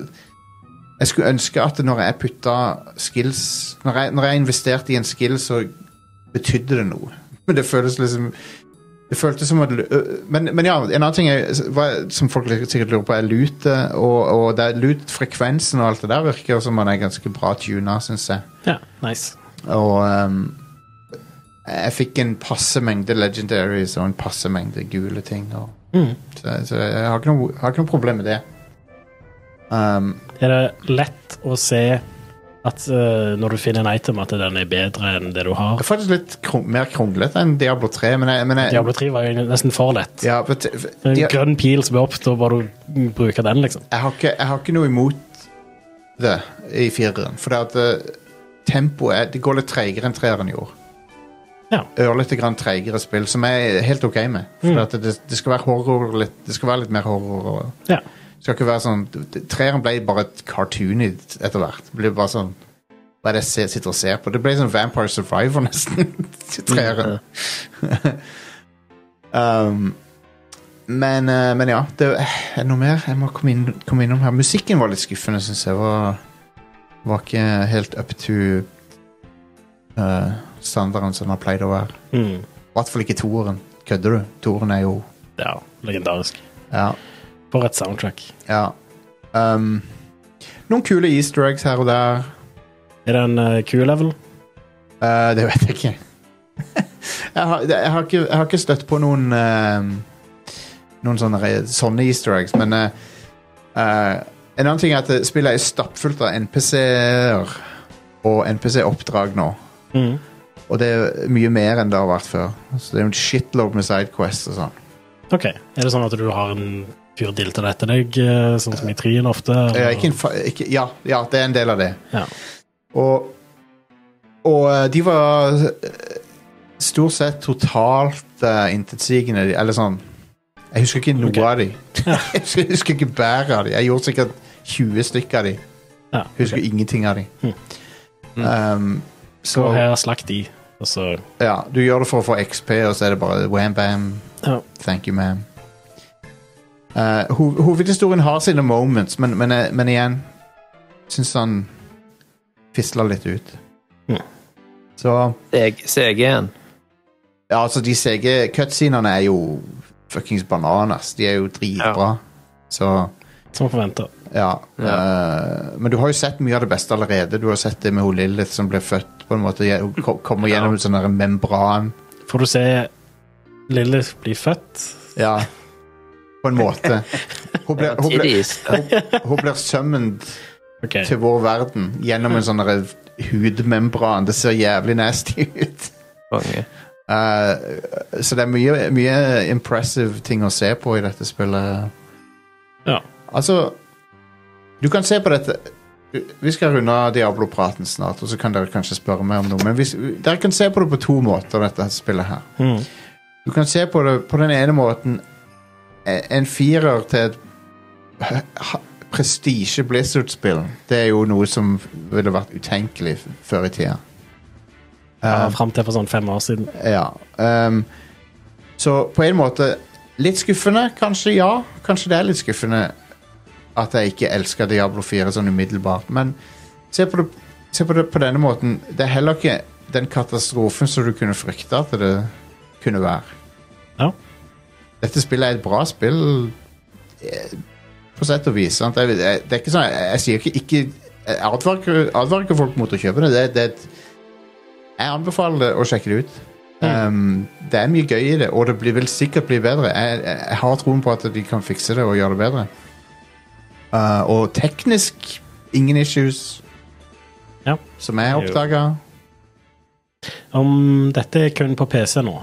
S5: Jeg skulle ønske at når jeg putta skills Når jeg, når jeg investerte i en skill, så betydde det noe. Men det føltes liksom det føltes som at, øh, men, men ja, en annen ting er, hva- som folk sikkert lurer på, er lute. Og, og det er lutefrekvensen og alt det der virker som man er ganske bra tuna, syns jeg.
S6: Ja, nice.
S5: Og ehm, jeg fikk en passe mengde legendaries og en passe mengde gule ting. Og,
S6: Mm.
S5: så, så jeg har ikke, noe, har ikke noe problem med det. Um,
S6: Er det lett å se at eh, når du finner en item, at den er bedre enn det du
S5: det
S6: har?
S5: er faktisk litt krum, mer kronglete enn Diablo 3, men jeg, men jeg
S6: Diablo 3 var jo nesten for lett.
S5: ja, but,
S6: Det er
S5: Dia-
S6: en grønn pil som er opp, da bare du bruker den, liksom.
S5: jeg, har ikke, jeg har ikke noe imot det i fireren. For det at eh, tempoet er- Det går litt treigere enn treeren gjorde.
S6: Ja.
S5: Ørlite grann treigere spill, som jeg er helt OK med. For at det, det, skal være horror litt, det skal være litt mer horror. og-
S6: Ja.
S5: Det skal ikke være sånn Treeren ble bare et cartoon i- etter hvert. Det ble bare sånn Hva er det jeg ser- sitter og ser på? Det ble sånn Vampire Survivor, nesten. treeren. um, men, eh, men ja, det er det noe mer jeg må komme, inn, komme innom her. Musikken var litt skuffende, syns jeg. Var, var ikke helt up to eh, standarden som den har pleid å være.
S6: Mm.
S5: I hvert fall ikke toeren. Kødder du? Toeren er jo
S6: ja. Legendarisk.
S5: Ja.
S6: For et soundtrack.
S5: ja. Um, noen kule easter eggs her og der.
S6: Er det en eh, Q-level?
S5: Eh, det vet jeg ikke. jeg, har, det- jeg, har ikke jeg har ikke støtt på noen eh, Noen sånne, re- sånne easter eggs, men eh, eh, En annen ting er at det- spillet er stappfullt av NPC-er og NPC-oppdrag nå.
S6: Mhm.
S5: Og det er mye mer enn det har vært før. Så det er jo en shitload med sidequests og sånn.
S6: OK. Er det sånn at du har en fyr dilter det etter deg, eh, sånn som i trien ofte?
S5: Eh, ikke en fa ikke, ja, ja, det er en del av det.
S6: Ja.
S5: Og, og eh, de var eh, stort sett totalt eh, intetsigende, de- eller sånn Jeg husker ikke noe
S6: Ok.
S5: av de. jeg husker- jeg husker ikke bæret av de. Jeg gjorde sikkert 20 stykker av de.
S6: Ja,
S5: Husker ingenting av de.
S6: Mm.
S5: Um, så
S6: Og her slakt de, og så
S5: ja, du gjør det for å få XP, og så er det bare wham bam.
S6: Ja.
S5: Thank you, ma'am. Eh, hov hovedhistorien har sine moments, men, men, eh, men igjen Syns han fisla litt ut.
S6: Mm.
S5: Så
S8: CG-en.
S5: Ja, altså, de CG cutscenene er jo fuckings bananas. De er jo dritbra. Så
S6: Som forventa.
S5: ja. eh, men du har jo sett mye av det beste allerede. Du har sett det med hun Lilith som ble født, på en måte. Hun ko- kommer gjennom en sånn der membran.
S6: Får du se Lilith bli født?
S5: Ja. På en måte. Hun blir, hun blir,
S8: Tidligst.
S5: hun blir summoned
S6: OK.
S5: til vår verden gjennom en sånn der hudmembran. Det ser jævlig nasty ut.
S8: Konge.
S5: Eh, så det er mye, mye impressive ting å se på i dette spillet.
S6: Ja.
S5: Altså Du kan se på dette Vi skal runde av Diablo-praten snart, og så kan dere kanskje spørre meg om noe. Men hvis, dere kan se på det på to måter, dette spillet her.
S6: Mhm.
S5: Du kan se på det på den ene måten e- En firer til et ha- prestige Blizzard-spill. Det er jo noe som ville vært utenkelig f- før i tida.
S6: Ja, Fram til for sånn fem år siden.
S5: Ja. ehm, så på en måte Litt skuffende, kanskje. Ja, kanskje det er litt skuffende at jeg ikke elsker Diablo 4 sånn umiddelbart, men se på det, se på, det på denne måten. Det er heller ikke den katastrofen som du kunne frykte at det kunne være.
S6: Ja.
S5: Dette spillet er et bra spill eh, på sett og vis. Sant? Jeg, jeg, det er ikke sånn, jeg, jeg sier ikke, ikke Jeg advarer, advarer ikke folk mot å kjøpe det. det, det er et, jeg anbefaler det å sjekke det ut. Um, det er mye gøy i det, og det blir, vil sikkert bli bedre. Jeg, jeg, jeg har troen på at de kan fikse det og gjøre det bedre. Uh, og teknisk ingen issues
S6: Ja.
S5: som jeg oppdaga.
S6: Om dette er kun på PC nå,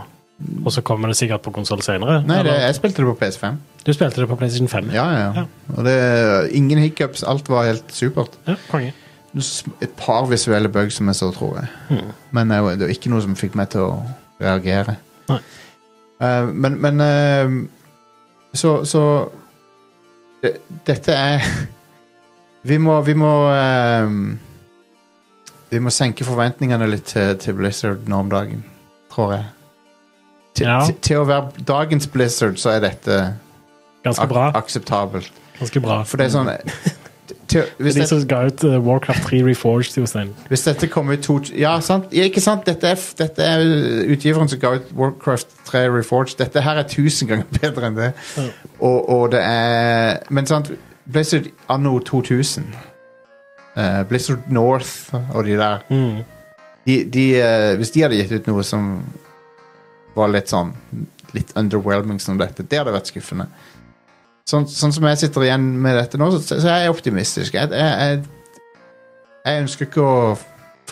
S6: og så kommer det sikkert på konsoll senere?
S5: Nei, det,
S6: eller?
S5: jeg spilte det på PS5.
S6: Du spilte det på PlayStation 5?
S5: Ja, ja, ja. Og det, ingen hiccups. Alt var helt supert.
S6: Ja, konge.
S5: Noe sm- Et par visuelle bugs som jeg så, tror jeg.
S6: Hmm.
S5: Men eh, det var ikke noe som fikk meg til å reagere.
S6: Nei.
S5: Eh, men men eh, Så, så det- Dette er Vi må Vi må, eh, vi må senke forventningene litt til, til Blizzard nå om dagen, tror jeg. Til,
S6: Ja.
S5: til, til å være dagens Blizzard, så er dette
S6: Ganske
S5: ak
S6: bra.
S5: akseptabelt.
S6: Ganske bra.
S5: For det er sånn til, hvis,
S6: Det er de
S5: det,
S6: som ga ut eh, Warcraft 3 Reforged, Jostein.
S5: hvis dette kom ut to Ja, sant? Ja, ikke sant? Dette er, f- dette er utgiveren som ga ut Warcraft 3 Reforged. Dette her er tusen ganger bedre enn det.
S6: Ja.
S5: Og, og det er Men sant, Blizzard anno 2000 eh, Blizzard North og de der
S6: Mm.
S5: de, de, eh, Hvis de hadde gitt ut noe som var litt sånn Litt underwhelming som dette, det hadde vært skuffende. Sånn, sånn som jeg sitter igjen med dette nå, så, så er jeg optimistisk. Jeg, jeg, jeg, jeg ønsker ikke å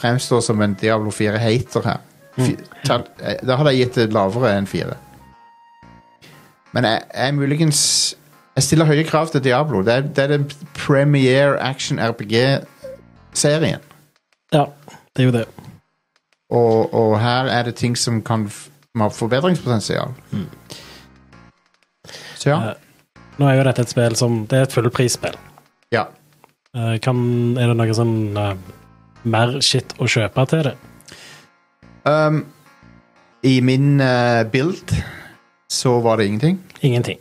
S5: fremstå som en Diablo 4-hater her. Fy- ta- eh, Da hadde jeg gitt det lavere enn 4. Men jeg, jeg er muligens Jeg stiller høye krav til Diablo. Det er, det er den premiere action RPG-serien.
S6: Ja, det er jo det.
S5: Og, og her er det ting som kan f- som har forbedringspotensial. Så ja.
S6: Eh, Nå er jo dette et spill som Det er et fullprisspill.
S5: ja.
S6: Eh, Kan, er det noe sånn eh, mer shit å kjøpe til det?
S5: Um, I min eh, build så var det ingenting.
S6: Ingenting.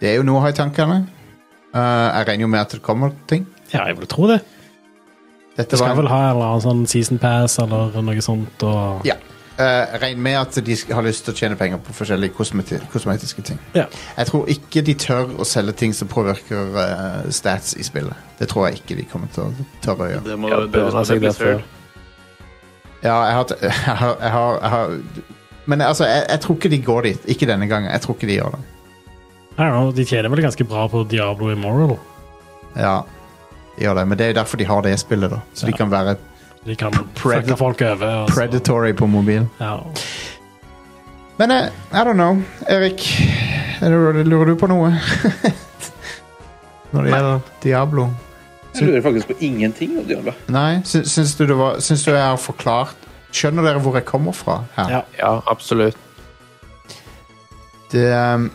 S5: Det er jo noe å ha i tankene. Eh, jeg regner jo med at det kommer ting.
S6: Ja, jeg vil tro det. Du
S5: Dette var
S6: skal
S5: en,
S6: vel ha en eller annen sånn season pass eller noe sånt, og
S5: Ja. eh, regn med at de sk- har lyst til å tjene penger på forskjellige kosmeti kosmetiske ting.
S6: Ja.
S5: Jeg tror ikke de tør å selge ting som påvirker eh, stats i spillet. Det tror jeg ikke de kommer til å tørre å gjøre.
S7: Det må
S8: Ja,
S7: det
S8: bør
S7: må
S8: ha seg
S7: bli
S8: derfor.
S7: søl.
S5: Ja, jeg har, jeg har, jeg har, jeg har Men altså, jeg, jeg tror ikke de går dit. Ikke denne gangen. Jeg tror ikke de gjør det.
S6: I don't know, de tjener vel ganske bra på Diablo Immoral.
S5: Ja, de gjør det. Men det er jo derfor de har det spillet, da. Så de kan være
S6: De kan
S5: Predator-
S6: fucke folk over. og så-
S5: predatory på mobilen.
S6: Ja.
S5: Men eh, I don't know. Erik, er det- lurer du på noe? Når det gjelder Diablo?
S7: Jeg lurer faktisk på ingenting om Diablo.
S5: Nei? Sy- Syns du, det var, syns du jeg har forklart Skjønner dere hvor jeg kommer fra her?
S6: Ja.
S8: Ja, absolutt.
S5: Det, ehm,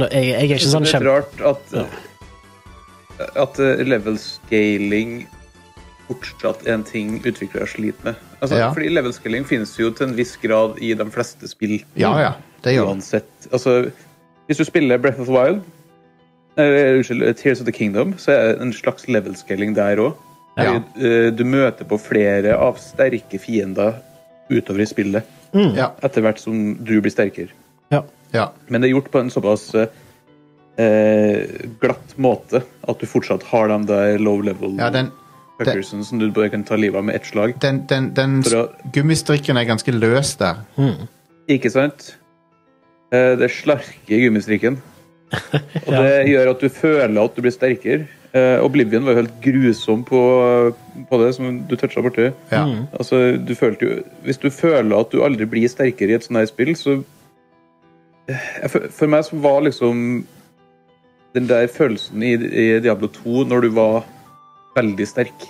S6: Nå, jeg, jeg er ikke sånn
S7: det er
S6: kjempe...
S7: rart at At eh, level scaling fortsatt er en ting utviklere sliter med. Altså,
S5: Ja.
S7: Fordi level scaling finnes jo til en viss grad i de fleste spill.
S5: ja ja, det gjør det.
S7: Uansett. Altså, hvis du spiller Breath of the Wild eller, Unnskyld, Tears of the Kingdom, så er det en slags level scaling der òg.
S5: Ja.
S7: Du møter på flere av sterke fiender utover i spillet
S5: Ja,
S7: etter hvert som du blir sterkere.
S5: ja.
S7: Men det er gjort på en såpass eh, glatt måte at du fortsatt har de der low level
S5: ja den,
S7: fuckersen som du bare kan ta livet av med ett slag.
S5: den, den, den
S7: For å,
S5: gummistrikken er ganske løs der.
S7: ikke sant? Eh, det slarker i gummistrikken. Og
S6: Ja.
S7: det gjør at du føler at du blir sterkere. Eh, Oblivion var jo helt grusom på, på det, som du toucha borti.
S5: Ja.
S7: Altså, du følte jo Hvis du føler at du aldri blir sterkere i et sånt her spill, så Jeg fø- For meg så var liksom den der følelsen i, i Diablo 2 når du var veldig sterk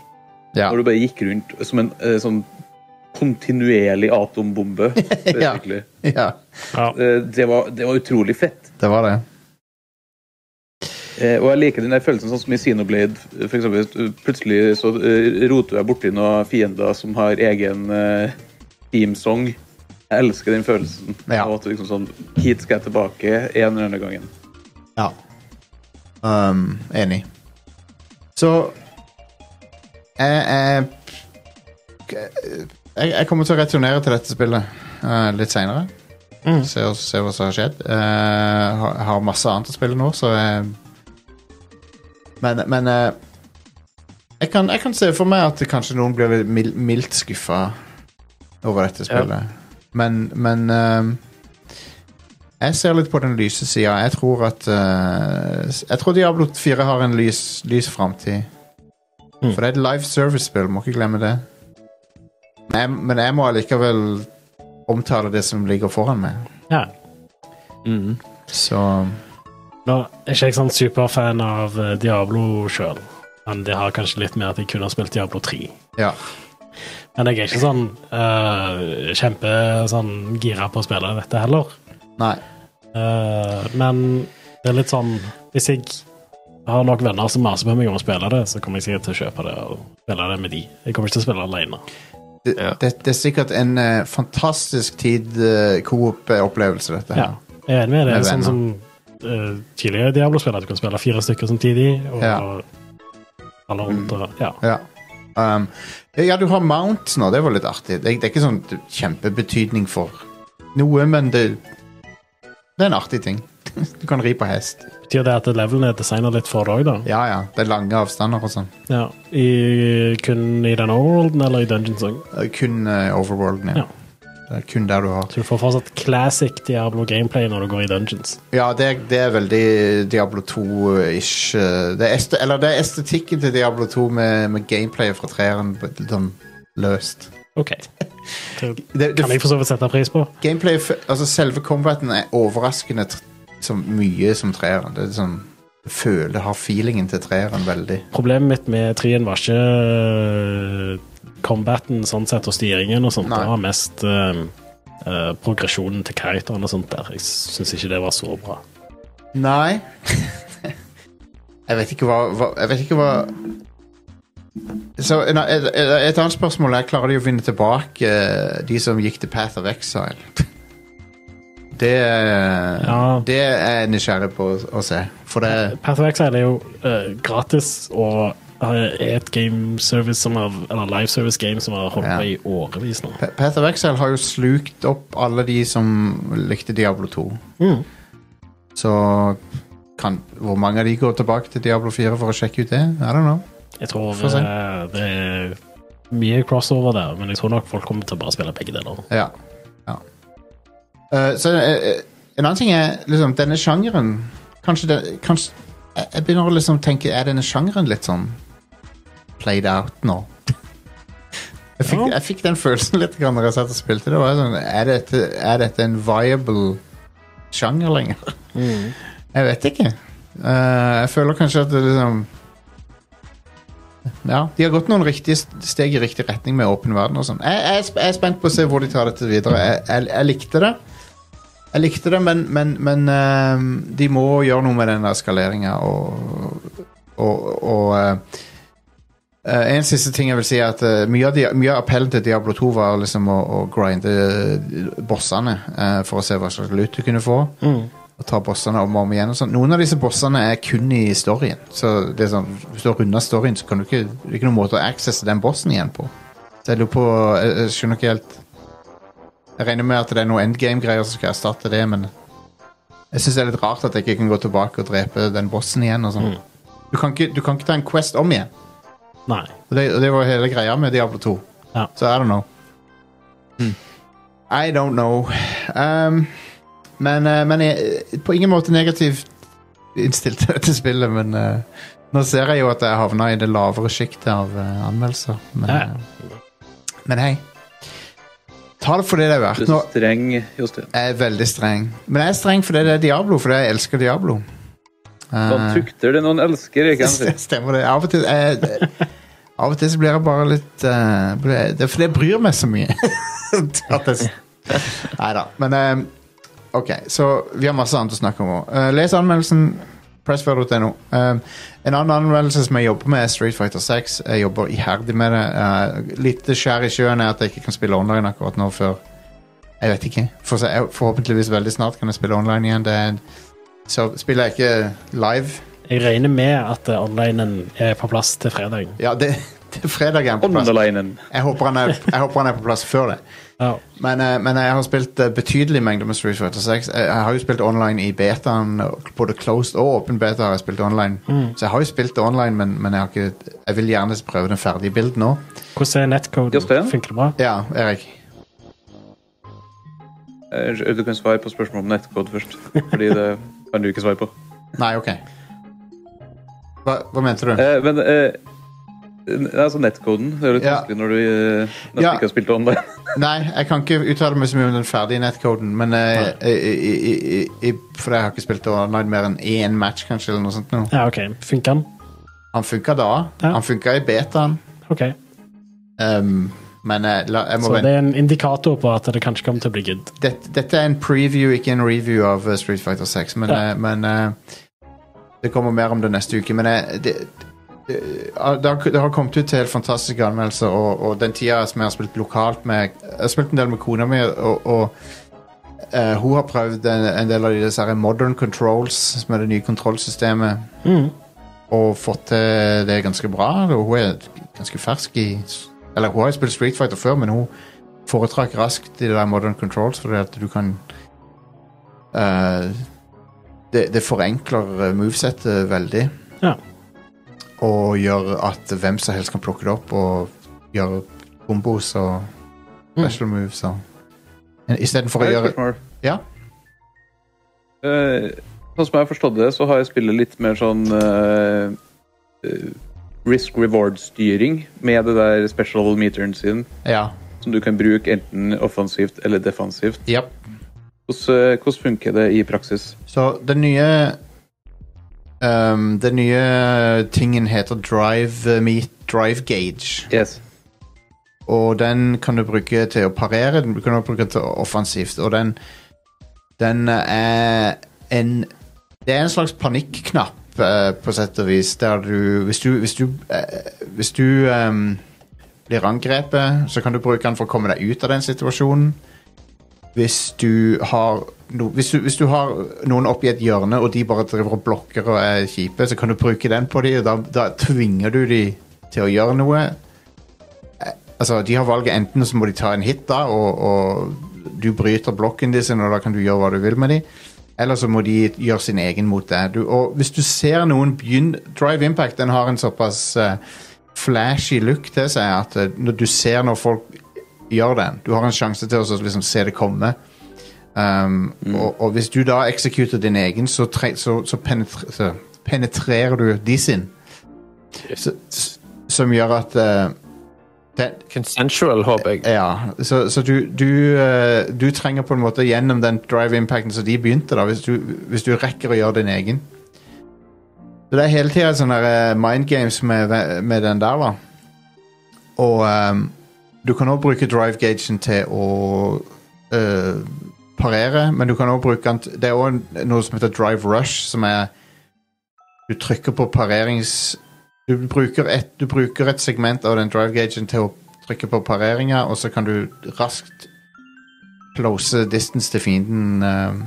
S5: Ja.
S7: Når du bare gikk rundt som en eh, sånn kontinuerlig atombombe.
S5: Ja.
S7: basically.
S5: ja,
S7: Eh, det, var, det var utrolig fett.
S5: det var det.
S7: Eh, og jeg liker den der følelsen sånn som i Xenoblade. For eksempel, hvis du- plutselig så eh, roter jeg borti noen fiender som har egen eh, teamsong. Jeg elsker den følelsen.
S5: Ja.
S7: Av at du liksom sånn, Hit skal jeg tilbake en eller annen gangen.
S5: Ja. Um, enig. Så jeg, jeg jeg, jeg kommer til å returnere til dette spillet eh, litt seinere. Se, hva- se hva som har skjedd. Eh, har, har masse annet å spille nå, så jeg Men, men eh, jeg, kan, jeg kan se for meg at det kanskje noen blir litt mil- mildt skuffa over dette spillet. Men, men eh, jeg ser litt på den lyse sida. Jeg tror at eh, Jeg tror Diablo 4 har en lys, lys framtid.
S6: Mm.
S5: For det er et live service-spill, må ikke glemme det. Men jeg, men jeg må allikevel omtale det som ligger foran meg.
S6: Ja.
S8: Mm.
S5: Så
S6: Nå er ikke jeg sånn superfan av eh, Diablo sjøl, men det har kanskje litt med at jeg kunne ha spilt Diablo 3.
S5: ja.
S6: Men jeg er ikke sånn eh, kjempe sånn gira på å spille dette heller.
S5: Nei.
S6: Eh, men det er litt sånn Hvis jeg har nok venner som maser på meg om å spille det, så kommer jeg sikkert til å kjøpe det og spille det med de. Jeg kommer ikke til å spille alene.
S5: Det,
S8: Ja.
S5: det, det er sikkert en eh, fantastisk tid uh, coop-opplevelse, dette
S6: Ja,
S5: her.
S6: jeg er enig med
S5: Med
S6: det. Det er sånn som eh, tidligere Diablo-spill, at du kan spille fire stykker samtidig. Og,
S5: Ja.
S6: og alle rundt og Ja.
S5: Ja. Um, ja, du har mount nå. Det var litt artig. Det, det er ikke sånn kjempebetydning for noe, men det, det er en artig ting. Du kan ri på hest.
S6: Betyr det at levelen er designet litt for deg, da?
S5: Ja, ja. Det er lange avstander og sånn.
S6: Ja. I, kun i den overworlden eller i Dungeons Song?
S5: Det er Kun eh, overworlden, ja.
S6: Ja.
S5: Det er kun der du har
S6: Så du får fortsatt classic Diablo gameplay når du går i dungeons.
S5: Ja, det, er- det er veldig Diablo 2-ish. Det er este, eller det er estetikken til Diablo 2 med, med gameplayet fra treeren but litt sånn løst.
S6: OK. Det
S5: Det, det,
S6: kan jeg for så vidt sette pris på.
S5: gameplay, altså Selve combaten er overraskende tr- så mye som treeren. Det er sånn du føler har feelingen til treeren veldig.
S6: Problemet mitt med 3-en var ikke øh, combaten sånn sett, og styringen og sånt.
S5: Nei.
S6: Det var mest øh, øh, progresjonen til karakteren og sånt der. Jeg syns ikke det var så bra.
S5: Nei. jeg vet ikke hva, hva Jeg vet ikke hva Så en- et, et et annet spørsmål er Klarer de å vinne tilbake eh, de som gikk til Path of Exile? Det, er-
S6: Ja.
S5: det er jeg nysgjerrig på å, å se. For det
S6: Path of Exile er jo øh, eh, gratis og har et game service som har, eller live service game som har holdt
S5: Ja.
S6: på i årevis nå.
S5: P- Path of Exile har jo slukt opp alle de som likte Diablo 2.
S6: Mm.
S5: Så kan, hvor mange av de går tilbake til Diablo 4 for å sjekke ut det? I don't know.
S6: Jeg tror
S5: Få se.
S6: eh, det er mye crossover der, men jeg tror nok folk kommer til å bare spille begge deler.
S5: Ja. ja. Eh, så eh, eh, en annen ting er liksom denne sjangeren Kanskje det kanskje, jeg, jeg begynner å liksom tenke Er denne sjangeren litt sånn played out nå? Jeg fikk,
S6: Ja.
S5: jeg fikk den følelsen litt grann når jeg satt og spilte. det var sånn, Er dette, er dette en viable sjanger lenger? Jeg vet ikke. Eh, jeg føler kanskje at det liksom ja, De har gått noen riktige st- steg i riktig retning med åpen verden. og sånn. Jeg, jeg, er sp- jeg er spent på å se hvor de tar dette videre. Jeg, jeg, jeg likte det, Jeg likte det, men, men, men eh, de må gjøre noe med den eskaleringa. Og, og, og eh, eh, En siste ting jeg vil si, er at eh, mye, av dia- mye av appellen til Diablo 2 var liksom å, å grinde eh, bossene eh, for å se hva slags loot du kunne få og tar bossene om og om igjen. Og sånn. Noen av disse bossene er kun i storyen. Så det er sånn, Hvis du har runda storyen, så kan du ikke, det er ikke noen måte å accesse den bossen igjen på. Så jeg lurer på eh, jeg, jeg skjønner ikke helt Jeg regner med at det er noen endgame-greier som skal erstatte det, men jeg syns det er litt rart at jeg ikke kan gå tilbake og drepe den bossen igjen. Og sånn. du, kan ikke, du kan ikke ta en Quest om igjen.
S6: Nei.
S5: Og det, og det var hele greia med Diablo 2.
S6: Ja.
S5: Så I don't know. I don't know. Um, men eh, men jeg, på ingen måte negativt innstilt til dette spillet, men eh, nå ser jeg jo at jeg havna i det lavere sjiktet av eh, anmeldelser. Men,
S6: Ja.
S5: eh, men hei. Ta det for det det er
S7: Du
S5: verdt.
S7: er så
S5: Nå
S7: streng, Jostein.
S5: er jeg veldig streng. Men jeg er streng fordi det er Diablo, fordi jeg elsker Diablo.
S7: Man
S5: Eh,
S7: Sånn tukter det noen elsker, ikke
S5: det
S7: sant?
S5: stemmer det. Av og til jeg, Av og til så blir jeg bare litt eh, ble- det, For det bryr meg så mye. Nei da. Men eh, OK, så vi har masse annet å snakke om òg. les anmeldelsen. Pressfire.no. Eh, en annen anmeldelse som jeg jobber med, er Street Fighter 6. Jeg jobber iherdig med det. Uh, litt skjær i sjøen er at jeg ikke kan spille online akkurat nå før Jeg vet ikke. For, så- jeg- forhåpentligvis veldig snart kan jeg spille online igjen. Det er, så spiller jeg ikke live.
S6: Jeg regner med at eh, onlinen er på plass til fredag.
S5: Ja, det, det er fredag er han på plass.
S7: Underlinen.
S5: Jeg håper han er, jeg håper han er på plass før det.
S6: Ja.
S5: Men, eh, men jeg har spilt eh, betydelige mengder med Street Fighter 6. Jeg, jeg har jo spilt online i betaen. og Både closed og åpen beta har jeg spilt online. Så jeg har jo spilt det online, men, men jeg, har ikke, jeg vil gjerne prøve den ferdige bilden nå.
S6: Hvordan er netcoden?
S7: Jostein?
S6: Funker det bra?
S5: Ja, Erik.
S7: Eh, Du kan svare på spørsmål om nettkode først. Fordi det kan du ikke svare på.
S5: Nei, OK. Hva, hva mente du?
S7: Eh, men eh, n- altså nettkoden Det er jo litt
S5: Ja.
S7: vanskelig når du eh, nesten
S5: Ja.
S7: ikke har spilt online.
S5: Nei, jeg kan ikke uttale meg så mye om den ferdige nettkoden, men eh, i, i, i, i, For jeg har ikke spilt online mer enn én match, kanskje, eller noe sånt. Nå.
S6: Ja, OK. Funker den?
S5: Han funka da.
S6: Ja.
S5: Han funka i betaen.
S6: OK.
S5: Um, men jeg, la, jeg må
S6: Så
S5: vente.
S6: det er en indikator på at det kanskje kommer til å bli good.
S5: Dette, dette er en preview, ikke en review av eh, Street Fighter 6. Men,
S6: Ja.
S5: eh, men eh, det kommer mer om det neste uke. Men eh, det, det, ah, det, har, det har kommet ut helt fantastiske anmeldelser, og, og den tida som jeg har spilt lokalt med Jeg har spilt en del med kona mi, og, og eh, hun har prøvd en, en del av disse her modern controls, som er det nye kontrollsystemet, og fått til det ganske bra. Og hun er ganske fersk i Eller hun har jo spilt Street Fighter før, men hun foretrakk raskt de der modern controls, fordi at du kan eh, det, det forenkler eh, movesettet veldig.
S6: Ja.
S5: Og gjør at hvem som helst kan plukke det opp og gjøre kombos og special moves og Istedenfor å
S7: Jeg har
S5: gjøre
S7: et spørsmål.
S5: Ja?
S7: Eh, sånn som jeg har forstått det, så har jeg spillet litt mer sånn eh, eh, risk reward-styring med det der special meteren sin,
S5: Ja.
S7: som du kan bruke enten offensivt eller defensivt.
S5: Japp.
S7: Hvordan, eh, hvordan funker det i praksis?
S5: Så den nye ehm, Den nye tingen heter drive eh, meet drive gauge.
S7: Yes.
S5: Og den kan du bruke til å parere, den kan du bruke til offensivt, og den Den er en Det er en slags panikknapp, eh, på sett og vis, der du Hvis du Hvis du, eh, hvis du ehm, blir angrepet, så kan du bruke den for å komme deg ut av den situasjonen. hvis du har no, hvis, du, hvis du har noen oppi et hjørne, og de bare driver og blokker og er kjipe, så kan du bruke den på dem, og da, da tvinger du dem til å gjøre noe. Eh, Altså, de har valget enten så må de ta en hit, da, og, og du bryter blokken deres, og da kan du gjøre hva du vil med dem. Eller så må de gjøre sin egen mot deg. Du, og hvis du ser noen begynne Drive Impact den har en såpass eh, flashy look til seg at eh, når du ser når folk gjør den Du har en sjanse til å så liksom se det komme. Um, og, og hvis du da executer din egen, så, tre, så, så, penetre, så penetrerer du de sin. Så, s- som gjør at eh, det,
S8: Consensual, håper jeg.
S5: ja, så, så du, du, eh, du trenger på en måte gjennom den drive-impacten som de begynte, da, hvis du, hvis du rekker å gjøre din egen. Så det er hele tida sånne eh, mind games med, ve- med den der, da. Og ehm, du kan også bruke drive-gagen til å eh, parere, men du kan også bruke den t- Det er òg noe som heter drive rush, som er Du trykker på parerings... Du bruker et, du bruker et segment av den drive-gagen til å trykke på pareringa, og så kan du raskt close distance til fienden eh,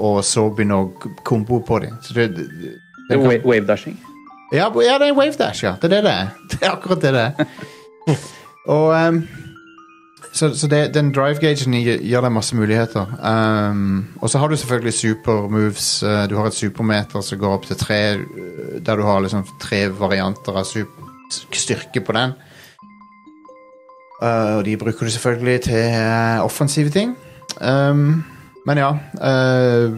S5: og så begynne å k- kombo på dem. Så det, det, det
S7: Det er
S5: kan-
S7: wa- Wavedashing.
S5: ja, bo- ja, det er wave dash, ja. Det er det det er. Det er akkurat det det er. Og ehm, Så, så det, den drive-gagen gir gir deg masse muligheter. Ehm, og så har du selvfølgelig supermoves. eh, Du har et supermeter som går opp til tre, eh, der du har liksom tre varianter av sup- styrke på den. Eh, og de bruker du selvfølgelig til eh, offensive ting. Ehm, men ja eh,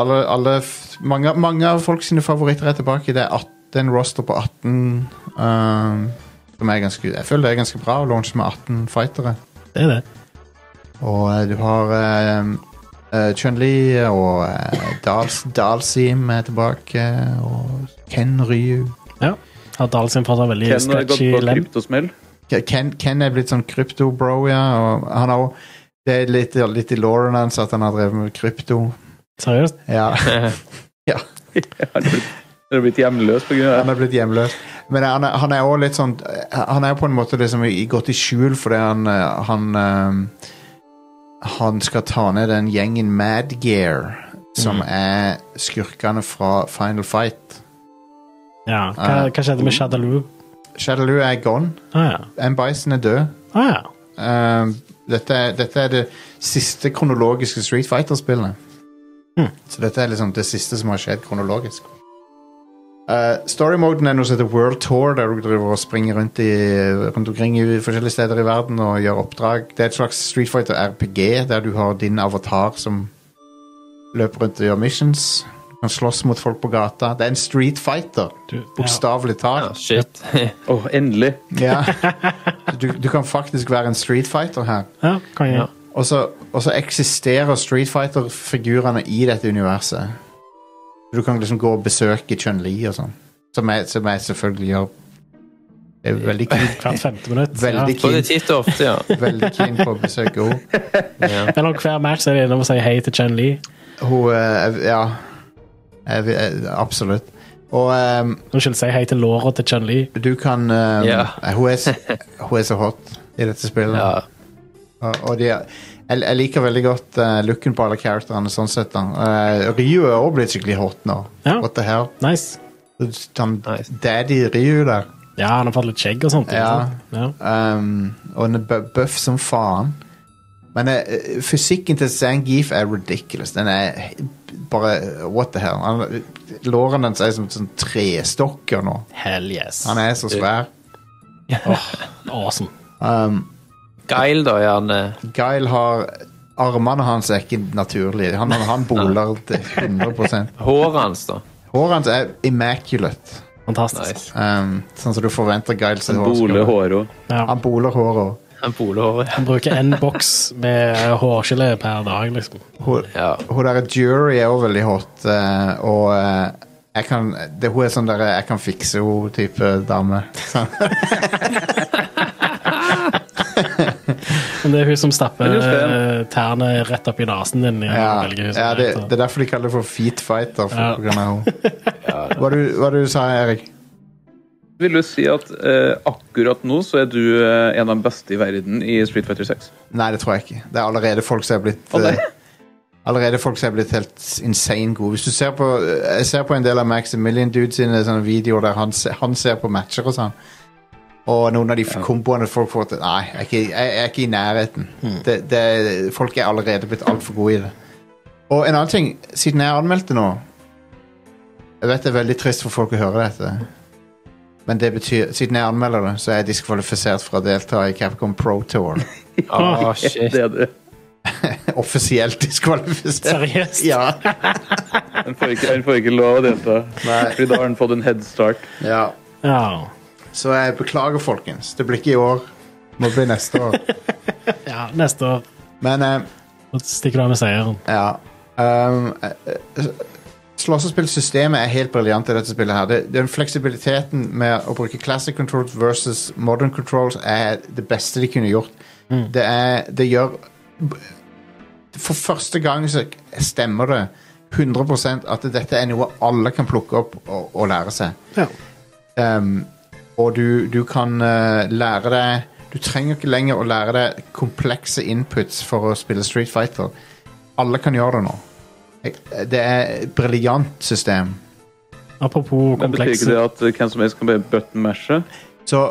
S5: alle, alle, f- mange, mange av folk sine favoritter er tilbake. Det er, 18, det er en roster på 18 um, som er ganske, Jeg føler det er ganske bra å launche med 18 fightere.
S6: Det er det.
S5: Og eh, du har um, eh, Chun-Li og eh, Dals, Dalsim er tilbake. Og Ken Ryu.
S6: Har Dahl sin fått en veldig
S7: Ken har gått
S6: sketchy
S7: på
S6: lem.
S7: kryptosmell.
S5: Ken, Ken er blitt sånn krypto-bro, ja. Og han har også Det er litt, litt i lauren hans at han har drevet med krypto.
S6: Seriøst?
S5: Ja
S7: Han har blitt- han har blitt hjemløs på grunn av
S5: Han er blitt hjemløs. Men han er, han er også litt sånn Han er jo på en måte liksom i- gått i skjul fordi han eh, Han, eh, han skal ta ned den gjengen Mad Gear, som er skurkene fra Final Fight.
S6: Ja.
S5: Ah,
S6: Hva, hva skjedde med Shadaloo?
S5: Shadaloo er gone.
S6: Ah, ja.
S5: M. Bison er død.
S6: Ah, ja.
S5: Eh, dette, er- dette er det siste kronologiske Street Fighter-spillet.
S6: Hmm.
S5: Så dette er liksom det siste som har skjedd kronologisk. Eh, Story-moden er noe som heter World Tour, der du driver og springer rundt, i, rundt omkring i forskjellige steder i verden og gjør oppdrag. Det er et slags Street Fighter RPG, der du har din avatar som løper rundt og gjør missions. Du kan slåss mot folk på gata. Det er en Street Fighter,
S6: Du, ja.
S5: bokstavelig talt.
S8: Shit.
S7: Åh, endelig!
S5: Ja. Du, du kan faktisk være en Street Fighter her.
S6: ja kan jeg.
S8: Ja.
S5: Og så, og så eksisterer Street Fighter-figurene i dette universet. Du kan liksom gå og besøke Chun-Li og sånn. Som, jeg- som jeg selvfølgelig gjør. Jeg er veldig keen,
S6: Hvert femte minutt.
S5: veldig
S8: På det
S5: keen,
S8: titt og ofte, ja.
S5: veldig keen på å besøke henne.
S6: Ja. Mellom hver match så er de innom og sier hei til Chen Lee.
S5: Hun eh, Ja. Jeg, vil- eh, absolutt. Og ehm,
S6: Unnskyld, si hei til låra til Chen Lee.
S5: du kan ehm,
S8: Ja.
S5: eh, hun, er, s- hun er så hot i dette spillet.
S8: ja.
S5: Og, og de, er- jeg, jeg liker veldig godt eh, looken på alle characterene sånn sett. da. Eh, Ryu er også blitt skikkelig hot nå.
S6: Ja.
S5: What the hell?
S6: Nice.
S5: Han
S8: Nice.
S5: daddy Ryu der.
S6: Ja, han har fått litt skjegg og sånt. ikke
S5: Ja.
S6: sant? ja.
S5: Um, og han er bu- buff som faen. Men eh, eh, fysikken til Zangief er ridiculous. Den er he- bare What the hell? Han, lårene hans er som sånn trestokker nå.
S6: Hell yes.
S5: Han er så svær.
S6: Awesome.
S5: Um,
S8: Geil, da, gjerne.
S5: Guile har Armene hans er ikke naturlige. Han, han, han boler til 100
S8: Håret hans, da.
S5: Håret hans er immaculate.
S6: Fantastisk.
S8: Nice.
S5: Um, sånn som du forventer Guile sitt hår. skal
S7: Bole,
S5: være.
S7: hår og
S6: Ja.
S5: Han boler håret òg.
S8: Han bolehåret.
S6: Han bruker én boks med hårgelé per dag, liksom.
S5: Hun,
S8: Ja.
S5: hun der Jury er også veldig hot, eh, og eh, jeg kan, det, hun er sånn der 'jeg kan fikse henne'-type dame. Sånn.
S6: Men det er hun som stapper
S7: Det er jo spennende.
S6: eh, tærne rett opp i nesen din. i
S5: Ja,
S6: velgehuset,
S5: ja det,
S6: så-
S5: det er derfor de kaller det for feet fighter. For,
S6: Ja.
S5: på grunn av henne. Hva du, hva du sa Erik?
S7: Vil du si at eh, akkurat akkurat nå så er du eh, en av de beste i verden i Street Fighter 6.
S5: Nei, det tror jeg ikke. Det er allerede folk som er blitt
S7: Å, nei.
S5: eh, Allerede folk som er blitt helt insane gode. Hvis du ser på eh, Jeg ser på en del av Maximilian Dude sine sånne videoer der han, se- han ser på matcher og sånn. Og noen av de f- komboene folk får til Nei, jeg er ikke, jeg, jeg er ikke i nærheten.
S7: Hmm.
S5: Det, det, folk er allerede blitt altfor gode i det. Og en annen ting, siden jeg anmeldte nå Jeg vet det er veldig trist for folk å høre dette, men det betyr, siden jeg anmelder det, så er jeg diskvalifisert fra å delta i Capcom Pro Tour.
S8: Å, Ah, shit.
S7: Det er det.
S5: offisielt diskvalifisert.
S6: Seriøst?
S5: Ja.
S7: Han får ikke, han får ikke lov å delta.
S5: Nei.
S7: Fordi da har han fått en headstart.
S5: ja.
S6: Ja.
S5: Så jeg beklager, folkens. Det blir ikke i år. Må bli neste år.
S6: ja. Neste år
S5: Men eh,
S6: så stikker du av med seieren.
S5: ja um, eh, eh, Slåssespillsystemet er helt briljant i dette spillet. her Det- Den fleksibiliteten med å bruke classic controls versus modern controls er det beste de kunne gjort. Det, er, det gjør For første gang så stemmer det 100 at dette er noe alle kan plukke opp og, og lære seg.
S6: Ja.
S5: Um, og du, du kan eh, lære deg Du trenger ikke lenger å lære deg komplekse inputs for å spille Street Fighter. Alle kan gjøre det nå. Jeg- Det er et briljant system.
S6: Apropos
S7: Men betyr ikke
S6: komplekse
S7: det at eh, hvem som helst kan bare button mashe?
S5: Så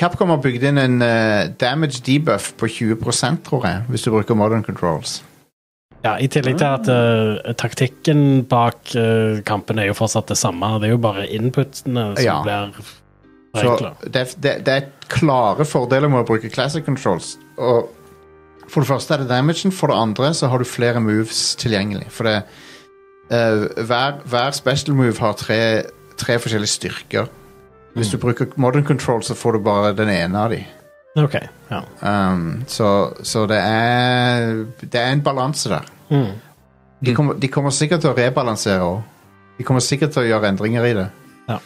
S5: Capcom har bygd inn en eh, damage debuff på 20 tror jeg, hvis du bruker modern controls.
S6: Ja, I tillegg til at eh, taktikken bak eh, kampen er jo fortsatt det samme. Det er jo bare inputene som
S5: Ja.
S6: blir
S5: Så
S6: forenkla.
S5: det, er- det, det er klare fordeler med å bruke classic controls. Og for det første er det damagen, for det andre så har du flere moves tilgjengelig. For det, eh, hver, hver special move har tre, tre forskjellige styrker. Hvis du bruker modern control, så får du bare den ene av de.
S6: OK. Ja.
S5: Um, så så det, er, det er en balanse der.
S6: Mm.
S5: De kommer, de kommer sikkert til å rebalansere òg. De kommer sikkert til å gjøre endringer i det.
S6: Ja.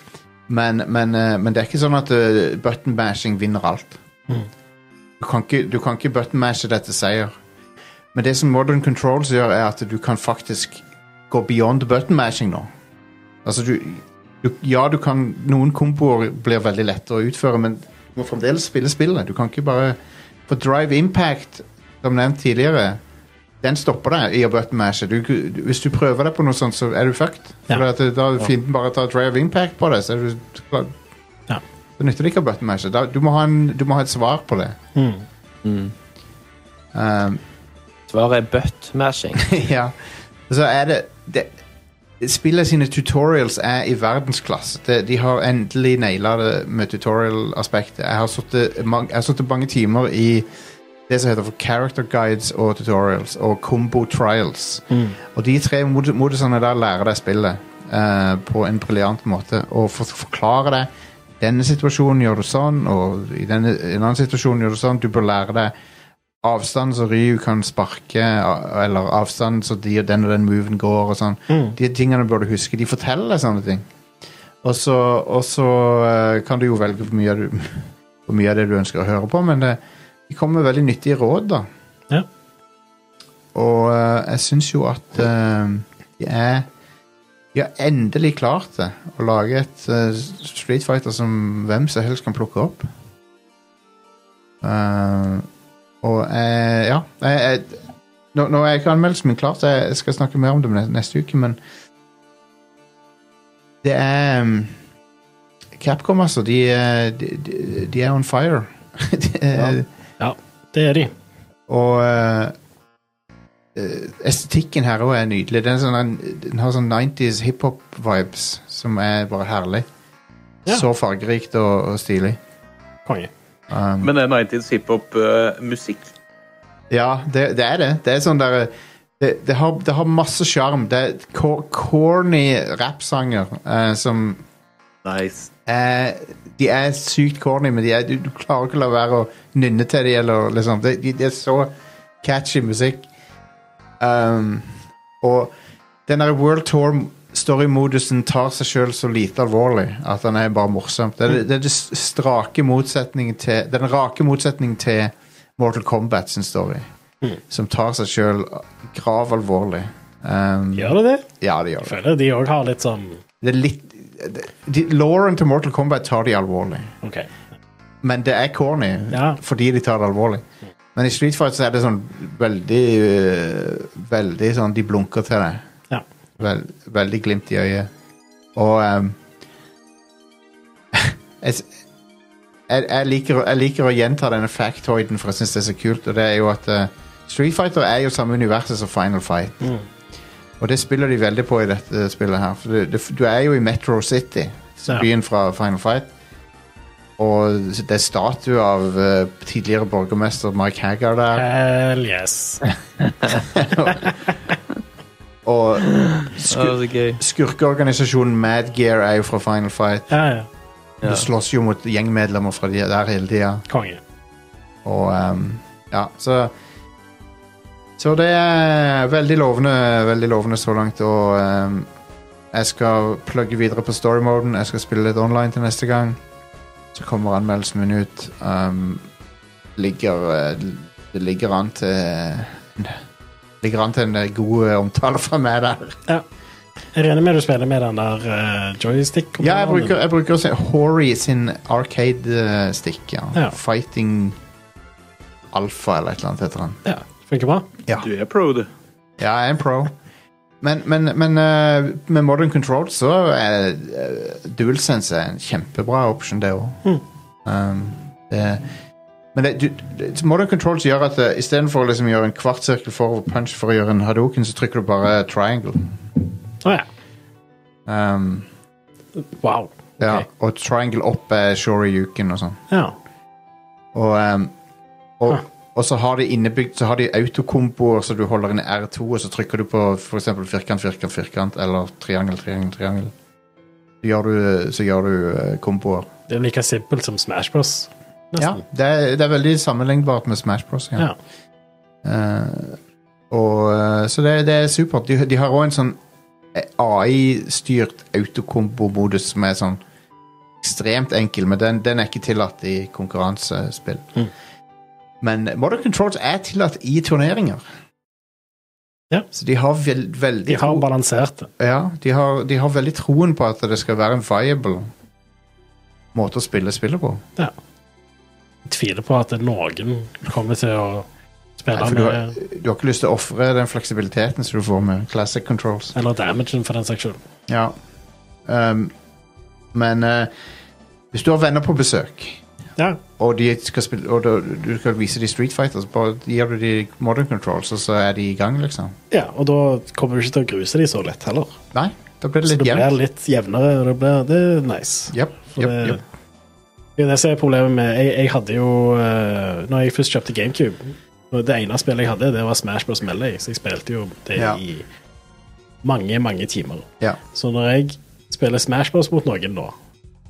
S5: Men, men, eh, men det er ikke sånn at eh, button bashing vinner alt.
S6: Mhm.
S5: Du kan ikke, du kan ikke button mashe dette seier. Men det som Modern Controls gjør, er at du kan faktisk gå beyond button mashing nå. Altså du, du Ja, du kan Noen komboer blir veldig lette å utføre, men du må fremdeles spille spillet. Du kan ikke bare For Drive Impact, som nevnt tidligere, den stopper deg i å button mashe. Du, du, hvis du prøver deg på noe sånt, så er du fucked.
S6: Ja.
S5: For at da fienden bare tar Drive Impact på deg, så er du klar.
S6: Ja.
S5: Da nytter det ikke å button mashe. Da, du, må ha en, du må ha et svar på det.
S6: Mm.
S5: Um,
S8: Svaret er butt-mashing.
S5: ja. Så er det, det Spillet sine tutorials er i verdensklasse. De, de har endelig naila det med tutorial-aspektet. Jeg har sittet mang- jeg har sittet mange timer i det som heter for character guides og tutorials, og combo trials. Og de tre mod- modusene der lærer deg spillet eh, på en briljant måte. Og for, forklare deg denne situasjonen gjør du sånn, og i denne, en annen situasjon gjør du sånn. Du bør lære deg avstand som Ryu kan sparke, a- eller avstand som de og den og den moven går, og sånn. De tingene bør du huske. De forteller deg sånne ting. Og så, og så eh, kan du jo velge hvor mye, du, hvor mye av det du ønsker å høre på, men det, de kommer med veldig nyttige råd, da.
S6: Ja.
S5: Og eh, jeg syns jo at eh, de er De har endelig klart det. Å lage et eh, Street Fighter som hvem som helst kan plukke opp. Eh, og eh, ja jeg, jeg, nå, nå er ikke anmeldelsen min klar, så jeg, jeg skal snakke mer om det ne- neste uke, men Det er um, Capcom, altså. De, eh, de, de, de er on fire. de, er-
S7: Eh.
S6: ja, det er de.
S5: Og eh, eh, estetikken her òg er nydelig. Den, er sånn, en- den har sånn 90s hiphop-vibes som er bare herlig.
S6: Ja.
S5: Så fargerikt og, og stilig.
S6: Konge.
S5: Um,
S7: Men det er 90s hiphop-musikk.
S5: Ja, det, det er det. Det er sånn der Det, det, har, det har masse sjarm. Det er cor- corny rappsanger eh, som
S7: Nice.
S5: er Eh, De er sykt corny, men de er, du, du klarer ikke å la være å nynne til dem, eller liksom Det de, de er så catchy musikk. Um, og den der World Tour Story-modusen tar seg sjøl så lite alvorlig at den er bare morsom. Det er, det er det strake motsetningen til Den rake motsetningen til Mortal Kombat sin story, som tar seg sjøl gravalvorlig. Um,
S6: Gjør det det?
S5: ja, det gjør det.
S6: Føler de òg har litt sånn
S5: det er litt, de, Lauren til Mortal Kombat tar de alvorlig.
S6: OK.
S5: Men det er corny
S6: Ja.
S5: fordi de tar det alvorlig. Men i Street Fight så er det sånn veldig øh, Veldig sånn De blunker til deg.
S6: Ja.
S5: Vel- veldig glimt i øyet. Og ehm, jeg, s- jeg, jeg, liker, å- jeg liker å gjenta denne factoiden, for jeg syns det er så kult. Og det er jo at eh, Street Fighter er jo samme universet som Final Fight. Og det spiller de veldig på i dette spillet her. For du, du- du er jo i Metro City,
S6: Ja.
S5: byen fra Final Fight. Og det er statue av eh, tidligere borgermester Mike Haggar der.
S6: Hell yes.
S5: Og
S8: Det var så gøy.
S5: skurkeorganisasjonen Mad Gear er jo fra Final Fight.
S6: Ja, ja.
S5: Du slåss jo mot gjengmedlemmer fra de der hele tida.
S6: Konge.
S5: Og ehm, ja, så Så det er veldig lovende, veldig lovende så langt, og ehm, jeg skal plugge videre på storymoden. Jeg skal spille litt online til neste gang. Så kommer anmeldelsen min ut. Ehm, ligger eh, Det ligger an til Ligger an til en eh, god eh, omtale fra meg der.
S6: Jeg regner med du spiller med den der eh, joystick
S5: Ja, jeg bruker, jeg bruker å se Hori sin arcade-stick. Ja.
S6: Ja.
S5: Fighting Alpha eller et eller annet heter han.
S6: Ja, funker bra.
S7: Du er pro, du.
S5: Ja, jeg er en pro. Men, men, men eh, med Modern Control så er eh, DualSense er en kjempebra option, det òg.
S6: Mm.
S5: Um, det- men det, du, det, Modern Control så gjør at uh, istedenfor å liksom gjøre en kvartsirkel forover punch for å gjøre en hadoken, så trykker du bare triangle.
S6: Å ja.
S5: Um,
S6: Wow.
S5: ja,
S6: Ok.
S5: Og triangle opp er shoryuken og sånn.
S6: Ja.
S5: Og, um, og,
S6: Ah.
S5: og så har de innebygd Så har de autokomboer, så du holder inn R2, og så trykker du på f.eks. firkant, firkant, firkant, eller triangel, triangel, triangel. Så gjør du, så gjør du eh, komboer.
S6: Det er like simpelt som Smash Bros.
S5: Ja, det er, det er veldig sammenlignbart med Smash Bros. Ja.
S6: Ja.
S5: Eh, og, eh, så det, det er supert. De, de har òg en sånn AI-styrt autokombo-modus som er sånn ekstremt enkel, men den, den er ikke tillatt i konkurransespill.
S6: Mm.
S5: Men Modern Controls er tillatt i turneringer,
S6: ja.
S5: så de har vel, veldig
S6: De har
S5: tro-
S6: balansert det.
S5: ja, de har, de har veldig troen på at det skal være en viable måte å spille spillet på.
S6: Ja. Jeg tviler på at noen kommer til å
S5: Nei,
S6: spille
S5: for du, har,
S6: med
S5: du har ikke lyst til å ofre den fleksibiliteten som du får med classic controls.
S6: Eller damagen, for den saks skyld.
S5: Ja. Um, men eh, hvis du har venner på besøk,
S6: Ja.
S5: og, de skal spille, og du, du skal vise dem Street Fighter, så bare gir du dem Modern Controls, og så er de i gang, liksom.
S6: ja. Og da kommer du ikke til å gruse de så lett heller.
S5: Nei, da blir det
S6: Så
S5: litt
S6: det blir
S5: jevnt.
S6: litt jevnere, og det blir det er nice.
S5: Jep,
S6: For
S5: jep,
S6: det-
S5: jep.
S6: Det er det som er problemet med Jeg, jeg hadde jo eh, Når jeg først kjøpte GameCube og Det ene spillet jeg hadde, det var Smash Bros. Melee, så jeg spilte jo det
S5: Ja.
S6: i mange, mange timer.
S5: Ja.
S6: Så når jeg spiller Smash Bros. mot noen nå,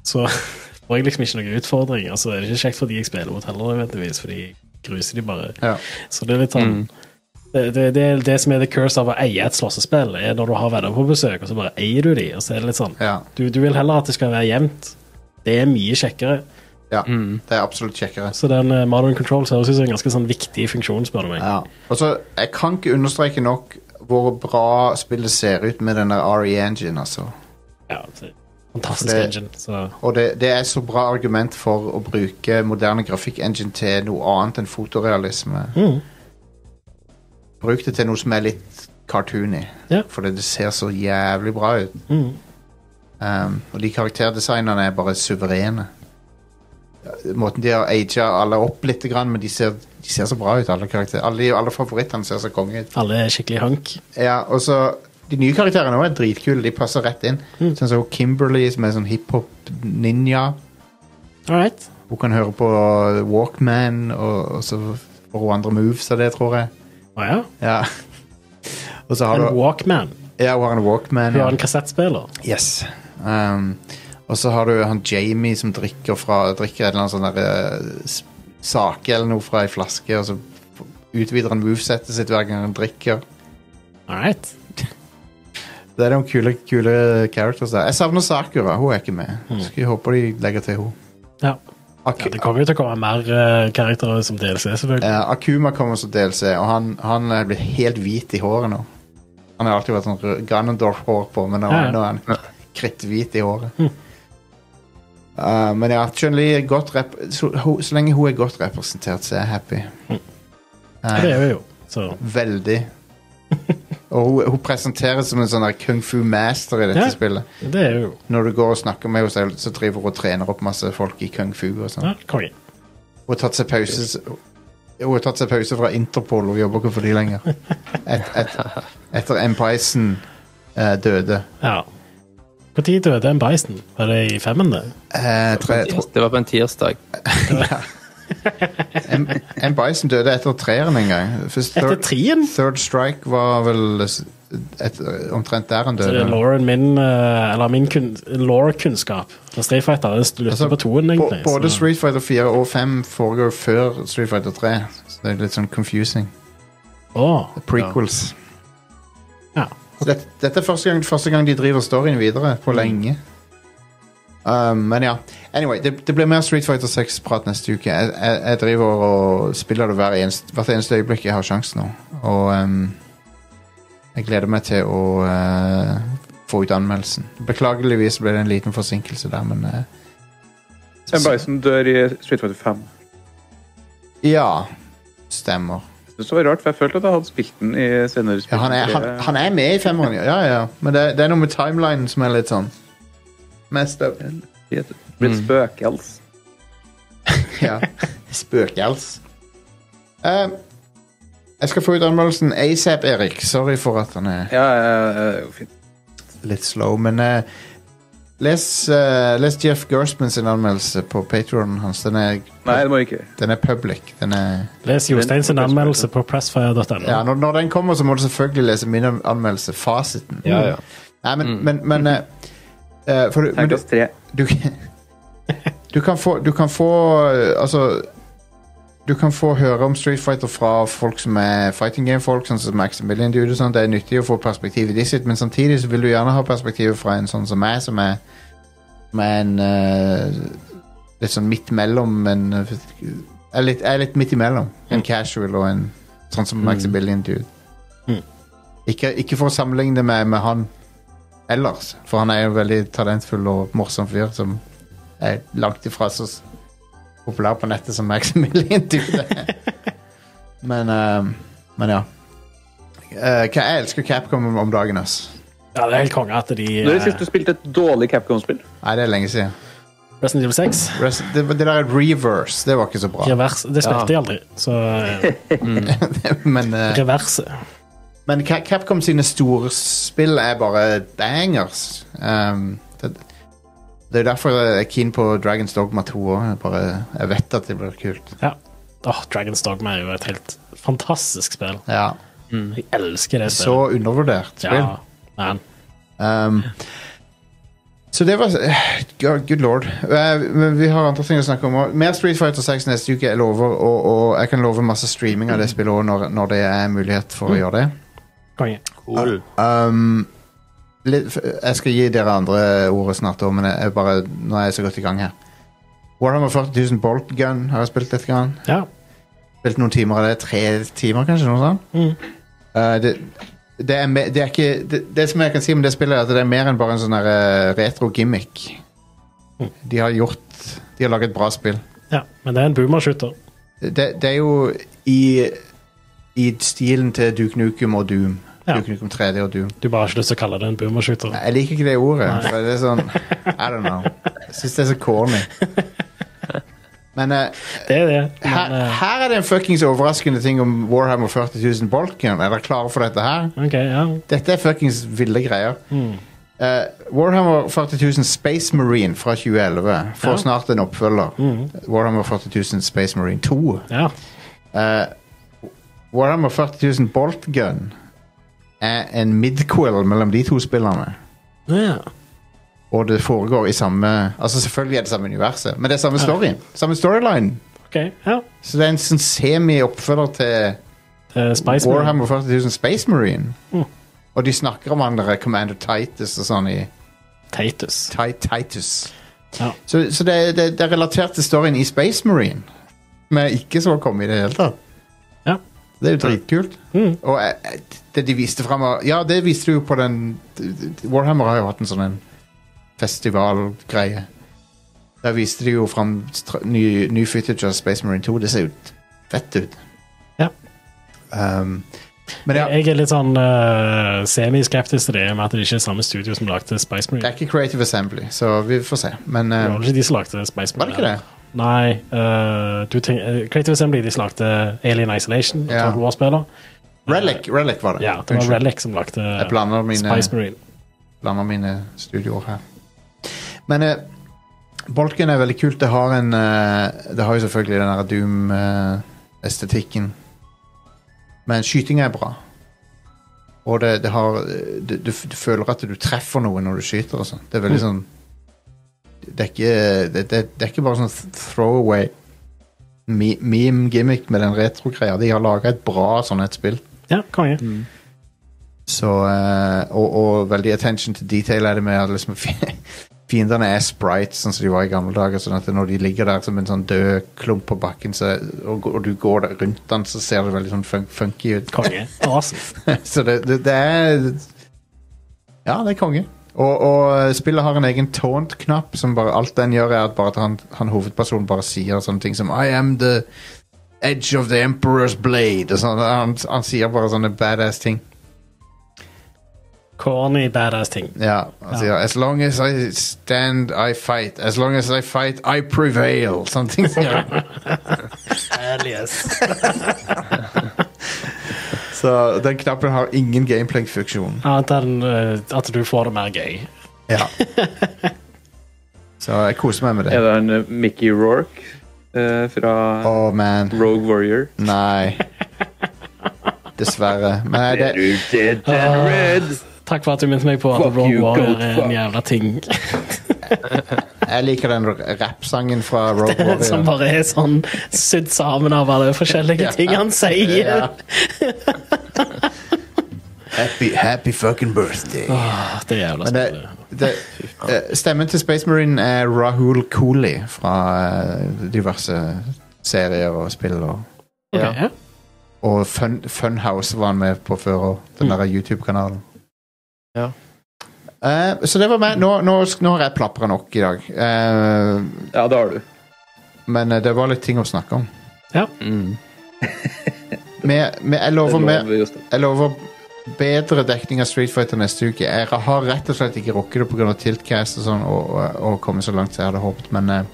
S6: så får jeg liksom ikke noen utfordringer. Så er det ikke kjekt fordi jeg spiller mot heller, nødvendigvis, fordi jeg gruser de bare.
S5: Ja. Mm.
S6: Så det er litt sånn det, det, det, er det som er the curse av å eie et slåssespill, er når du har venner på besøk, og så bare eier du de, og så er det litt sånn
S5: Ja.
S6: du, du vil heller at det skal være jevnt. Det er mye kjekkere.
S5: ja. Det er absolutt kjekkere.
S6: Så den eh, modern controls høres ut som en ganske sånn viktig funksjon, spør du meg.
S5: Ja. Og så, jeg kan ikke understreke nok hvor bra spillet ser ut med den der RE-engine, altså.
S6: Ja, så- fantastisk
S5: Det-
S6: engine. Så
S5: Og det, det er så bra argument for å bruke moderne grafikkengine til noe annet enn fotorealisme. Bruk det til noe som er litt cartoony,
S6: Ja.
S5: fordi det ser så jævlig bra ut. Um, og de karakterdesignerne er bare suverene. Måten de har aga alle opp litt, grann, men de ser, de ser så bra ut, alle karakterer. Alle, alle favorittene ser så konge ut.
S6: alle er skikkelig hunk.
S5: Ja, og så De nye karakterene også er dritkule. De passer rett inn. Sånn som Kimberly, som er sånn hiphop-ninja.
S6: All right.
S5: Hun kan høre på Walkman, og, og så får hun andre moves av det, tror jeg.
S6: Å ja.
S5: Ja. og så har
S6: En
S5: du
S6: Walkman.
S5: Ja, hun har en Walkman.
S6: Du
S5: Ja.
S6: har en kassettspiller.
S5: Yes. Um, og så har du han Jamie som drikker fra Drikker et eller annet sånn der eh, s- sake eller noe fra ei flaske, og så utvider han movesettet sitt hver gang han drikker.
S6: All right.
S5: Det er noen kule, kule characters der. Jeg savner Sakura. Hun er ikke med. Skulle jeg håper de legger til henne.
S6: Ja.
S5: Ak
S6: Hmm. ja. Det kommer jo til å komme mer eh, karakterer som DLC, selvfølgelig.
S5: Eh, Akuma kommer som DLC, og han, han er blitt helt hvit i håret nå. Han har alltid vært sånn rød- Ganondorf-hår på, men nå,
S6: Ja, ja.
S5: nå er han kritthvit i håret. Eh, men ja, Chun-Li er godt rep så, ho, så lenge hun er godt representert, så er jeg happy. Eh,
S6: Det er vi jo. Så
S5: veldig. Og hun, hun presenteres som en sånn der kung fu master i dette
S6: Ja.
S5: spillet.
S6: det er jo
S5: Når du går og snakker med henne, så- så driver hun og trener opp masse folk i kung fu. og sånn.
S6: ja, konge.
S5: Hun har tatt seg pause s- Hun har tatt seg pause fra Interpol Hun jobber ikke for de lenger et, et, Etter M. Bison eh, døde
S6: Ja. Når døde en bison? Var det i femmen, det?
S5: Eh, tre, tro,
S8: Det var på en tirsdag.
S5: M. M. Bison døde etter treeren en gang Først
S6: Etter
S5: third,
S6: trien?
S5: third Strike var vel s- et, Omtrent der han
S6: Så det
S5: døde
S6: er Lauren min eh, Eller min kun, Law-kunnskap fra Street Fighter. Det slutter
S5: Altså,
S6: på toen,
S5: bo-
S6: egentlig.
S5: Både
S6: så-
S5: Street Fighter 4 og 5 foregår før Street Fighter 3 Så det er litt sånn confusing
S6: Åh,
S5: Prequels
S6: ja.
S5: Så Dette, dette er første gang, første gang de driver storyen videre på lenge. Um, men ja. Anyway, det, det blir mer Street Fighter 6-prat neste uke. Jeg, jeg, jeg driver og spiller det hver eneste, hvert eneste øyeblikk jeg har sjansen nå. Og um, jeg gleder meg til å eh, få ut anmeldelsen. Beklageligvis ble det en liten forsinkelse der, men eh,
S7: M. Bison dør i Street Fighter 5.
S5: ja. Stemmer.
S7: Det var rart, for jeg følte at jeg hadde spilt den i senere spill.
S5: Ja, han, er, han, han er med i femmeren, ja. ja, ja. Men det, det er noe med timelinen som er litt sånn messed up.
S7: Det blir et spøkelse.
S5: Ja. Spøkels. Eh, jeg skal få ut anmeldelsen ASAP, Erik. Sorry for at han er
S7: Ja, ja, ja, fint.
S5: litt slow, men eh, les, eh, les Jeff Gerstmann sin anmeldelse på Patreon hans. Den er,
S7: Nei, det må jeg ikke.
S5: den er public. Den er,
S6: Les Jostein sin anmeldelse på pressfire.no.
S5: ja, når, når den kommer, så må du selvfølgelig lese min an- anmeldelse. Fasiten. Nei, men, men, men, eh, eh, for, du- men du,
S7: Terningkast tre.
S5: du, du kan få Du kan få eh, Altså Du kan få høre om Street Fighter fra folk som er fighting game-folk, sånn som Maximilian Dude og sånn. Det er nyttig å få perspektivet ditt sitt, men samtidig så vil du gjerne ha perspektivet fra en sånn som meg, som er som er en eh, litt sånn midt mellom en eh, er litt, er litt midt imellom. En casual og en sånn som Maximilian Dude.
S6: Mm.
S5: Ikke, ikke for å sammenligne det med, med han ellers. For han er jo en veldig talentfull og morsom fyr som er langt ifra så s- populær på nettet som Maximilian Dude. er. men, eh, men ja. Eh, hva- jeg elsker Capcom om- om dagen, ass.
S6: Ja, det er helt konge at de
S7: Når er det
S6: eh,
S7: sist du spilte et dårlig Capcom-spill?
S5: Nei, det er lenge siden.
S6: Resident Evil 6
S5: Rest, det, det der reverse, det var ikke så bra.
S6: Revers, Det spilte
S8: Ja.
S6: de aldri. Så eh,
S5: men, eh,
S6: reverse.
S5: men Ca- Capcom sine store spill er bare bangers. Um, det, det er derfor jeg er keen på Dragons Dogma 2 òg. Jeg, bare- jeg vet at det blir kult.
S6: Ja. Åh, Dragons Dogma er jo et helt fantastisk spill.
S5: Ja.
S6: Jeg elsker det
S5: Mm.
S6: spillet.
S5: Så undervurdert spill.
S6: ja, man.
S5: Um, så det var God, good lord. Eh, men vi har andre ting å snakke om. også. Mer Street Fighter 6 neste uke, jeg lover. Og, og jeg kan love masse streaming av det spillet òg, når, når det er mulighet for å gjøre det.
S6: Konge.
S5: Um, litt, f- jeg skal gi dere andre ordet snart, også, men jeg, jeg bare, nå er jeg så godt i gang her. Warhammer 40 000 Bolt Gun har jeg spilt litt. Grann.
S6: Ja.
S5: Spilt noen timer av det. Tre timer, kanskje? noe sånt. Uh, det, det, er me, det er ikke det, det som jeg kan si om det spillet, er at det er mer enn bare en sånn her, eh, retro gimmick. De har gjort De har laget bra spill.
S6: ja. Men det er en boomershooter.
S5: Det, det er jo i i stilen til Duke Nukem og Doom.
S6: Ja.
S5: Duke Nukem 3D og Doom.
S6: Du bare har ikke lyst til å kalle det en boomershooter.
S5: Jeg liker ikke det ordet. For det er sånn I don't know. Jeg syns det er så corny. Men eh,
S6: Det er det.
S5: her,
S6: Men, eh,
S5: her er det en fuckings overraskende ting om Warhammer 40 000 Balkan. Er dere klare for dette her?
S6: OK, ja.
S5: Dette er fuckings ville greier.
S6: Mm.
S5: Eh, Warhammer 40 000 Space Marine fra 2011 får
S6: Ja. Mm.
S5: snart en oppfølger. Warhammer 40 000 Space Marine 2.
S6: ja.
S5: Warhammer 40 000 Bolt Gun er en midquill mellom de to spillerne.
S6: Ja.
S5: Og det foregår i samme Altså Selvfølgelig er det samme universet, men det er samme storyen. Samme storyline.
S6: OK. Ja.
S5: Så det er en sånn semi-oppfølger til
S6: Det er Spice Man.
S5: Warhammer 40 000 Space Marine.
S6: Mm.
S5: Og de snakker om andre Commander Titus og sånn i
S6: Titus.
S5: Ti- Titus.
S6: Ja.
S5: Så, så det, det, det er relatert til storyen i Space Marine. Som jeg ikke så komme i det hele tatt.
S6: Ja.
S5: Det er jo dritkult.
S6: Mm.
S5: Og jeg, jeg- det de viste frem av- Ja, det viste du jo på den Warhammer har jo hatt en sånn en festivalgreie. Der viste de jo fram stra- ny, ny footage av Space Marine 2. Det ser jo fett ut.
S6: Ja.
S5: Um, men ja,
S6: Jeg er litt sånn eh, semiskeptisk til det med at det ikke er samme studio som lagde Spice
S5: det
S6: Marine.
S5: er ikke Creative Assembly, så vi får se. Men
S6: Det
S5: eh,
S6: var ikke de som lagde Spice
S5: var det
S6: Marine.
S5: ikke det?
S6: Nei. eh, du tenk, eh, Creative Assembly de som lagde Alien Isolation.
S5: Ja.
S6: Total War-spiller.
S5: Relic, Relic var det.
S6: Ja, det var
S5: Unnskyld.
S6: Relic som lagde
S5: Jeg blander mine,
S6: Spice Marine.
S5: blander mine studioer her. Men eh, Bolken er veldig kult. Det har en eh, Det har jo selvfølgelig den der Doom-estetikken. Men skytinga er bra. Og det, det har eh, du, du, f- du føler at du treffer noe når du skyter og sånn. Det er veldig sånn Det er ikke Det, det, det er ikke bare sånn throwaway me- meme gimmick med den retro-greia. De har laga et bra sånn et spill.
S6: Ja, konge.
S5: Så, eh, og, og veldig attention to detail er det med at liksom, fi- fiendene er sprites, sånn som de var i gamle dager. Sånn at når de ligger der som en sånn død klump på bakken, så, og, og du går der rundt den, så ser det veldig sånn fun funky ut.
S6: Konge. Awesome.
S5: så det, det, det er Ja, det er konge. Og, og spillet har en egen taunt-knapp som bare alt den gjør, er at bare at han, han hovedpersonen bare sier sånne ting som I am the edge of the emperor's blade. Og sånn, han, han sier bare sånne badass ting.
S6: Corny, badass ting.
S5: Ja, han sier As long as I stand, I fight. As long as I fight, I prevail. Sånne ting sier han. Så den knappen har ingen gameplay-funksjon.
S6: Annet enn eh, at du får det mer gøy.
S5: Ja. Så jeg koser meg med det.
S7: Er det han eh, Mickey Rorke eh, fra
S5: Oh man.
S7: Rogue Warrior?
S5: Nei. Dessverre. Men det,
S7: du dead and red?
S6: Takk for at du minnet meg på at
S7: Fuck
S6: Rogue
S7: you,
S6: Warrior
S7: goat
S6: er
S7: fuck.
S6: en jævla ting.
S5: jeg liker den rappsangen fra Rogue
S6: Den som
S5: Warrior.
S6: bare er sånn sydd sammen av alle forskjellige ting han sier.
S5: Ja. Happy, happy fucking birthday.
S6: Åh, Ah, det er jævla
S5: Men det,
S6: spillet.
S5: det, eh, stemmen til Space Marine er Rahul Cooley fra eh, diverse serier og spill. Og,
S6: Ok,
S8: ja.
S6: ja.
S5: og Fun, Funhouse var han med på før, og den der YouTube-kanalen.
S8: Ja.
S5: Eh, så det var meg. Nå, nå, sk- nå har jeg plapra nok i dag. Eh,
S7: Ja, det har du.
S5: men eh, det var litt ting å snakke om.
S8: Mm.
S5: Med, med, jeg
S7: Det
S5: lover med
S7: lover Jostein.
S5: Jeg lover bedre dekning av Street Fighter neste uke. Jeg har rett og slett ikke rukket det pga. Tiltcast og sånn, og, og, og komme så langt som jeg hadde håpet, men eh,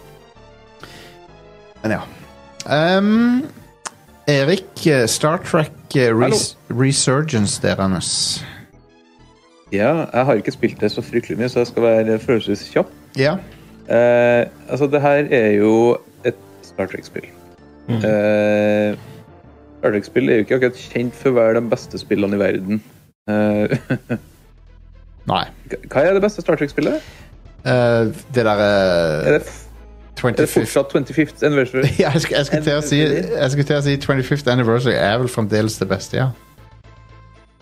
S5: Men ja. Um, Erik, eh, Star Trek eh, Res Resurgence deres.
S7: Ja, jeg har ikke spilt det så fryktelig mye, så jeg skal være forholdsvis kjapp.
S5: Ja.
S7: Eh, altså, det her er jo et Star Trek-spill. Eh, Star Trek-spill er jo ikke akkurat kjent for å være de beste spillene i verden. Eh,
S5: Nei.
S7: hva er det beste Star Trek-spillet?
S5: Eh, det derre
S7: Er, det f- er det
S5: 25th
S7: fortsatt 25th Anniversary?
S5: ja, jeg, sk- jeg skulle til å si Jeg skulle til å si 25th Anniversary er vel fremdeles det beste, ja.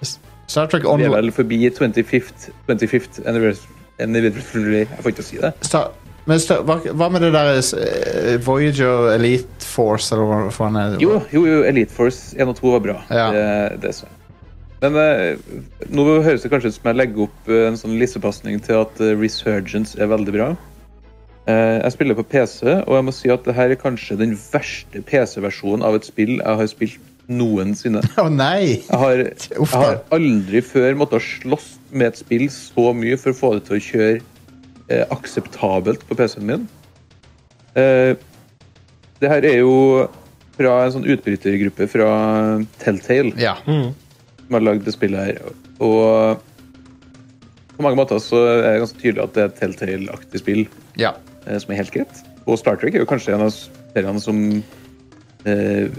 S5: S- Star Trek
S7: Vi er
S5: Online
S7: vel forbi 25th, 25th Anniversary. Anniversary. Jeg får ikke si det.
S5: Sta- men sta- hva, hva med det der eh, Voyager Elite Force, eller hva faen er det?
S7: Jo, jo, jo Elite Force 1 og 2 var bra.
S5: Ja.
S7: Det, det så jeg. Men eh, nå høres det kanskje ut som jeg legger opp eh, en sånn lissepasning til at eh, Resurgence er veldig bra. Eh, jeg spiller på PC, og jeg må si at det her er kanskje den verste PC-versjonen av et spill jeg har spilt noensinne.
S5: Å nei!
S7: Jeg har, jeg
S5: Uff da.
S7: har aldri før måttet slåss med et spill så mye for å få det til å kjøre eh, akseptabelt på PC-en min. Eh, det her er jo fra en sånn utbrytergruppe fra Telltale
S5: Ja.
S7: som har lagd det spillet her. Og på mange måter så er det ganske tydelig at det er et Telltale-aktig spill
S5: ja.
S7: eh, som er helt greit. Og Star Trek er jo kanskje en av seriene som eh,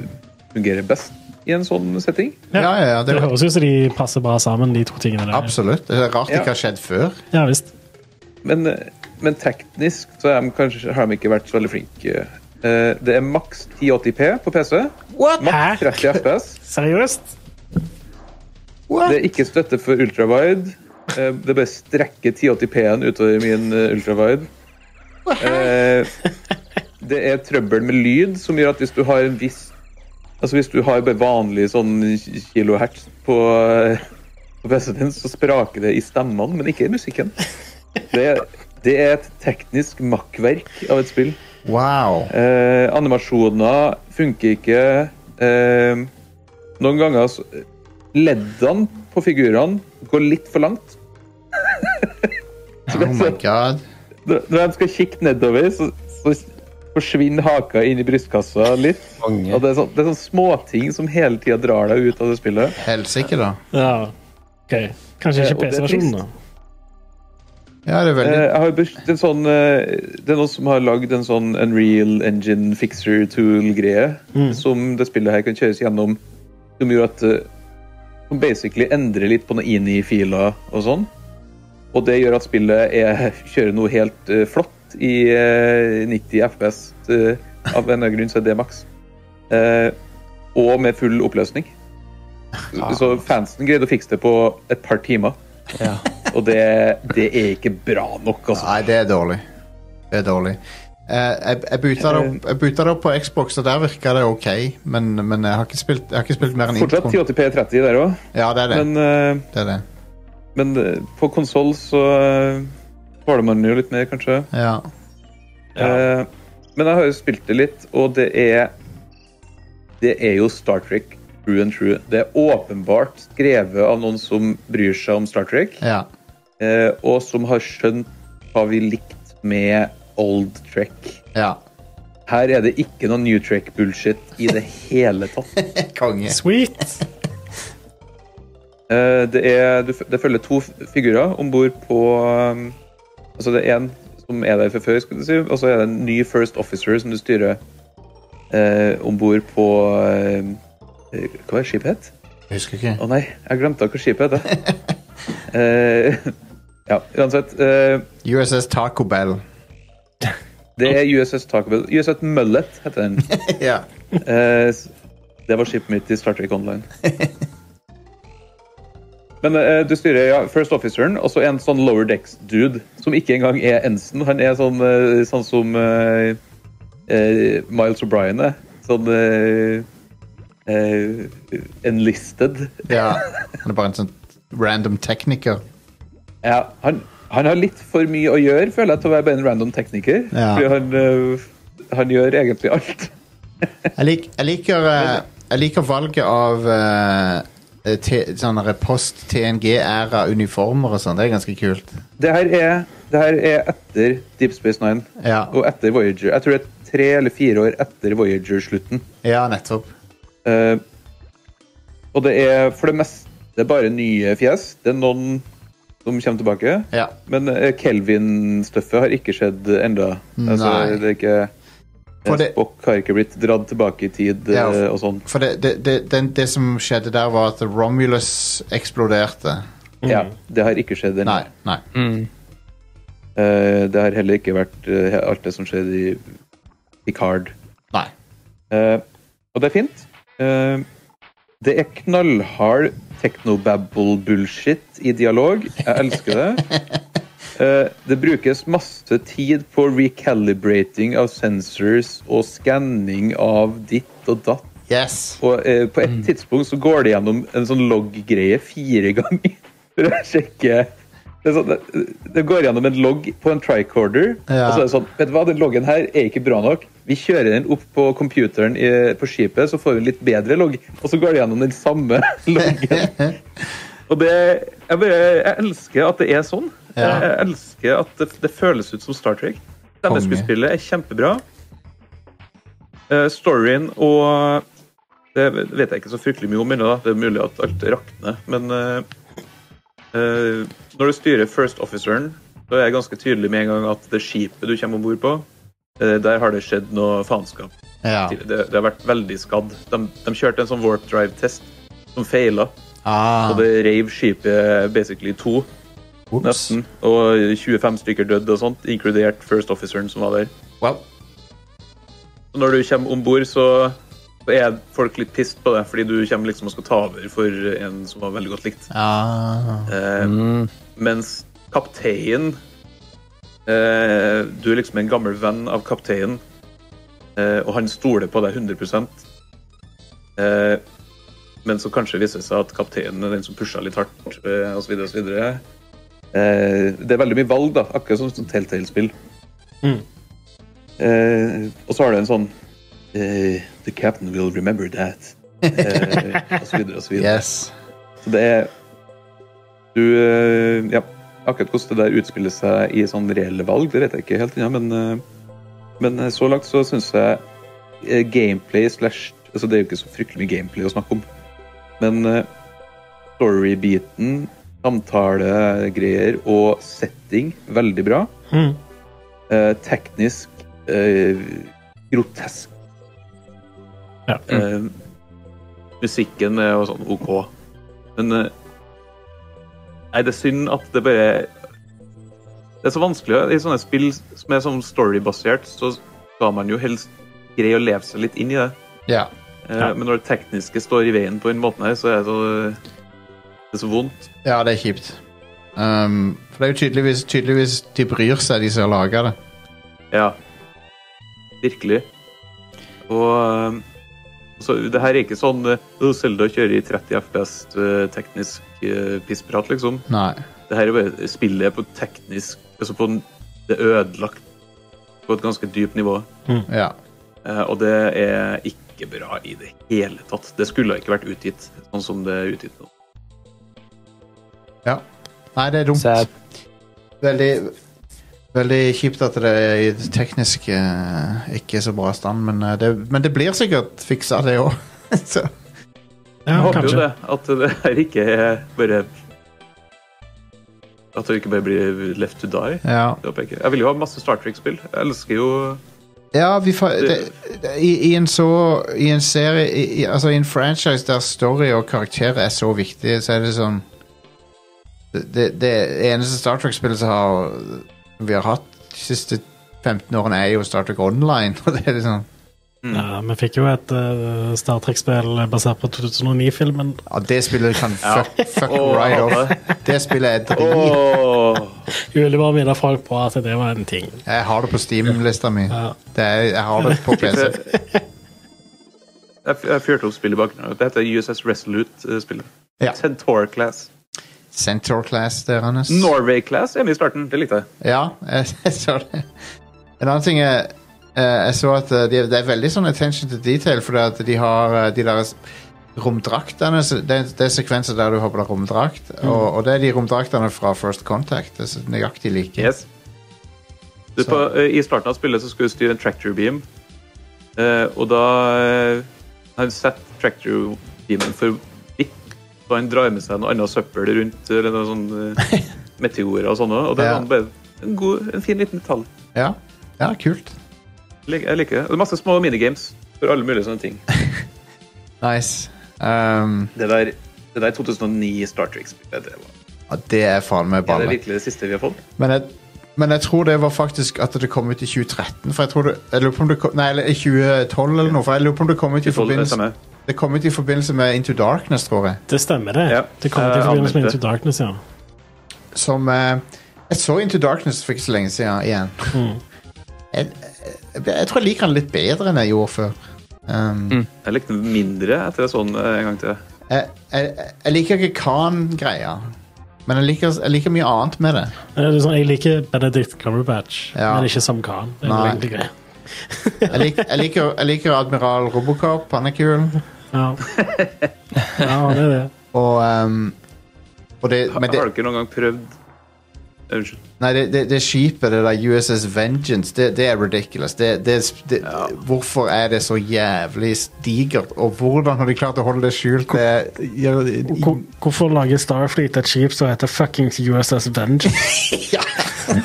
S7: fungerer best i en sånn setting.
S5: Ja, ja, ja, det
S6: Det
S5: var-
S6: høres ut som de passer bra sammen, de to tingene der.
S5: Absolutt. Det er rart det ikke har skjedd før.
S6: Ja, visst.
S7: Men, eh, men teknisk så er de kanskje, har de ikke vært så veldig flinke. Eh, Det er maks 1080P på PC. Maks
S6: Hæ?
S7: 30 FPS.
S6: Seriøst?
S7: Det er ikke støtte for ultrawide. Eh, Det bare strekker 1080P-en utover min eh, ultrawide. Eh, Det er trøbbel med lyd, som gjør at hvis du har en viss Altså hvis du har bare vanlig sånn kilohertz på, eh, på PC-en din, så spraker det i stemmene, men ikke i musikken. Det er Det er et teknisk makkverk av et spill.
S5: Wow.
S7: Eh, animasjoner funker ikke. Eh, noen ganger så Leddene på figurene går litt for langt.
S5: Oh my god.
S7: Når når de skal kikke nedover, så, så forsvinner haka inn i brystkassa litt.
S8: Konge.
S7: Og det er sånn, det er sånn småting som hele tida drar deg ut av det spillet.
S5: Helsike, da.
S6: Ja. OK. Kanskje
S7: Eh,
S6: ikke
S7: og det er
S6: PC-versjonen, da.
S5: Ja, det er
S7: Eh,
S5: veldig
S7: Jeg har best, en sånn, eh, det er noen som har lagd en sånn Unreal Engine Fixer Tool-greie som det spillet her kan kjøres gjennom, som gjør at eh, Som basically endrer litt på noen ini-filer og sånn. Og det gjør at spillet er, kjører noe helt eh, flott i eh, 90 FPS. eh, av en eller annen grunn så er det maks. Eh, og med full oppløsning.
S5: Ah.
S7: Så fansen greide å fikse det på et par timer.
S8: Ja.
S7: Og det, det er ikke bra nok, altså.
S5: Nei, det er dårlig. Det er dårlig. Eh, jeg, jeg, buta det opp, jeg buta det opp på Xbox, og der virka det ok, men, men jeg, har ikke spilt, jeg har ikke spilt mer enn
S7: Fortsatt
S5: introen.
S7: 1080p 30 der òg,
S5: Ja, det er det.
S7: men, eh,
S5: det, er det.
S7: men eh, på konsoll så eh, tåler man jo litt mer, kanskje.
S5: Ja.
S7: Eh, Men jeg har jo spilt det litt, og det er Det er jo Star Trek true and true. Det er åpenbart skrevet av noen som bryr seg om Star Trek,
S5: ja.
S7: eh, og som har skjønt hva vi likte med Old Trek.
S5: ja.
S7: Her er det ikke noe New Trek-bullshit i det hele tatt.
S5: Konge.
S6: Sweet!
S7: Eh, Det, er, du f- det følger to f- figurer om bord på um, Altså, det er en som er der fra før, skal du si, og så er det en ny First Officer som du styrer eh, om bord på eh, eh, Hva var det skipet het?
S5: Jeg husker ikke.
S7: Å nei, jeg glemte hva skipet het. eh, ja, uansett. Eh,
S5: USS Taco Bell.
S7: det er USS Taco Bell. USS Mullet heter den.
S5: ja.
S7: Eh, s- det var skipet mitt i Star Trek Online. Men eh, du styrer ja, First Officeren og så en sånn Lower Decks-dude som ikke engang er Ensen. Han er sånn, eh, sånn som eh, eh, Miles O'Brien er. Sånn eh, eh, enlisted.
S5: ja. Han er bare en sånn random tekniker.
S7: Ja, han, han har litt for mye å gjøre, føler jeg, til å være bare en random tekniker.
S5: Ja.
S7: Fordi han, eh, han gjør egentlig alt.
S5: Jeg, lik, jeg, liker, eh, jeg liker valget av eh, te, sånne der post-TNG-æra uniformer og sånn. Det er ganske kult.
S7: Det her er, det her er etter Deep Space Nine.
S5: Ja,
S7: Og etter Voyager. Jeg tror det er tre eller fire år etter Voyager-slutten.
S5: ja nettopp.
S7: Eh, og det er for det meste bare nye fjes. Det er noen som kommer tilbake.
S5: Ja.
S7: Men eh, Kelvin-stuffet har ikke skjedd enda. Altså,
S5: Nei.
S7: det er ikke
S5: For det-
S7: Spock har ikke blitt dratt tilbake i tid eh,
S5: Ja, for-
S7: og sånn.
S5: For det, det, det, den, det som skjedde der, var at Romulus eksploderte.
S7: Ja, det har ikke skjedd ennå.
S5: Nei. nei.
S7: Eh, det har heller ikke vært eh, alt det som skjedde i Picard.
S5: nei.
S7: Eh, og det er fint. Eh, det er knallhard technobabble-bullshit i dialog. Jeg elsker det. Eh, det brukes masse tid på recalibrating av sensors og skanning av ditt og datt.
S5: Yes.
S7: Og eh, på
S5: Mm.
S7: et tidspunkt så går det gjennom en sånn logg-greie fire ganger. For å sjekke det, er sånn, det, det går gjennom en logg på en tricorder.
S5: Ja.
S7: Og så er det sånn Vet du hva, den loggen her er ikke bra nok. Vi kjører den opp på computeren i, på skipet, så får vi en litt bedre logg. Og så går det gjennom den samme loggen. Og det Jeg, bare, jeg elsker at det er sånn.
S5: Ja.
S7: Jeg, jeg elsker at det, det føles ut som Star Trek. Stemmeskuespillet er kjempebra. Eh, storyen og eh, Det vet jeg ikke så fryktelig mye om ennå. da. Det er mulig at alt rakner. Men eh, eh, når du styrer First Officeren, så er jeg ganske tydelig med en gang at det skipet du kommer om bord på, eh, der har det skjedd noe faenskap.
S5: Ja.
S7: Det, det har vært veldig skadd. De, de kjørte en sånn warp drive-test som feila,
S5: Ah,
S7: og det reiv skipet basically i to.
S5: whoops.
S7: Nesten. Og 25 stykker døde og sånt, inkludert First Officeren som var der.
S5: Well,
S7: Og når du kommer om bord, så så er folk litt pissed på det, fordi du kommer liksom og skal ta over for en som var veldig godt likt.
S5: ah.
S7: Eh, Mens kapteinen eh, Du er liksom en gammel venn av kapteinen, eh, og han stoler på deg 100 eh, Men så kanskje viser det seg at kapteinen er den som pusha litt hardt, eh, osv., osv. Eh, det er veldig mye valg, da, akkurat som sånn Telltale-spill.
S6: Mm.
S7: Eh, og så har du en sånn eh, The captain will remember that. Eh, og så videre og så videre.
S5: Yes.
S7: Så det er Du eh, Ja, akkurat hvordan det der utspiller seg i sånn reelle valg, det vet jeg ikke helt ennå, men, eh, men eh, så langt så syns jeg eh, gameplay slash Altså, det er jo ikke så fryktelig mye gameplay å snakke om, men eh, story-biten, samtalegreier og setting veldig bra.
S6: Mhm.
S7: Eh, teknisk eh, grotesk.
S6: Ja.
S7: Eh, musikken er jo sånn OK. Men eh, Nei, det er synd at det bare Det er så vanskelig i sånne spill som er sånn storybasert, så skal man jo helst greie å leve seg litt inn i det.
S5: Ja.
S7: Eh,
S6: Ja.
S7: Men når det tekniske står i veien på den måten her, så er det så, det er så vondt.
S5: ja, det er kjipt. Um, for det er jo tydeligvis, tydeligvis de bryr seg, de som har laga det.
S7: Ja. Virkelig. Og eh, så det her er ikke sånn uh, Selda kjører i 30 FPS eh, teknisk eh, pissprat, liksom.
S5: Nei.
S7: Det her er bare spillet er på teknisk Altså på en, det er ødelagt på et ganske dypt nivå.
S5: Ja.
S7: Eh, Og det er ikke bra i det hele tatt. Det skulle ikke vært utgitt sånn som det er utgitt nå.
S5: ja. Nei, det er dumt.
S8: Sad.
S5: Veldig Veldig kjipt at det er i teknisk eh, ikke er så bra stand, men, eh, det, men det blir sikkert fiksa, det òg.
S7: Jeg
S6: Ja,
S7: håper jo
S6: kanskje.
S7: det, at det her ikke er bare At det ikke bare blir left to die.
S5: ja.
S7: Det håper jeg ikke. Jeg vil jo ha masse Star Trek-spill. Jeg elsker jo
S5: ja, vi fa det, det- i, I en så I en serie i, i, Altså i en franchise der story og karakterer er så viktige, så er det sånn Det, det eneste Star Trek-spillet som har vi har hatt de siste 15 årene, er jo Star Trek Online. Og det er liksom
S6: Ja, vi fikk jo et eh, Star Trek-spill basert på 2009-filmen.
S5: Ja, det spillet kan fuck, fuck
S7: Åh,
S5: right
S7: jeg
S5: off.
S7: hater
S5: Det spillet er drit.
S7: Åh,
S6: Ulig var minne folk på at det var en ting.
S5: Jeg har det på Steam-lista mi.
S6: Ja.
S5: Det er, jeg har det på PC.
S7: Jeg, jeg fyrte opp spillet i bakgrunnen. Det heter USS Resolute-spillet.
S5: Ja.
S7: Centaur Class.
S5: Centaur Class der, Anders.
S7: Norway Class er med i starten. Det likte jeg.
S5: Ja, jeg, jeg så det. En annen ting er eh, Jeg så at eh, de, det er veldig sånn attention to detail, fordi at de har eh, de der s- romdraktene så Det, er- det er sekvenser der du har på deg romdrakt,
S7: Mm.
S5: og, og det er de romdraktene fra First Contact. Det er så nøyaktig like.
S7: Yes. Du, på, eh, I starten av spillet så skulle du styre en tractor beam. Eh, og da eh, han setter tractor beamen for bikk, så han drar med seg noe annet søppel rundt, eller noe sånn eh, meteorer og sånn også, Og det er
S5: Ja.
S7: sånn bare en, god, en fin liten detalj.
S5: Ja. ja, kult.
S7: Jeg lik- Jeg liker det. Og det er masse små minigames for alle mulige sånne ting.
S5: Nice. Um,
S7: Det der, det der 2009 Star Trek-spillet, det var
S5: og det er faen meg
S7: er det
S5: balle.
S7: virkelig det siste vi har fått.
S5: Men jeg, men jeg tror det var faktisk at det kom ut i 2013. For jeg tror det, jeg lurer på om det kom, nei, eller i 2012 eller noe. For jeg lurer på om det kom ut i
S7: 2012, det
S5: forbindelse,
S7: stemmer.
S5: det kom ut i forbindelse med Into Darkness, tror jeg.
S6: Det stemmer, det.
S7: Ja.
S6: Det kom til
S7: Eh,
S6: forbindelse med
S7: anmeldte.
S6: Into Darkness, ja. Eh,
S5: Som eh, Jeg så Into Darkness for ikke så lenge siden igjen. Jeg, jeg, jeg tror jeg liker den litt bedre enn jeg gjorde før. Um,
S7: Jeg likte den mindre etter jeg så den eh, en gang til.
S5: jeg, jeg, jeg liker ikke Khan-greia. Men jeg liker, jeg liker mye annet med det.
S6: Det er sånn, jeg liker Benedict Cumberbatch,
S5: Ja.
S6: men ikke som Khan. Det er
S5: Nei.
S6: vel egentlig greia.
S5: Jeg, lik, jeg, liker, jeg liker Admiral Robocop. Han er kul.
S6: Ja. ja, det er det.
S5: Og, um, og det, men det,
S7: Har dere noen gang prøvd Eh, Unnskyld.
S5: Nei, det, det, det skipet, det der USS Vengeance, det, det er ridiculous. Det, det, det, Hvorfor er det så jævlig digert? Og hvordan har de klart å holde det skjult? Det, gjør-
S6: Hvor- Hvorfor lager Starfleet et skip som heter fuckings USS Vengeance?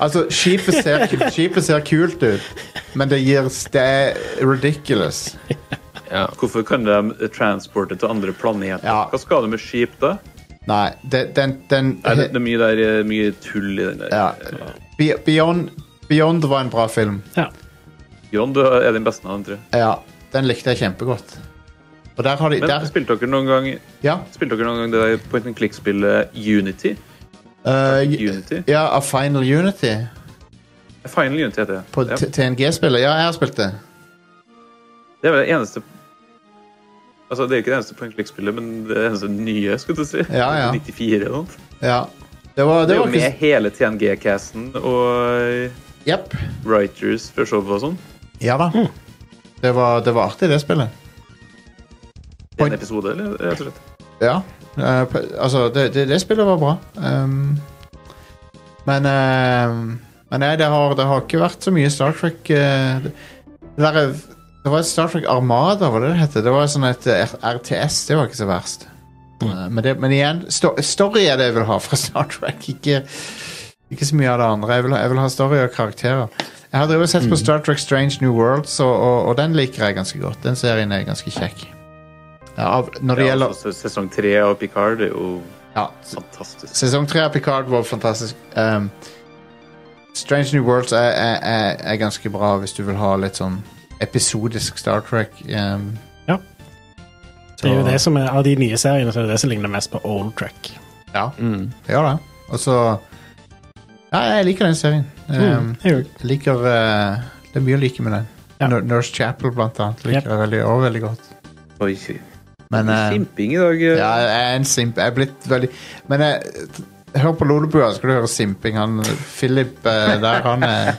S5: altså, skipet ser, skipet ser kult ut, men det, gir, det er ridiculous.
S7: Hvorfor kan de transporte til andre planeter?
S5: Ja.
S7: Hva skal du med skip, da?
S5: Nei, det, den, den
S7: Nei, det, det er mye, der, eh, mye tull i den der.
S5: ja. Be- Beyond, Beyond var en bra film.
S6: Ja.
S7: John, du er den beste av dem, tror jeg.
S5: Ja, den likte jeg kjempegodt. Og der har de
S7: Men
S5: der,
S7: spilte dere noen gang
S5: Ja.
S7: Spilte dere noen gang det der point and click-spillet Unity?
S5: eh,
S7: Unity?
S5: ja, A Final Unity
S7: Final Unity heter det.
S5: på
S7: Ja.
S5: T- TNG-spillet. Ja, jeg har spilt det.
S7: Det er vel det eneste Altså, det er jo ikke det eneste point and click-spillet, men det eneste nye, skulle du si.
S5: Ja, ja.
S7: 94 eller noe.
S5: Ja. Det var,
S7: Det
S5: det
S7: er jo
S5: var
S7: med
S5: ikke
S7: hele TNG-casten og eh,
S5: Jepp.
S7: writers før showet og sånn.
S5: Ja da. Det var, det var artig, det spillet.
S7: I en episode, eller? Rett og slett.
S5: Ja. eh, p- altså, det, det, det spillet var bra. Ehm, men eh, Men nei, det har, det har ikke vært så mye Star Trek eh, det, det der, det var et Star Trek Armada, var det det het? Det var sånn et eh, R- RTS. Det var ikke så verst. Eh, men, det, men igjen, sto, story er det jeg vil ha fra Star Trek. Ikke, ikke så mye av det andre. Jeg vil, ha- jeg vil ha story og karakterer. Jeg har drevet og sett på Star Trek Strange New Worlds, og, og, og den liker jeg ganske godt. Den serien er ganske kjekk. Ja, av, når det
S7: Ja,
S5: gjelder
S7: altså, sesong tre av Picard er jo
S5: ja,
S7: fantastisk.
S5: Sesong 3 av Picard var fantastisk. Um, Strange New Worlds er, er, er, er ganske bra hvis du vil ha litt sånn episodisk Star Trek. Um,
S6: Ja.
S5: så,
S6: Det er jo det som er, av de nye seriene så er det det som ligner mest på Old Track.
S5: Ja, det gjør det. Og så Ja, jeg liker den serien. Um,
S6: Mm, Jeg òg.
S5: jeg liker eh, Det er mye å like med den.
S6: Ja.
S5: Nur- Nurse Chapel, blant annet, liker
S6: Yep.
S5: jeg veldig, også veldig godt.
S7: Oi,
S5: Men eh,
S7: Simping i dag. eh.
S5: Ja, jeg er en simp. Jeg er blitt veldig Men jeg, hør på Lolebua, skal du høre simping. Han Philip eh, der, han er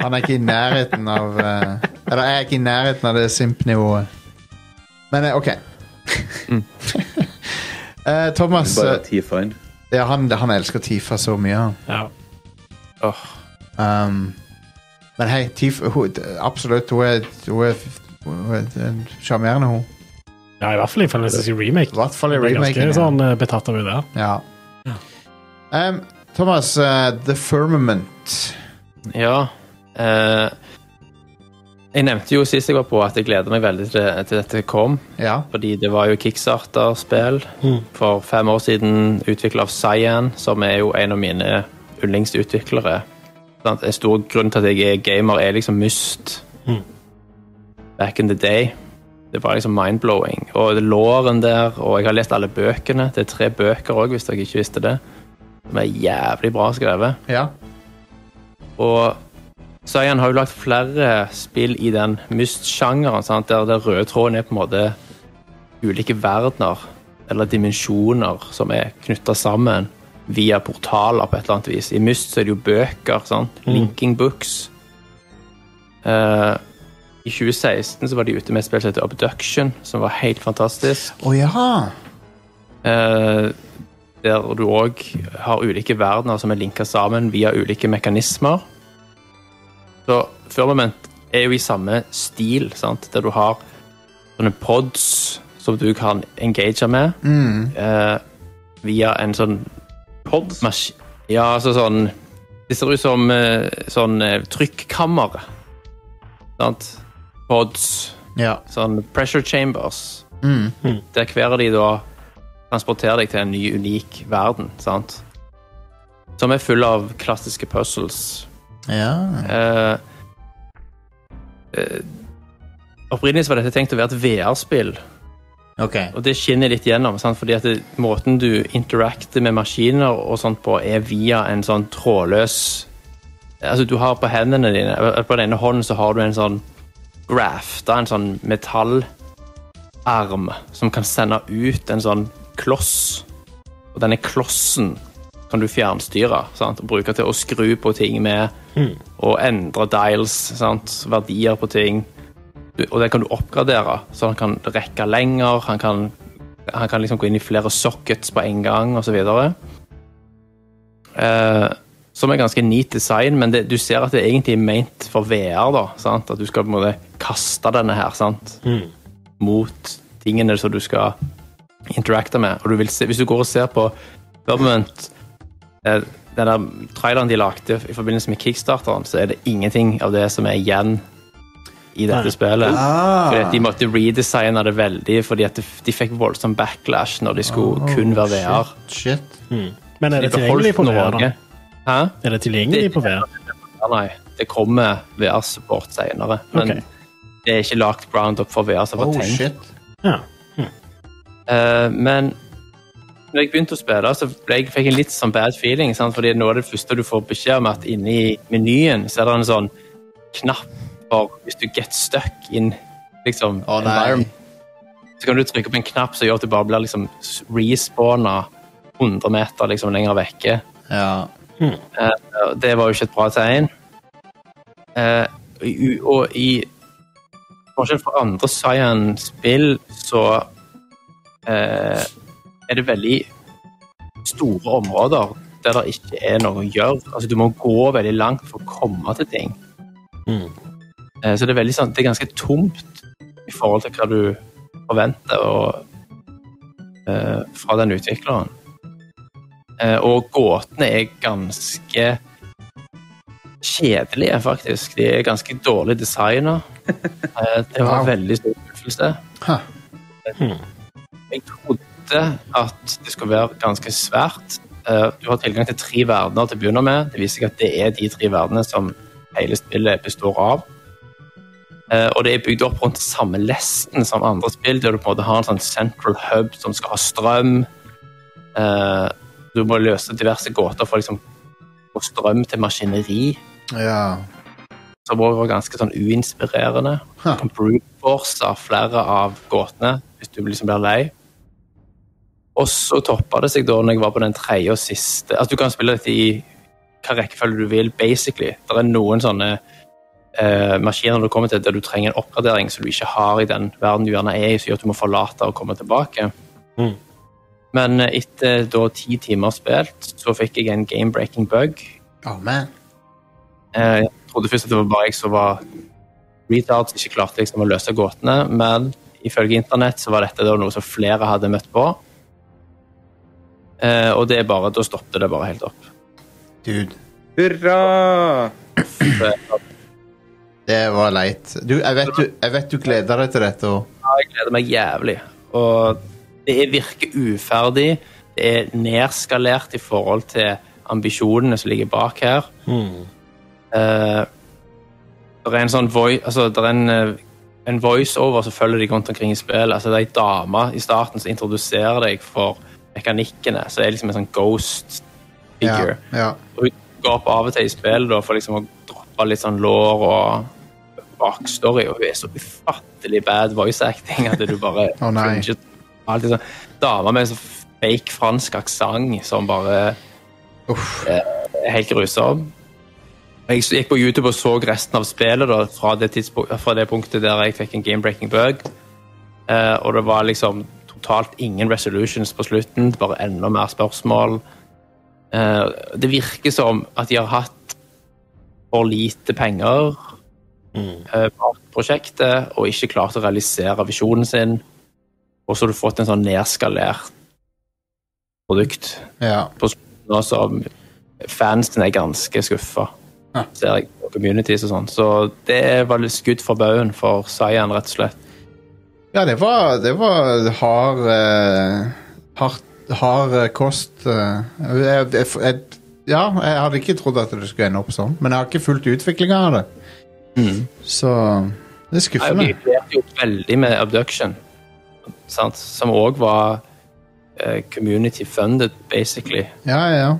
S5: Han er ikke i nærheten av eh, Eller jeg er ikke i nærheten av det simp-nivået. Men eh, OK. Eh, Thomas
S7: Bare
S5: eh,
S7: T-fine.
S5: ja, han, han elsker Tifa så mye. han.
S6: Ja.
S5: Um, men hei, Tifa hun, absolutt. Hun er, hun er, hun er en sjarmerende, hun.
S6: ja, i hvert fall i Fantasy
S5: I
S6: Remake.
S5: hvert fall i
S6: Jeg er ganske
S5: remaken. ja.
S6: sånn eh, betatt av henne der.
S5: Ja. Em, Thomas, eh, The Firmament.
S8: Ja. eh, jeg nevnte jo sist jeg var på at jeg gleder meg veldig til, til dette kom.
S5: Ja.
S8: Fordi det var jo Kickstarter-spill for fem år siden, utvikla av Cyan, som er jo en av mine yndlingsutviklere. Sant? En stor grunn til at jeg er gamer, er liksom Myst.
S6: Mm.
S8: Back in the day. Det var liksom mind-blowing. Og det låren der, og jeg har lest alle bøkene. Det er tre bøker òg, hvis dere ikke visste det. Som er jævlig bra skrevet.
S5: ja.
S8: Og Cyan har jo lagt flere spill i den myst-sjangeren, sant? der den røde tråden er på en måte ulike verdener, eller dimensjoner, som er knytta sammen via portaler på et eller annet vis. I Myst så er det jo bøker, sant? Linking books. Eh, I 2016 så var de ute med et spill som heter Abduction, som var helt fantastisk.
S5: Å ja!
S8: Eh, der du òg har ulike verdener som er linka sammen via ulike mekanismer. Så Firmament er jo i samme stil, sant? der du har sånne pods som du kan engage med eh, via en sånn
S7: Pods.
S8: maskin... Ja, altså sånn Det ser ut som eh, sånn eh, trykkammer. Sant? Pods
S5: Ja.
S8: sånn pressure chambers, der hver av de da transporterer deg til en ny, unik verden, sant? Som er full av klassiske puzzles.
S5: ja.
S8: Eh, eh, opprinnelig så var dette tenkt å være et VR-spill,
S5: Ok.
S8: og det skinner litt gjennom, sant? fordi at det, måten du interacter med maskiner og sånt på, er via en sånn trådløs Altså, du har på hendene dine eller På den ene hånden så har du en sånn grafta, en sånn metallarm som kan sende ut en sånn kloss. Og denne klossen kan du fjernstyre sant? og bruke til å skru på ting med, og endre dials, sant? verdier på ting. Du- Og den kan du oppgradere, så han kan rekke lenger, han kan, han kan liksom gå inn i flere sockets på en gang, osv. Eh, som er ganske neat design, men det, du ser at det egentlig er ment for VR. da, sant? At du skal på en måte kaste denne her sant?
S6: Mm.
S8: mot tingene som du skal interacte med. Og du vil se, hvis du går og ser på Firmament, eh, den der traileren de lagde i forbindelse med kickstarteren, så er det ingenting av det som er igjen i dette
S6: Nei.
S8: spillet. Fordi at de måtte redesigne det veldig, fordi at de fikk voldsom backlash når de skulle kun være VR.
S5: Shit.
S6: Men er
S8: De
S6: det tilgjengelig på
S8: beholdt
S6: VR? da?
S8: Norge. Hæ?
S6: Er det tilgjengelig på VR?
S8: Ja, Nei, det kommer VR-support senere. Men
S6: Ok.
S8: det er ikke lagt roundup for VR som var
S5: Oh,
S8: tenkt.
S5: shit.
S6: Ja.
S8: Eh, men når jeg begynte å spille, så ble jeg, fikk jeg en litt sånn bad feeling. Sant? fordi noe av det første du får beskjed om, er at inne i menyen så er det en sånn knapp for hvis du get stuck in liksom,
S5: Å nei.
S8: environment. Så kan du trykke på en knapp som gjør at du bare blir liksom respawna 100 meter liksom lenger vekke.
S5: Ja.
S8: Eh, Det var jo ikke et bra tegn. Eh, i- Og i forskjell fra andre Cyan-spill, så eh, er det veldig store områder der det ikke er noe å gjøre. Altså, du må gå veldig langt for å komme til ting.
S6: Mm.
S8: Eh, Så det er, veldig, sånn- det er ganske tomt i forhold til hva du forventer og, eh, fra den utvikleren. Eh, og gåtene er ganske kjedelige, faktisk. De er ganske dårlig designa. Eh, det var
S5: Wow.
S8: en veldig stor skuffelse.
S5: Ha.
S8: Jeg trodde at det skulle være ganske svært. Eh, du har tilgang til tre verdener til å begynne med. Det viser seg at det er de tre verdenene som hele spillet består av. Eh, og det er bygd opp rundt samme lesten som andre spill, der du på en måte har en sånn central hub som skal ha strøm. Eh, du må løse diverse gåter for liksom å få strøm til maskineri,
S5: ja.
S8: som også var ganske sånn uinspirerende.
S5: Ha.
S8: Du kan brute-force flere av gåtene hvis du liksom blir lei. Og så toppa det seg da når jeg var på den tredje og siste Altså, du kan spille dette i hva rekkefølge du vil, basically. Det er noen sånne eh, maskiner du kommer til der du trenger en oppgradering som du ikke har i den verden du gjerne er i, som gjør at du må forlate og komme tilbake.
S6: Mhm.
S8: Men eh, etter da ti timer spilt, så fikk jeg en game-breaking bug.
S5: Oh, man.
S8: Eh, Jeg trodde først at det var bare jeg som var retard, som ikke klarte liksom å løse gåtene, men ifølge internett så var dette da noe som flere hadde møtt på. Eh, og det er bare, da stoppte det bare helt opp.
S5: Dude,
S7: Hurra!
S8: Så
S5: det var leit. Du, jeg vet du, jeg vet du gleder deg til dette. og-
S8: jeg gleder meg jævlig. Og det er- virker uferdig. Det er nedskalert i forhold til ambisjonene som ligger bak her.
S6: Mm.
S8: Eh, det er en sånn voi- altså, det er en, eh, en voiceover som følger deg rundt omkring i spillet. Altså, det er ei dame i starten som introduserer deg for mekanikkene, så det er liksom en sånn ghost figure.
S5: Ja, ja.
S8: Og hun går opp av og til i spillet da, for liksom å droppe litt sånn lår og bakstory, og hun er så ufattelig bad voice acting at du bare
S5: Å, nei.
S8: cringet. Alltid sånn dame med en sånn fake fransk aksent som bare eh,
S5: Uff.
S8: er helt grusom. Jeg gikk på YouTube og så resten av spillet da, fra, det tidspunkt, fra det punktet der jeg fikk en game-breaking bug. Eh, og det var liksom totalt ingen resolutions på slutten, bare enda mer spørsmål. Eh, det virker som at de har hatt for lite penger eh, bak prosjektet, og ikke klart å realisere visjonen sin. Og så har du fått en sånn nedskalert produkt
S5: Ja.
S8: nå som fansen er ganske skuffa.
S5: Ja.
S8: Ser jeg på communities og sånn. Så det var litt skudd for baugen for Cyan, rett og slett.
S5: Ja, det var, det var hard, eh, hardt- hard eh, kost. eh. jeg, jeg, jeg, ja, jeg hadde ikke trodd at det skulle ende opp sånn, men jeg har ikke fulgt utviklinga av det. Så det er
S8: Nei, og
S5: skuffende.
S8: De flerte jo veldig med Abduction, sant? som òg var eh, community funded, basically.
S5: Ja, ja, ja.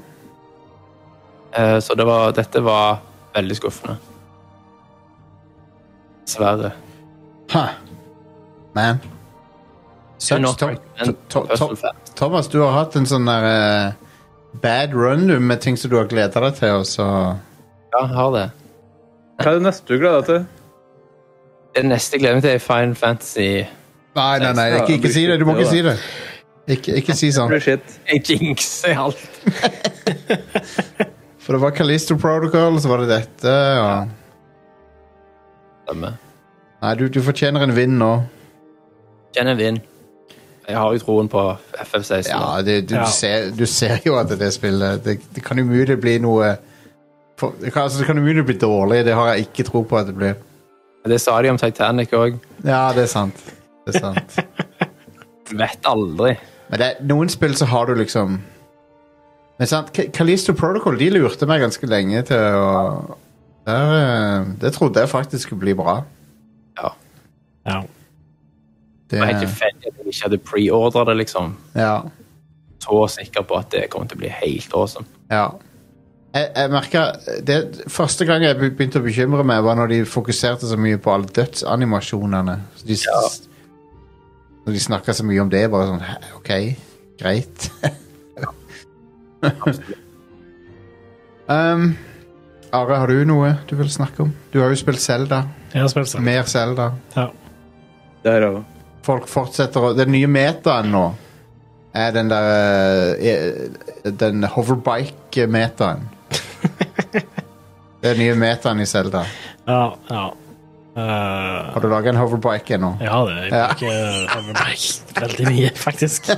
S8: Eh, så det var, dette var veldig skuffende. Dessverre.
S5: Ha. Man.
S8: Do
S5: Sucks,
S8: not
S5: Tom,
S8: recommend
S5: to, to,
S8: Puzzle
S5: to,
S8: Fest.
S5: Thomas, du har hatt en sånn der eh, bad run du, med ting som du har gleda deg til, og så
S8: Ja, jeg har det.
S7: Hva er det neste du gleder deg til?
S8: Det neste jeg gleder meg til, er Fine Fantasy.
S5: Nei, nei, nei, ikke, ikke si det. Du må ikke si det. Ikke, ikke si sånn.
S7: Det blir shit.
S8: Jeg jinxer alt.
S5: For det var Callisto Protocol, så var det dette. Og...
S8: Stemmer.
S5: Nei, du, du fortjener en vinn nå.
S8: Kjenner vind. Jeg har jo troen på FF16. da.
S5: Ja, det, du,
S6: Ja.
S5: Ser, du ser jo at det spillet Det, det kan umulig bli noe for, det, kan, altså, det kan umulig bli dårlig. Det har jeg ikke tro på at det blir.
S8: Det sa de om Titanic òg.
S5: Ja, det er sant. Det er sant.
S8: Du vet aldri.
S5: Men det, er- noen spill så har du liksom Men sant, Ca- Callisto Protocol de lurte meg ganske lenge til å der, eh, Det trodde jeg faktisk skulle bli bra.
S6: Ja.
S5: Det,
S8: Det var helt tilfeldig at de ikke hadde preordra det, liksom.
S5: ja.
S8: Så sikker på at det kommer til å bli helt awesome.
S5: Ja. Jeg, jeg merket, det Første gang jeg be- begynte å bekymre meg, var når de fokuserte så mye på alle dødsanimasjonene. Så de, s-
S8: Ja.
S5: Når de snakka så mye om det, bare sånn "Hæ, OK, greit. Um, Are, har du noe du vil snakke om? Du har jo spilt Zelda.
S6: Jeg har spilt sånn.
S5: Mer Zelda.
S6: Ja.
S7: Det har jeg òg.
S5: Folk fortsetter å Den nye metaen nå er den der eh, eh, Den hoverbike-metaen. Den nye metaen i Zelda.
S6: Ja, ja. Eh,
S5: Har du laga en hoverbike ennå?
S6: ja, det jeg
S5: Ja.
S6: liker Hoverback veldig mye, faktisk.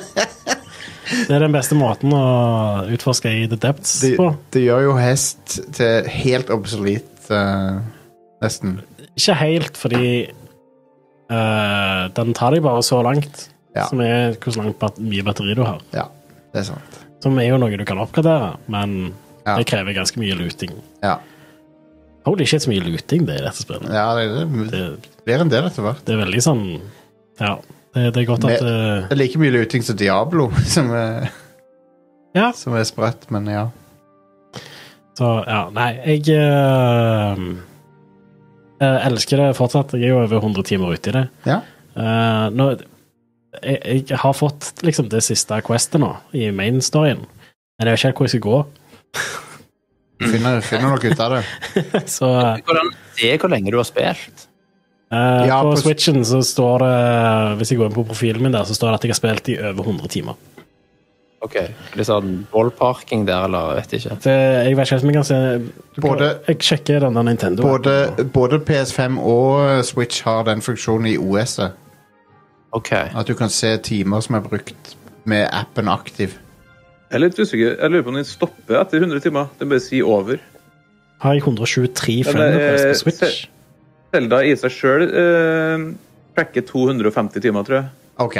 S6: Det er den beste måten å utforske i The Depths
S5: Det
S6: på.
S5: det gjør jo hest til helt obsolet, eh, nesten.
S6: Ikke helt, fordi eh, den tar deg bare så langt.
S5: Ja.
S6: Som er hvor langt bat mye batteri du har.
S5: Ja, det er sant.
S6: Som er jo noe du kan oppgradere, men
S5: Ja.
S6: det krever ganske mye luting.
S5: Ja,
S6: Holy shit, så mye luting det er i dette spillet.
S5: ja det, det
S6: Det,
S5: blir en del etter hvert.
S6: det er veldig sånn Ja. Det, det er godt at eh,
S5: Det er like mye luting som Diablo, som er,
S6: Ja.
S5: som er sprøtt, men ja.
S6: Så ja, nei, jeg eh, eh, elsker det fortsatt. Jeg er jo over 100 timer ute i det.
S5: Ja.
S6: Eh, nå, jeg, jeg har fått liksom det siste questet nå, i main storyen. Men jeg vet ikke helt hvor jeg skal gå.
S5: Du finner, finner nok ut av det.
S6: Så
S8: Hvordan se hvor lenge du har spilt?
S6: eh,
S5: Ja,
S6: på
S5: på-
S6: Switchen så står det Hvis jeg går inn på profilen min der, så står det at jeg har spilt i over 100 timer.
S8: Ok, Litt sånn ballparking der, eller vet ikke.
S6: Det, jeg vet ikke helt om jeg kan se du kan-
S5: Både-
S6: Jeg sjekker den der Nintendo.
S5: Både, både PS5 og eh, Switch har den funksjonen i OS-et.
S8: Ok,
S5: At du kan se timer som er brukt med appen aktiv.
S7: Jeg er litt usikker. Jeg lurer på om den stopper etter 100 timer. Den bare sier over.
S6: Har jeg 123
S7: Ja, men,
S6: friends
S7: eh,
S6: på Switch?
S7: se- Selda i seg sjøl eh, tracker 250 timer, tror jeg.
S5: OK.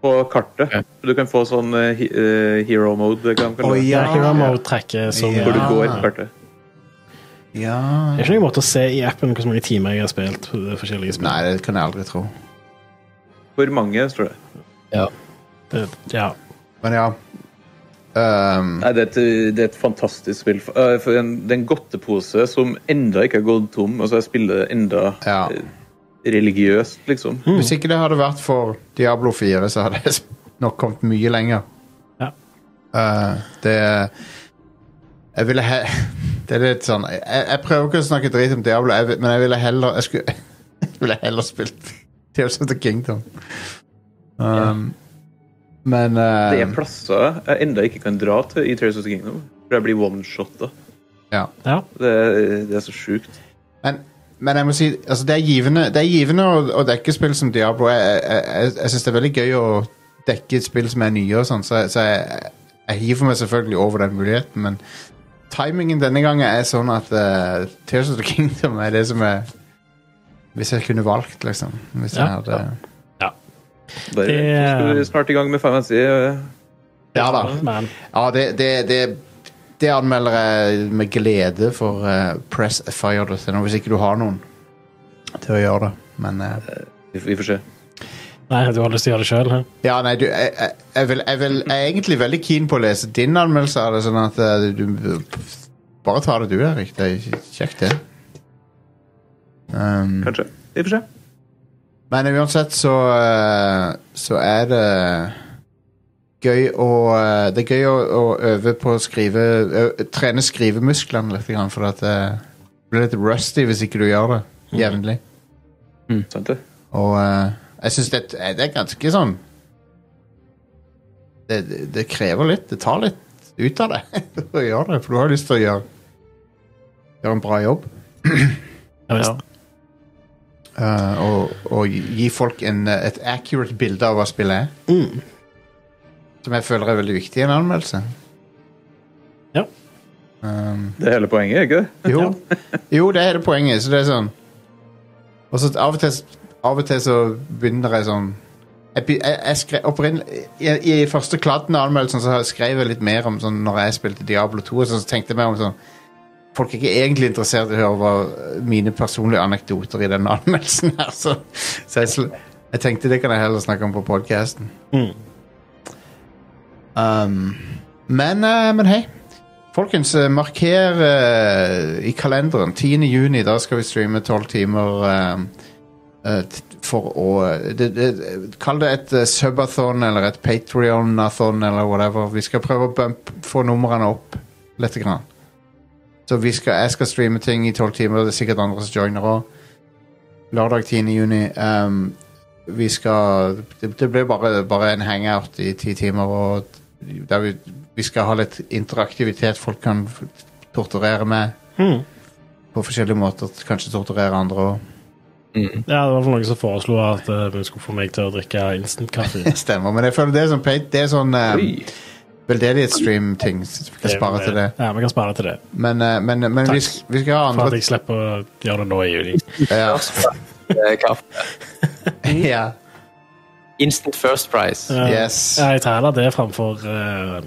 S7: På kartet. Du kan få sånn eh, he- eh, hero mode. det Kan man kalle det.
S6: Ja, Hero Mode tracker som
S5: Ja.
S7: Hvor du
S6: Det
S7: går på kartet.
S5: ja.
S6: er ikke noen måte å se i appen hvor mange timer jeg har spilt. på de forskjellige spill.
S5: Nei, det kan jeg aldri tro.
S7: For mange, står det.
S6: Det, ja.
S5: Men ja. Ehm,
S7: Nei, det er, et, det er et fantastisk spill. For, eh, for en, det er en godtepose som enda ikke har gått tom. Altså, jeg spiller det enda
S5: ja. Mm.
S7: eh, religiøst, liksom.
S5: Hvis ikke det hadde vært for Diablo 4, så hadde jeg nok kommet mye lenger.
S6: Ja.
S5: Eh, det Jeg ville he... Det er litt sånn Jeg, jeg prøver ikke å snakke drit om Diablo, jeg, vil- men jeg ville heller Jeg skulle jeg ville heller spilt Tears of the Kingdom. Um, Men eh,
S7: Det er plasser jeg enda ikke kan dra til i Tears of the Kingdom. For jeg blir one-shotta.
S5: ja.
S6: ja.
S7: Det, er- det er så sjukt.
S5: Men, men jeg må si, altså det er givende, det er givende å, å dekke spill som Diablo. Jeg, jeg, jeg, jeg syns det er veldig gøy å dekke et spill som er nye, og sånn, så, jeg- så jeg, jeg hiver meg selvfølgelig over den muligheten, men timingen denne gangen er sånn at eh, Tears of the Kingdom er det som er Hvis jeg kunne valgt, liksom. Hvis jeg
S6: Ja,
S5: hadde
S7: Bare,
S6: Det-
S7: så skal vi snart i gang med Final Fantasy. eh,
S5: Ja da.
S6: Men
S5: Ja, det, det, det, det anmelder jeg med glede for eh, pressfire.no, hvis ikke du har noen til å gjøre det. Men eh,
S7: Vi, vi får se.
S6: nei, du har lyst til å gjøre det sjøl?
S5: Ja, nei, du, jeg, jeg, jeg, vil, jeg, vil, jeg er egentlig veldig keen på å lese din anmeldelse av det, sånn at eh, du, du Bare ta det du, Erik. Det er kjekt, det. Um,
S7: Kanskje. Vi får se.
S5: men uansett så eh, Så er det gøy å eh, Det er gøy å, å øve på å skrive ø, Trene skrivemusklene litt, grann, for at eh, du blir litt rusty hvis ikke du gjør det jevnlig.
S7: Sant det?
S5: Og eh, jeg syns det, det er ganske sånn det, det, det krever litt. Det tar litt ut av deg å gjøre det, for du har lyst til å gjøre, gjøre en bra jobb.
S6: Ja, visst.
S5: eh, og, og gi folk en, eh, et accurate bilde av hva spillet er.
S6: Mm.
S5: Som jeg føler er veldig viktig i en anmeldelse.
S6: Ja.
S5: Um,
S7: Det er hele poenget, ikke det?
S5: jo. jo, det er hele poenget. Så det er sånn Og så av og til, av og til så begynner jeg sånn jeg, be- jeg, jeg skrev, opprinn- i, I første kladden av anmeldelsen så skrev jeg litt mer om sånn når jeg spilte Diablo 2. Og sånn, så tenkte jeg mer om sånn Folk er ikke egentlig interessert i å høre hva mine personlige anekdoter i denne anmeldelsen her. Så, så jeg, sl- jeg tenkte det kan jeg heller snakke om på podkasten.
S6: Mm.
S5: Um, men, eh, men hei. Folkens, eh, marker eh, i kalenderen 10. juni. Da skal vi streame 12 timer eh, eh, t- for å eh, det, det, Kall det et eh, subathon eller et Patreon-athon eller whatever. Vi skal prøve å bump, få numrene opp lite grann. Så vi skal, jeg skal streame ting i tolv timer. Det er sikkert andre som joiner òg. Lørdag 10. juni. ehm, vi skal Det, det blir bare, bare en hangout i ti timer. Og der vi, vi skal ha litt interaktivitet folk kan f- torturere med.
S6: Mhm.
S5: På forskjellige måter. Kanskje torturere andre òg.
S8: Mm.
S6: Ja, det var for noen som foreslo at eh, hun skulle få meg til å drikke instant-kaffe.
S5: Stemmer. Men jeg føler det er sånn, pay- det er sånn ehm,
S7: Oi.
S5: veldedighetsstream-ting. så Vi kan spare til det.
S6: eh, Ja, vi kan spare til det.
S5: Men, eh, men, men vi,
S6: Takk.
S5: sk- vi skal ha
S6: For at
S5: andre
S6: jeg slipper å gjøre det nå i juli.
S5: ja,
S8: Eh, kaffe.
S5: ja.
S8: Instant first price.
S6: Eh,
S5: Yes.
S6: Ja, jeg tar heller det framfor uh,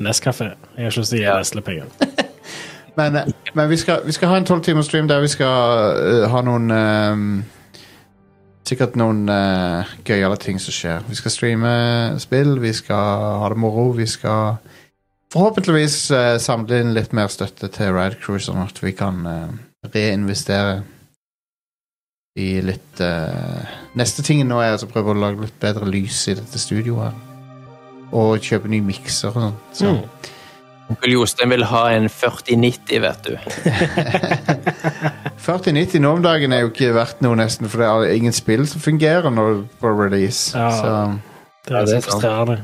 S6: Nescafé. Jeg har ikke lyst til å gi Nestle penger.
S5: Men, eh, men vi, skal, vi skal ha en 12 timers stream der vi skal eh, ha noen eh, Sikkert noen eh, gøyale ting som skjer. Vi skal streame spill, vi skal ha det moro, vi skal forhåpentligvis eh, samle inn litt mer støtte til Ride Crew, sånn at vi kan eh, reinvestere i litt eh, Neste tingen nå er altså å prøve å lage litt bedre lys i dette studioet. Og kjøpe ny mikser og sånt. Så.
S6: Mm.
S8: Onkel Jostein vil ha en 4090, vet du.
S5: 4090 nå om dagen er jo ikke verdt noe nesten, for det er ingen spill som fungerer når på release.
S6: Ja.
S5: Så,
S6: Det er,
S8: Ja, det er
S6: så frustrerende.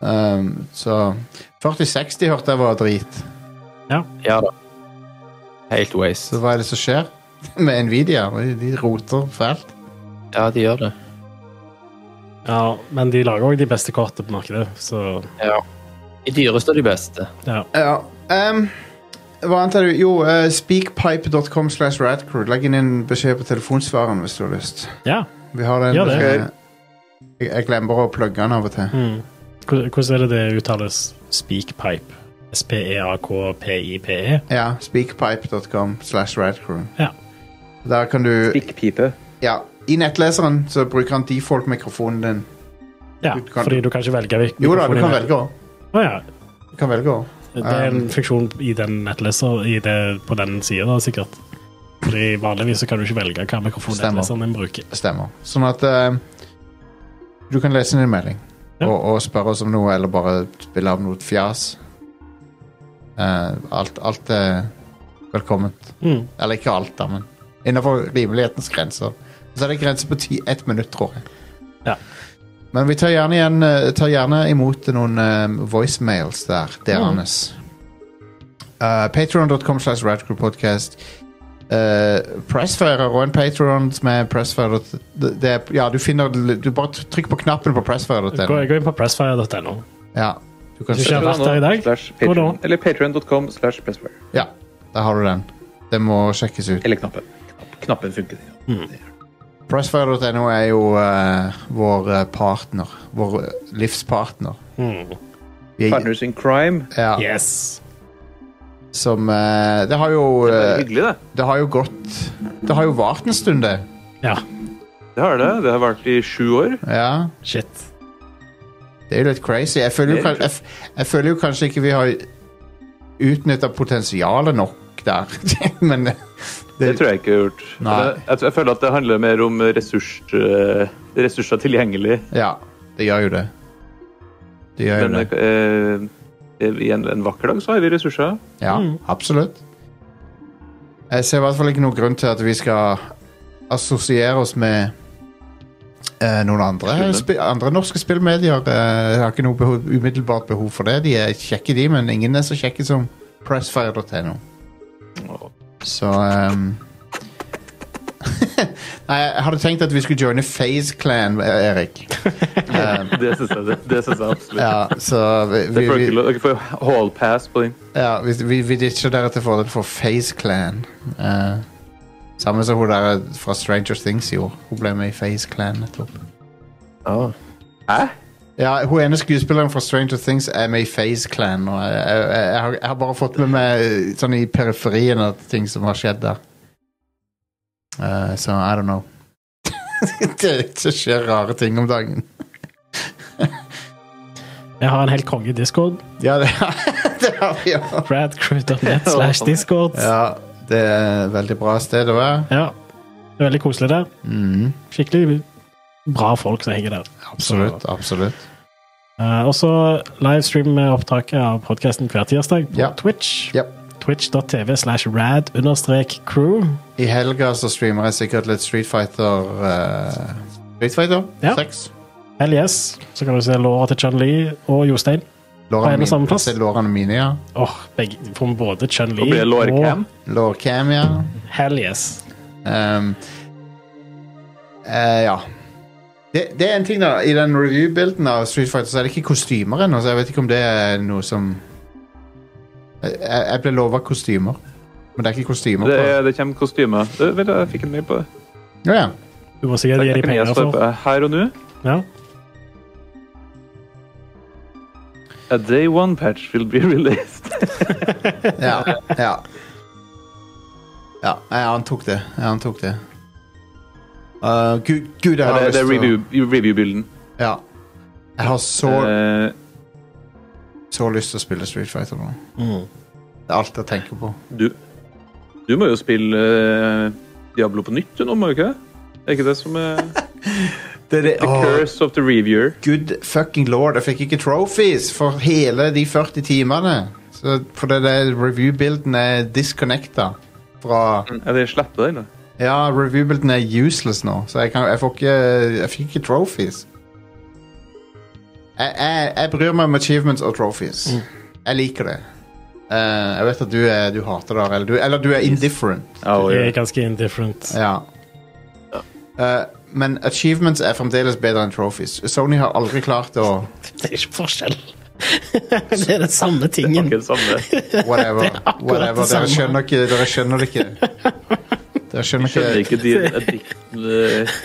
S5: um, så 4060 hørte jeg var drit.
S8: Ja da. Helt waste.
S5: Så hva er det som skjer med Nvidia? De- De roter fælt.
S8: Ja, de gjør det.
S6: Ja, men de lager òg de beste kortene på markedet, så
S8: De dyreste og de beste.
S5: Ja. Um, hva annet er det? Jo, uh, speakpipe.com slash radcrew. Legg inn en beskjed på telefonsvareren hvis du har lyst.
S6: ja.
S5: Vi har den.
S6: Gjør det.
S5: beskjeden. Jeg, jeg glemmer å plugge den av og til.
S6: Mm. Hvor- Hvordan er det det uttales? E Speakpipe. S-p-e-a-k-p-i-p-e.
S5: Ja, speakpipe.com slash radcrew.
S6: Ja.
S5: Der kan du
S7: Spikkpipe.
S5: Ja, i nettleseren så bruker han default-mikrofonen din.
S6: ja.
S5: Du kan-
S6: Fordi du kan ikke velge hvil-
S5: Jo da, du
S6: mikrofon i
S5: kan
S6: det.
S5: velge òg.
S6: Å ja.
S5: Du kan velge også.
S6: Det er en
S5: Um,
S6: funksjon i den nettleser i det, på den sida, da, sikkert. Fordi vanligvis så kan du ikke velge hva mikrofon
S5: Stemmer.
S6: nettleseren din bruker.
S5: Stemmer. Sånn at eh, du kan lese din melding
S6: Ja.
S5: og, og spørre oss om noe, eller bare spille av noe fjas. Eh, alt, alt er velkomment.
S6: Mm.
S5: Eller ikke alt, da, men innenfor rimelighetens grenser. Så er det grense på ti, ett minutt, tror jeg.
S6: Ja.
S5: Men vi tar gjerne, igjen, eh, tar gjerne imot noen eh, voicemails der. Det er
S6: Mm.
S5: hans. Uh, Patreon.com slash radcrewpodcast. Uh, Pressfire og en Patron som er Pressfire. Det, det, er- ja, du finner Du bare trykk på knappen på
S6: Gå,
S5: pressfire.no.
S6: gå inn på pressfire.no.
S5: Ja, du kan
S6: Hvis ikke jeg har vært der i dag,
S7: Slash
S6: gå da.
S7: Patreon. Eller patreon.com slash pressfire.
S5: Ja, der har du den. Det må sjekkes ut.
S7: Eller knappen. Knappen funker.
S5: Pressfire.no er jo eh, vår eh, partner. Vår eh, livspartner.
S6: Mm.
S5: Vi er-
S7: Partners in crime.
S5: ja,
S6: Yes.
S5: Som eh, Det har jo
S7: Det er
S5: eh,
S7: hyggelig, det.
S5: Det har jo gått Det har jo vart en stund, det.
S6: Ja.
S7: Det har det. Det har vart i sju år.
S5: Ja,
S6: Shit.
S5: det er jo litt crazy. Jeg føler jo,
S7: Det er
S5: kan- jeg, f- jeg føler jo kanskje ikke vi har utnytta potensialet nok der, men eh,
S7: Det tror jeg ikke jeg har gjort.
S5: Nei.
S7: Det- Jeg, jeg føler at det handler mer om ressurs, eh, ressurser tilgjengelig.
S5: Ja, det gjør jo det. Det gjør jo
S7: Men
S5: det.
S7: eh, eh, i en, en vakker dag så har vi ressurser.
S5: Ja,
S7: Mm.
S5: absolutt. Jeg ser i hvert fall ikke noen grunn til at vi skal assosiere oss med eh, noen andre,
S7: Skjønner.
S5: spi- andre norske spillmedier. Eh, jeg har ikke noe behov, umiddelbart behov for det. De er kjekke, de, men ingen er så kjekke som pressfire.no. Så ehm, Nei, jeg hadde tenkt at vi skulle joine Phase Clan, eh, Erik.
S7: Det syns jeg, det, det synes jeg absolutt.
S5: Ja, så vi,
S7: Det
S5: vi,
S7: får ikke
S5: vi,
S7: lov- Dere får hall pass på den.
S5: ja, vi, vi, vi ditcher dere til fordel for Phase Clan. Eh, samme som hun der fra Stranger Things gjorde. Hun ble med i Phase Clan nettopp.
S7: Hæ?
S5: Ja, hun ene skuespilleren fra Stranger Things er med i Phase Clan. Og jeg, jeg, jeg, har, jeg har bare fått med meg eh, sånn i periferien av ting som har skjedd der. Eh, så I don't know. det, det skjer rare ting om dagen.
S6: Jeg har en helt konge discord.
S5: Ja, det, det har vi òg.
S6: Radcrew.net slash discord.
S5: Ja, det er et veldig bra sted å være. Mm.
S6: Ja. Det er veldig koselig der. Skikkelig bra folk som henger der.
S5: Absolutt. absolutt.
S6: Eh, og så livestream med opptaket av podkasten hver tirsdag på
S5: Ja.
S6: Twitch.
S5: Ja.
S6: Twitch.tv slash rad understrek crew.
S5: I helga så streamer jeg sikkert litt Street Fighter eh, Street Fighter
S6: Ja.
S5: 6.
S6: Hell yes. Så kan du se låra til Chun-Li og Jostein.
S5: Lårene
S6: en og
S5: mine-
S6: samme plass?
S5: Se lårene mine, ja.
S6: Åh, begge får vi både Chun-Li
S7: Og blir det lårcam?
S5: Lårcam, ja.
S6: Hell yes.
S5: Ehm, eh, ja. Det, det er en ting, da. I den review-bilden av Street Fighter så er det ikke kostymer ennå, så jeg vet ikke om det er noe som Jeg, jeg jeg ble lova kostymer, men det er ikke kostymer.
S7: Det,
S5: på-
S7: er- det kommer kostyme. Det, vet du, jeg fikk en mail på det.
S5: Ja, ja.
S6: Du må sikkert gi
S7: Det
S6: dem
S7: kan jeg
S6: penger altså.
S7: svare
S6: for.
S7: på. Her og nå
S6: Ja.
S7: A day one patch will be released.
S5: Ja. Ja, ja jeg antok det. Jeg antok det. Uh, gud, gud, jeg
S7: Ja,
S5: har
S7: det,
S5: lyst
S7: det
S5: til å-
S7: er review- review-bilden.
S5: Ja. Jeg har så,
S7: Eh,
S5: så lyst til å spille Street Fighter nå. Det er alt jeg tenker på.
S7: du, du må jo spille eh, Diablo på nytt, du nå, må du ikke det? Er ikke det som er The curse of the reviewer?
S5: good fucking lord, jeg fikk ikke trophies for hele de 40 timene. Så for det der review-bilden er disconnecta fra
S7: Er det slettet den? da?
S5: Ja, review-bilden er useless nå, så jeg, kan, jeg, får ikke, jeg fikk ikke trophies. Jeg, jeg, jeg bryr meg om achievements og trophies.
S6: Mm.
S5: Jeg liker det. Eh, jeg vet at du, er, du hater det, eller du, eller du er indifferent.
S6: Jeg er ganske indifferent.
S5: Ja. Eh, men achievements er fremdeles bedre enn trophies. Sony har aldri klart å
S6: Det er ikke forskjell. det er den samme tingen.
S7: Akkurat samme.
S5: Whatever.
S6: akkurat
S5: Whatever. Dere
S6: det samme.
S5: skjønner ikke Dere skjønner det ikke. Dere skjønner
S7: Skjønner
S5: ikke
S7: ikke din addiction eh,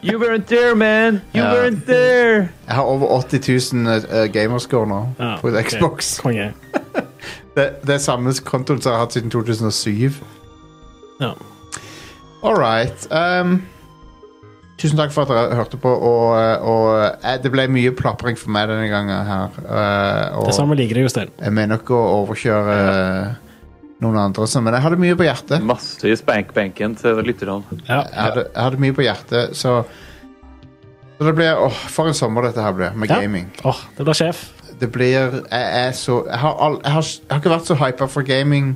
S7: You weren't there, man! You
S5: Ja.
S7: weren't there!
S5: Jeg har over 80 000 eh, gamerscore nå
S6: Ja,
S5: på
S6: ok.
S5: Xbox.
S6: Konge.
S5: Det, det er samme kontoen som jeg har hatt siden 2007.
S6: Ja.
S5: All right. Um, tusen takk for at dere hørte på. Og, og eh, det ble mye plapring for meg denne gangen her. eh,
S6: Det
S5: og
S6: samme liker jeg, Jostein.
S5: jeg mener ikke å overkjøre eh, noen andre, så- men jeg hadde mye på hjertet.
S7: Masse i spankbenken til lytterne.
S6: Ja.
S5: Jeg hadde, jeg hadde mye på hjertet, så Så det blir Åh, for en sommer dette her blir, med
S6: Ja.
S5: gaming.
S6: Åh, det blir sjef.
S5: Det blir Jeg er så Jeg har, all, jeg har, jeg har ikke vært så hypa for gaming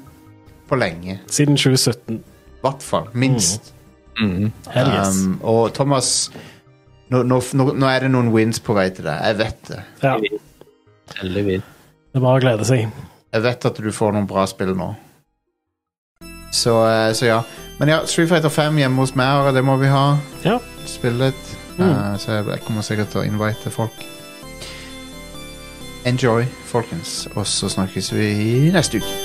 S5: på lenge.
S6: Siden 2017.
S5: I hvert fall.
S6: Mm.
S5: Minst.
S6: Hell yes.
S5: Um, og Thomas nå, nå, nå, nå er det noen wins på vei til deg. Jeg vet det.
S6: Ja, det
S8: Veldig vilt.
S6: er bare å glede seg.
S5: Jeg vet at du får noen bra spill nå. Så, eh, så ja. Men ja, Street Fighter 5 hjemme hos meg, og det må vi ha.
S6: Ja.
S5: Spille litt.
S6: Mm.
S5: Eh, så jeg, jeg kommer sikkert til å invite folk. Enjoy, folkens. Og så snakkes vi neste uke.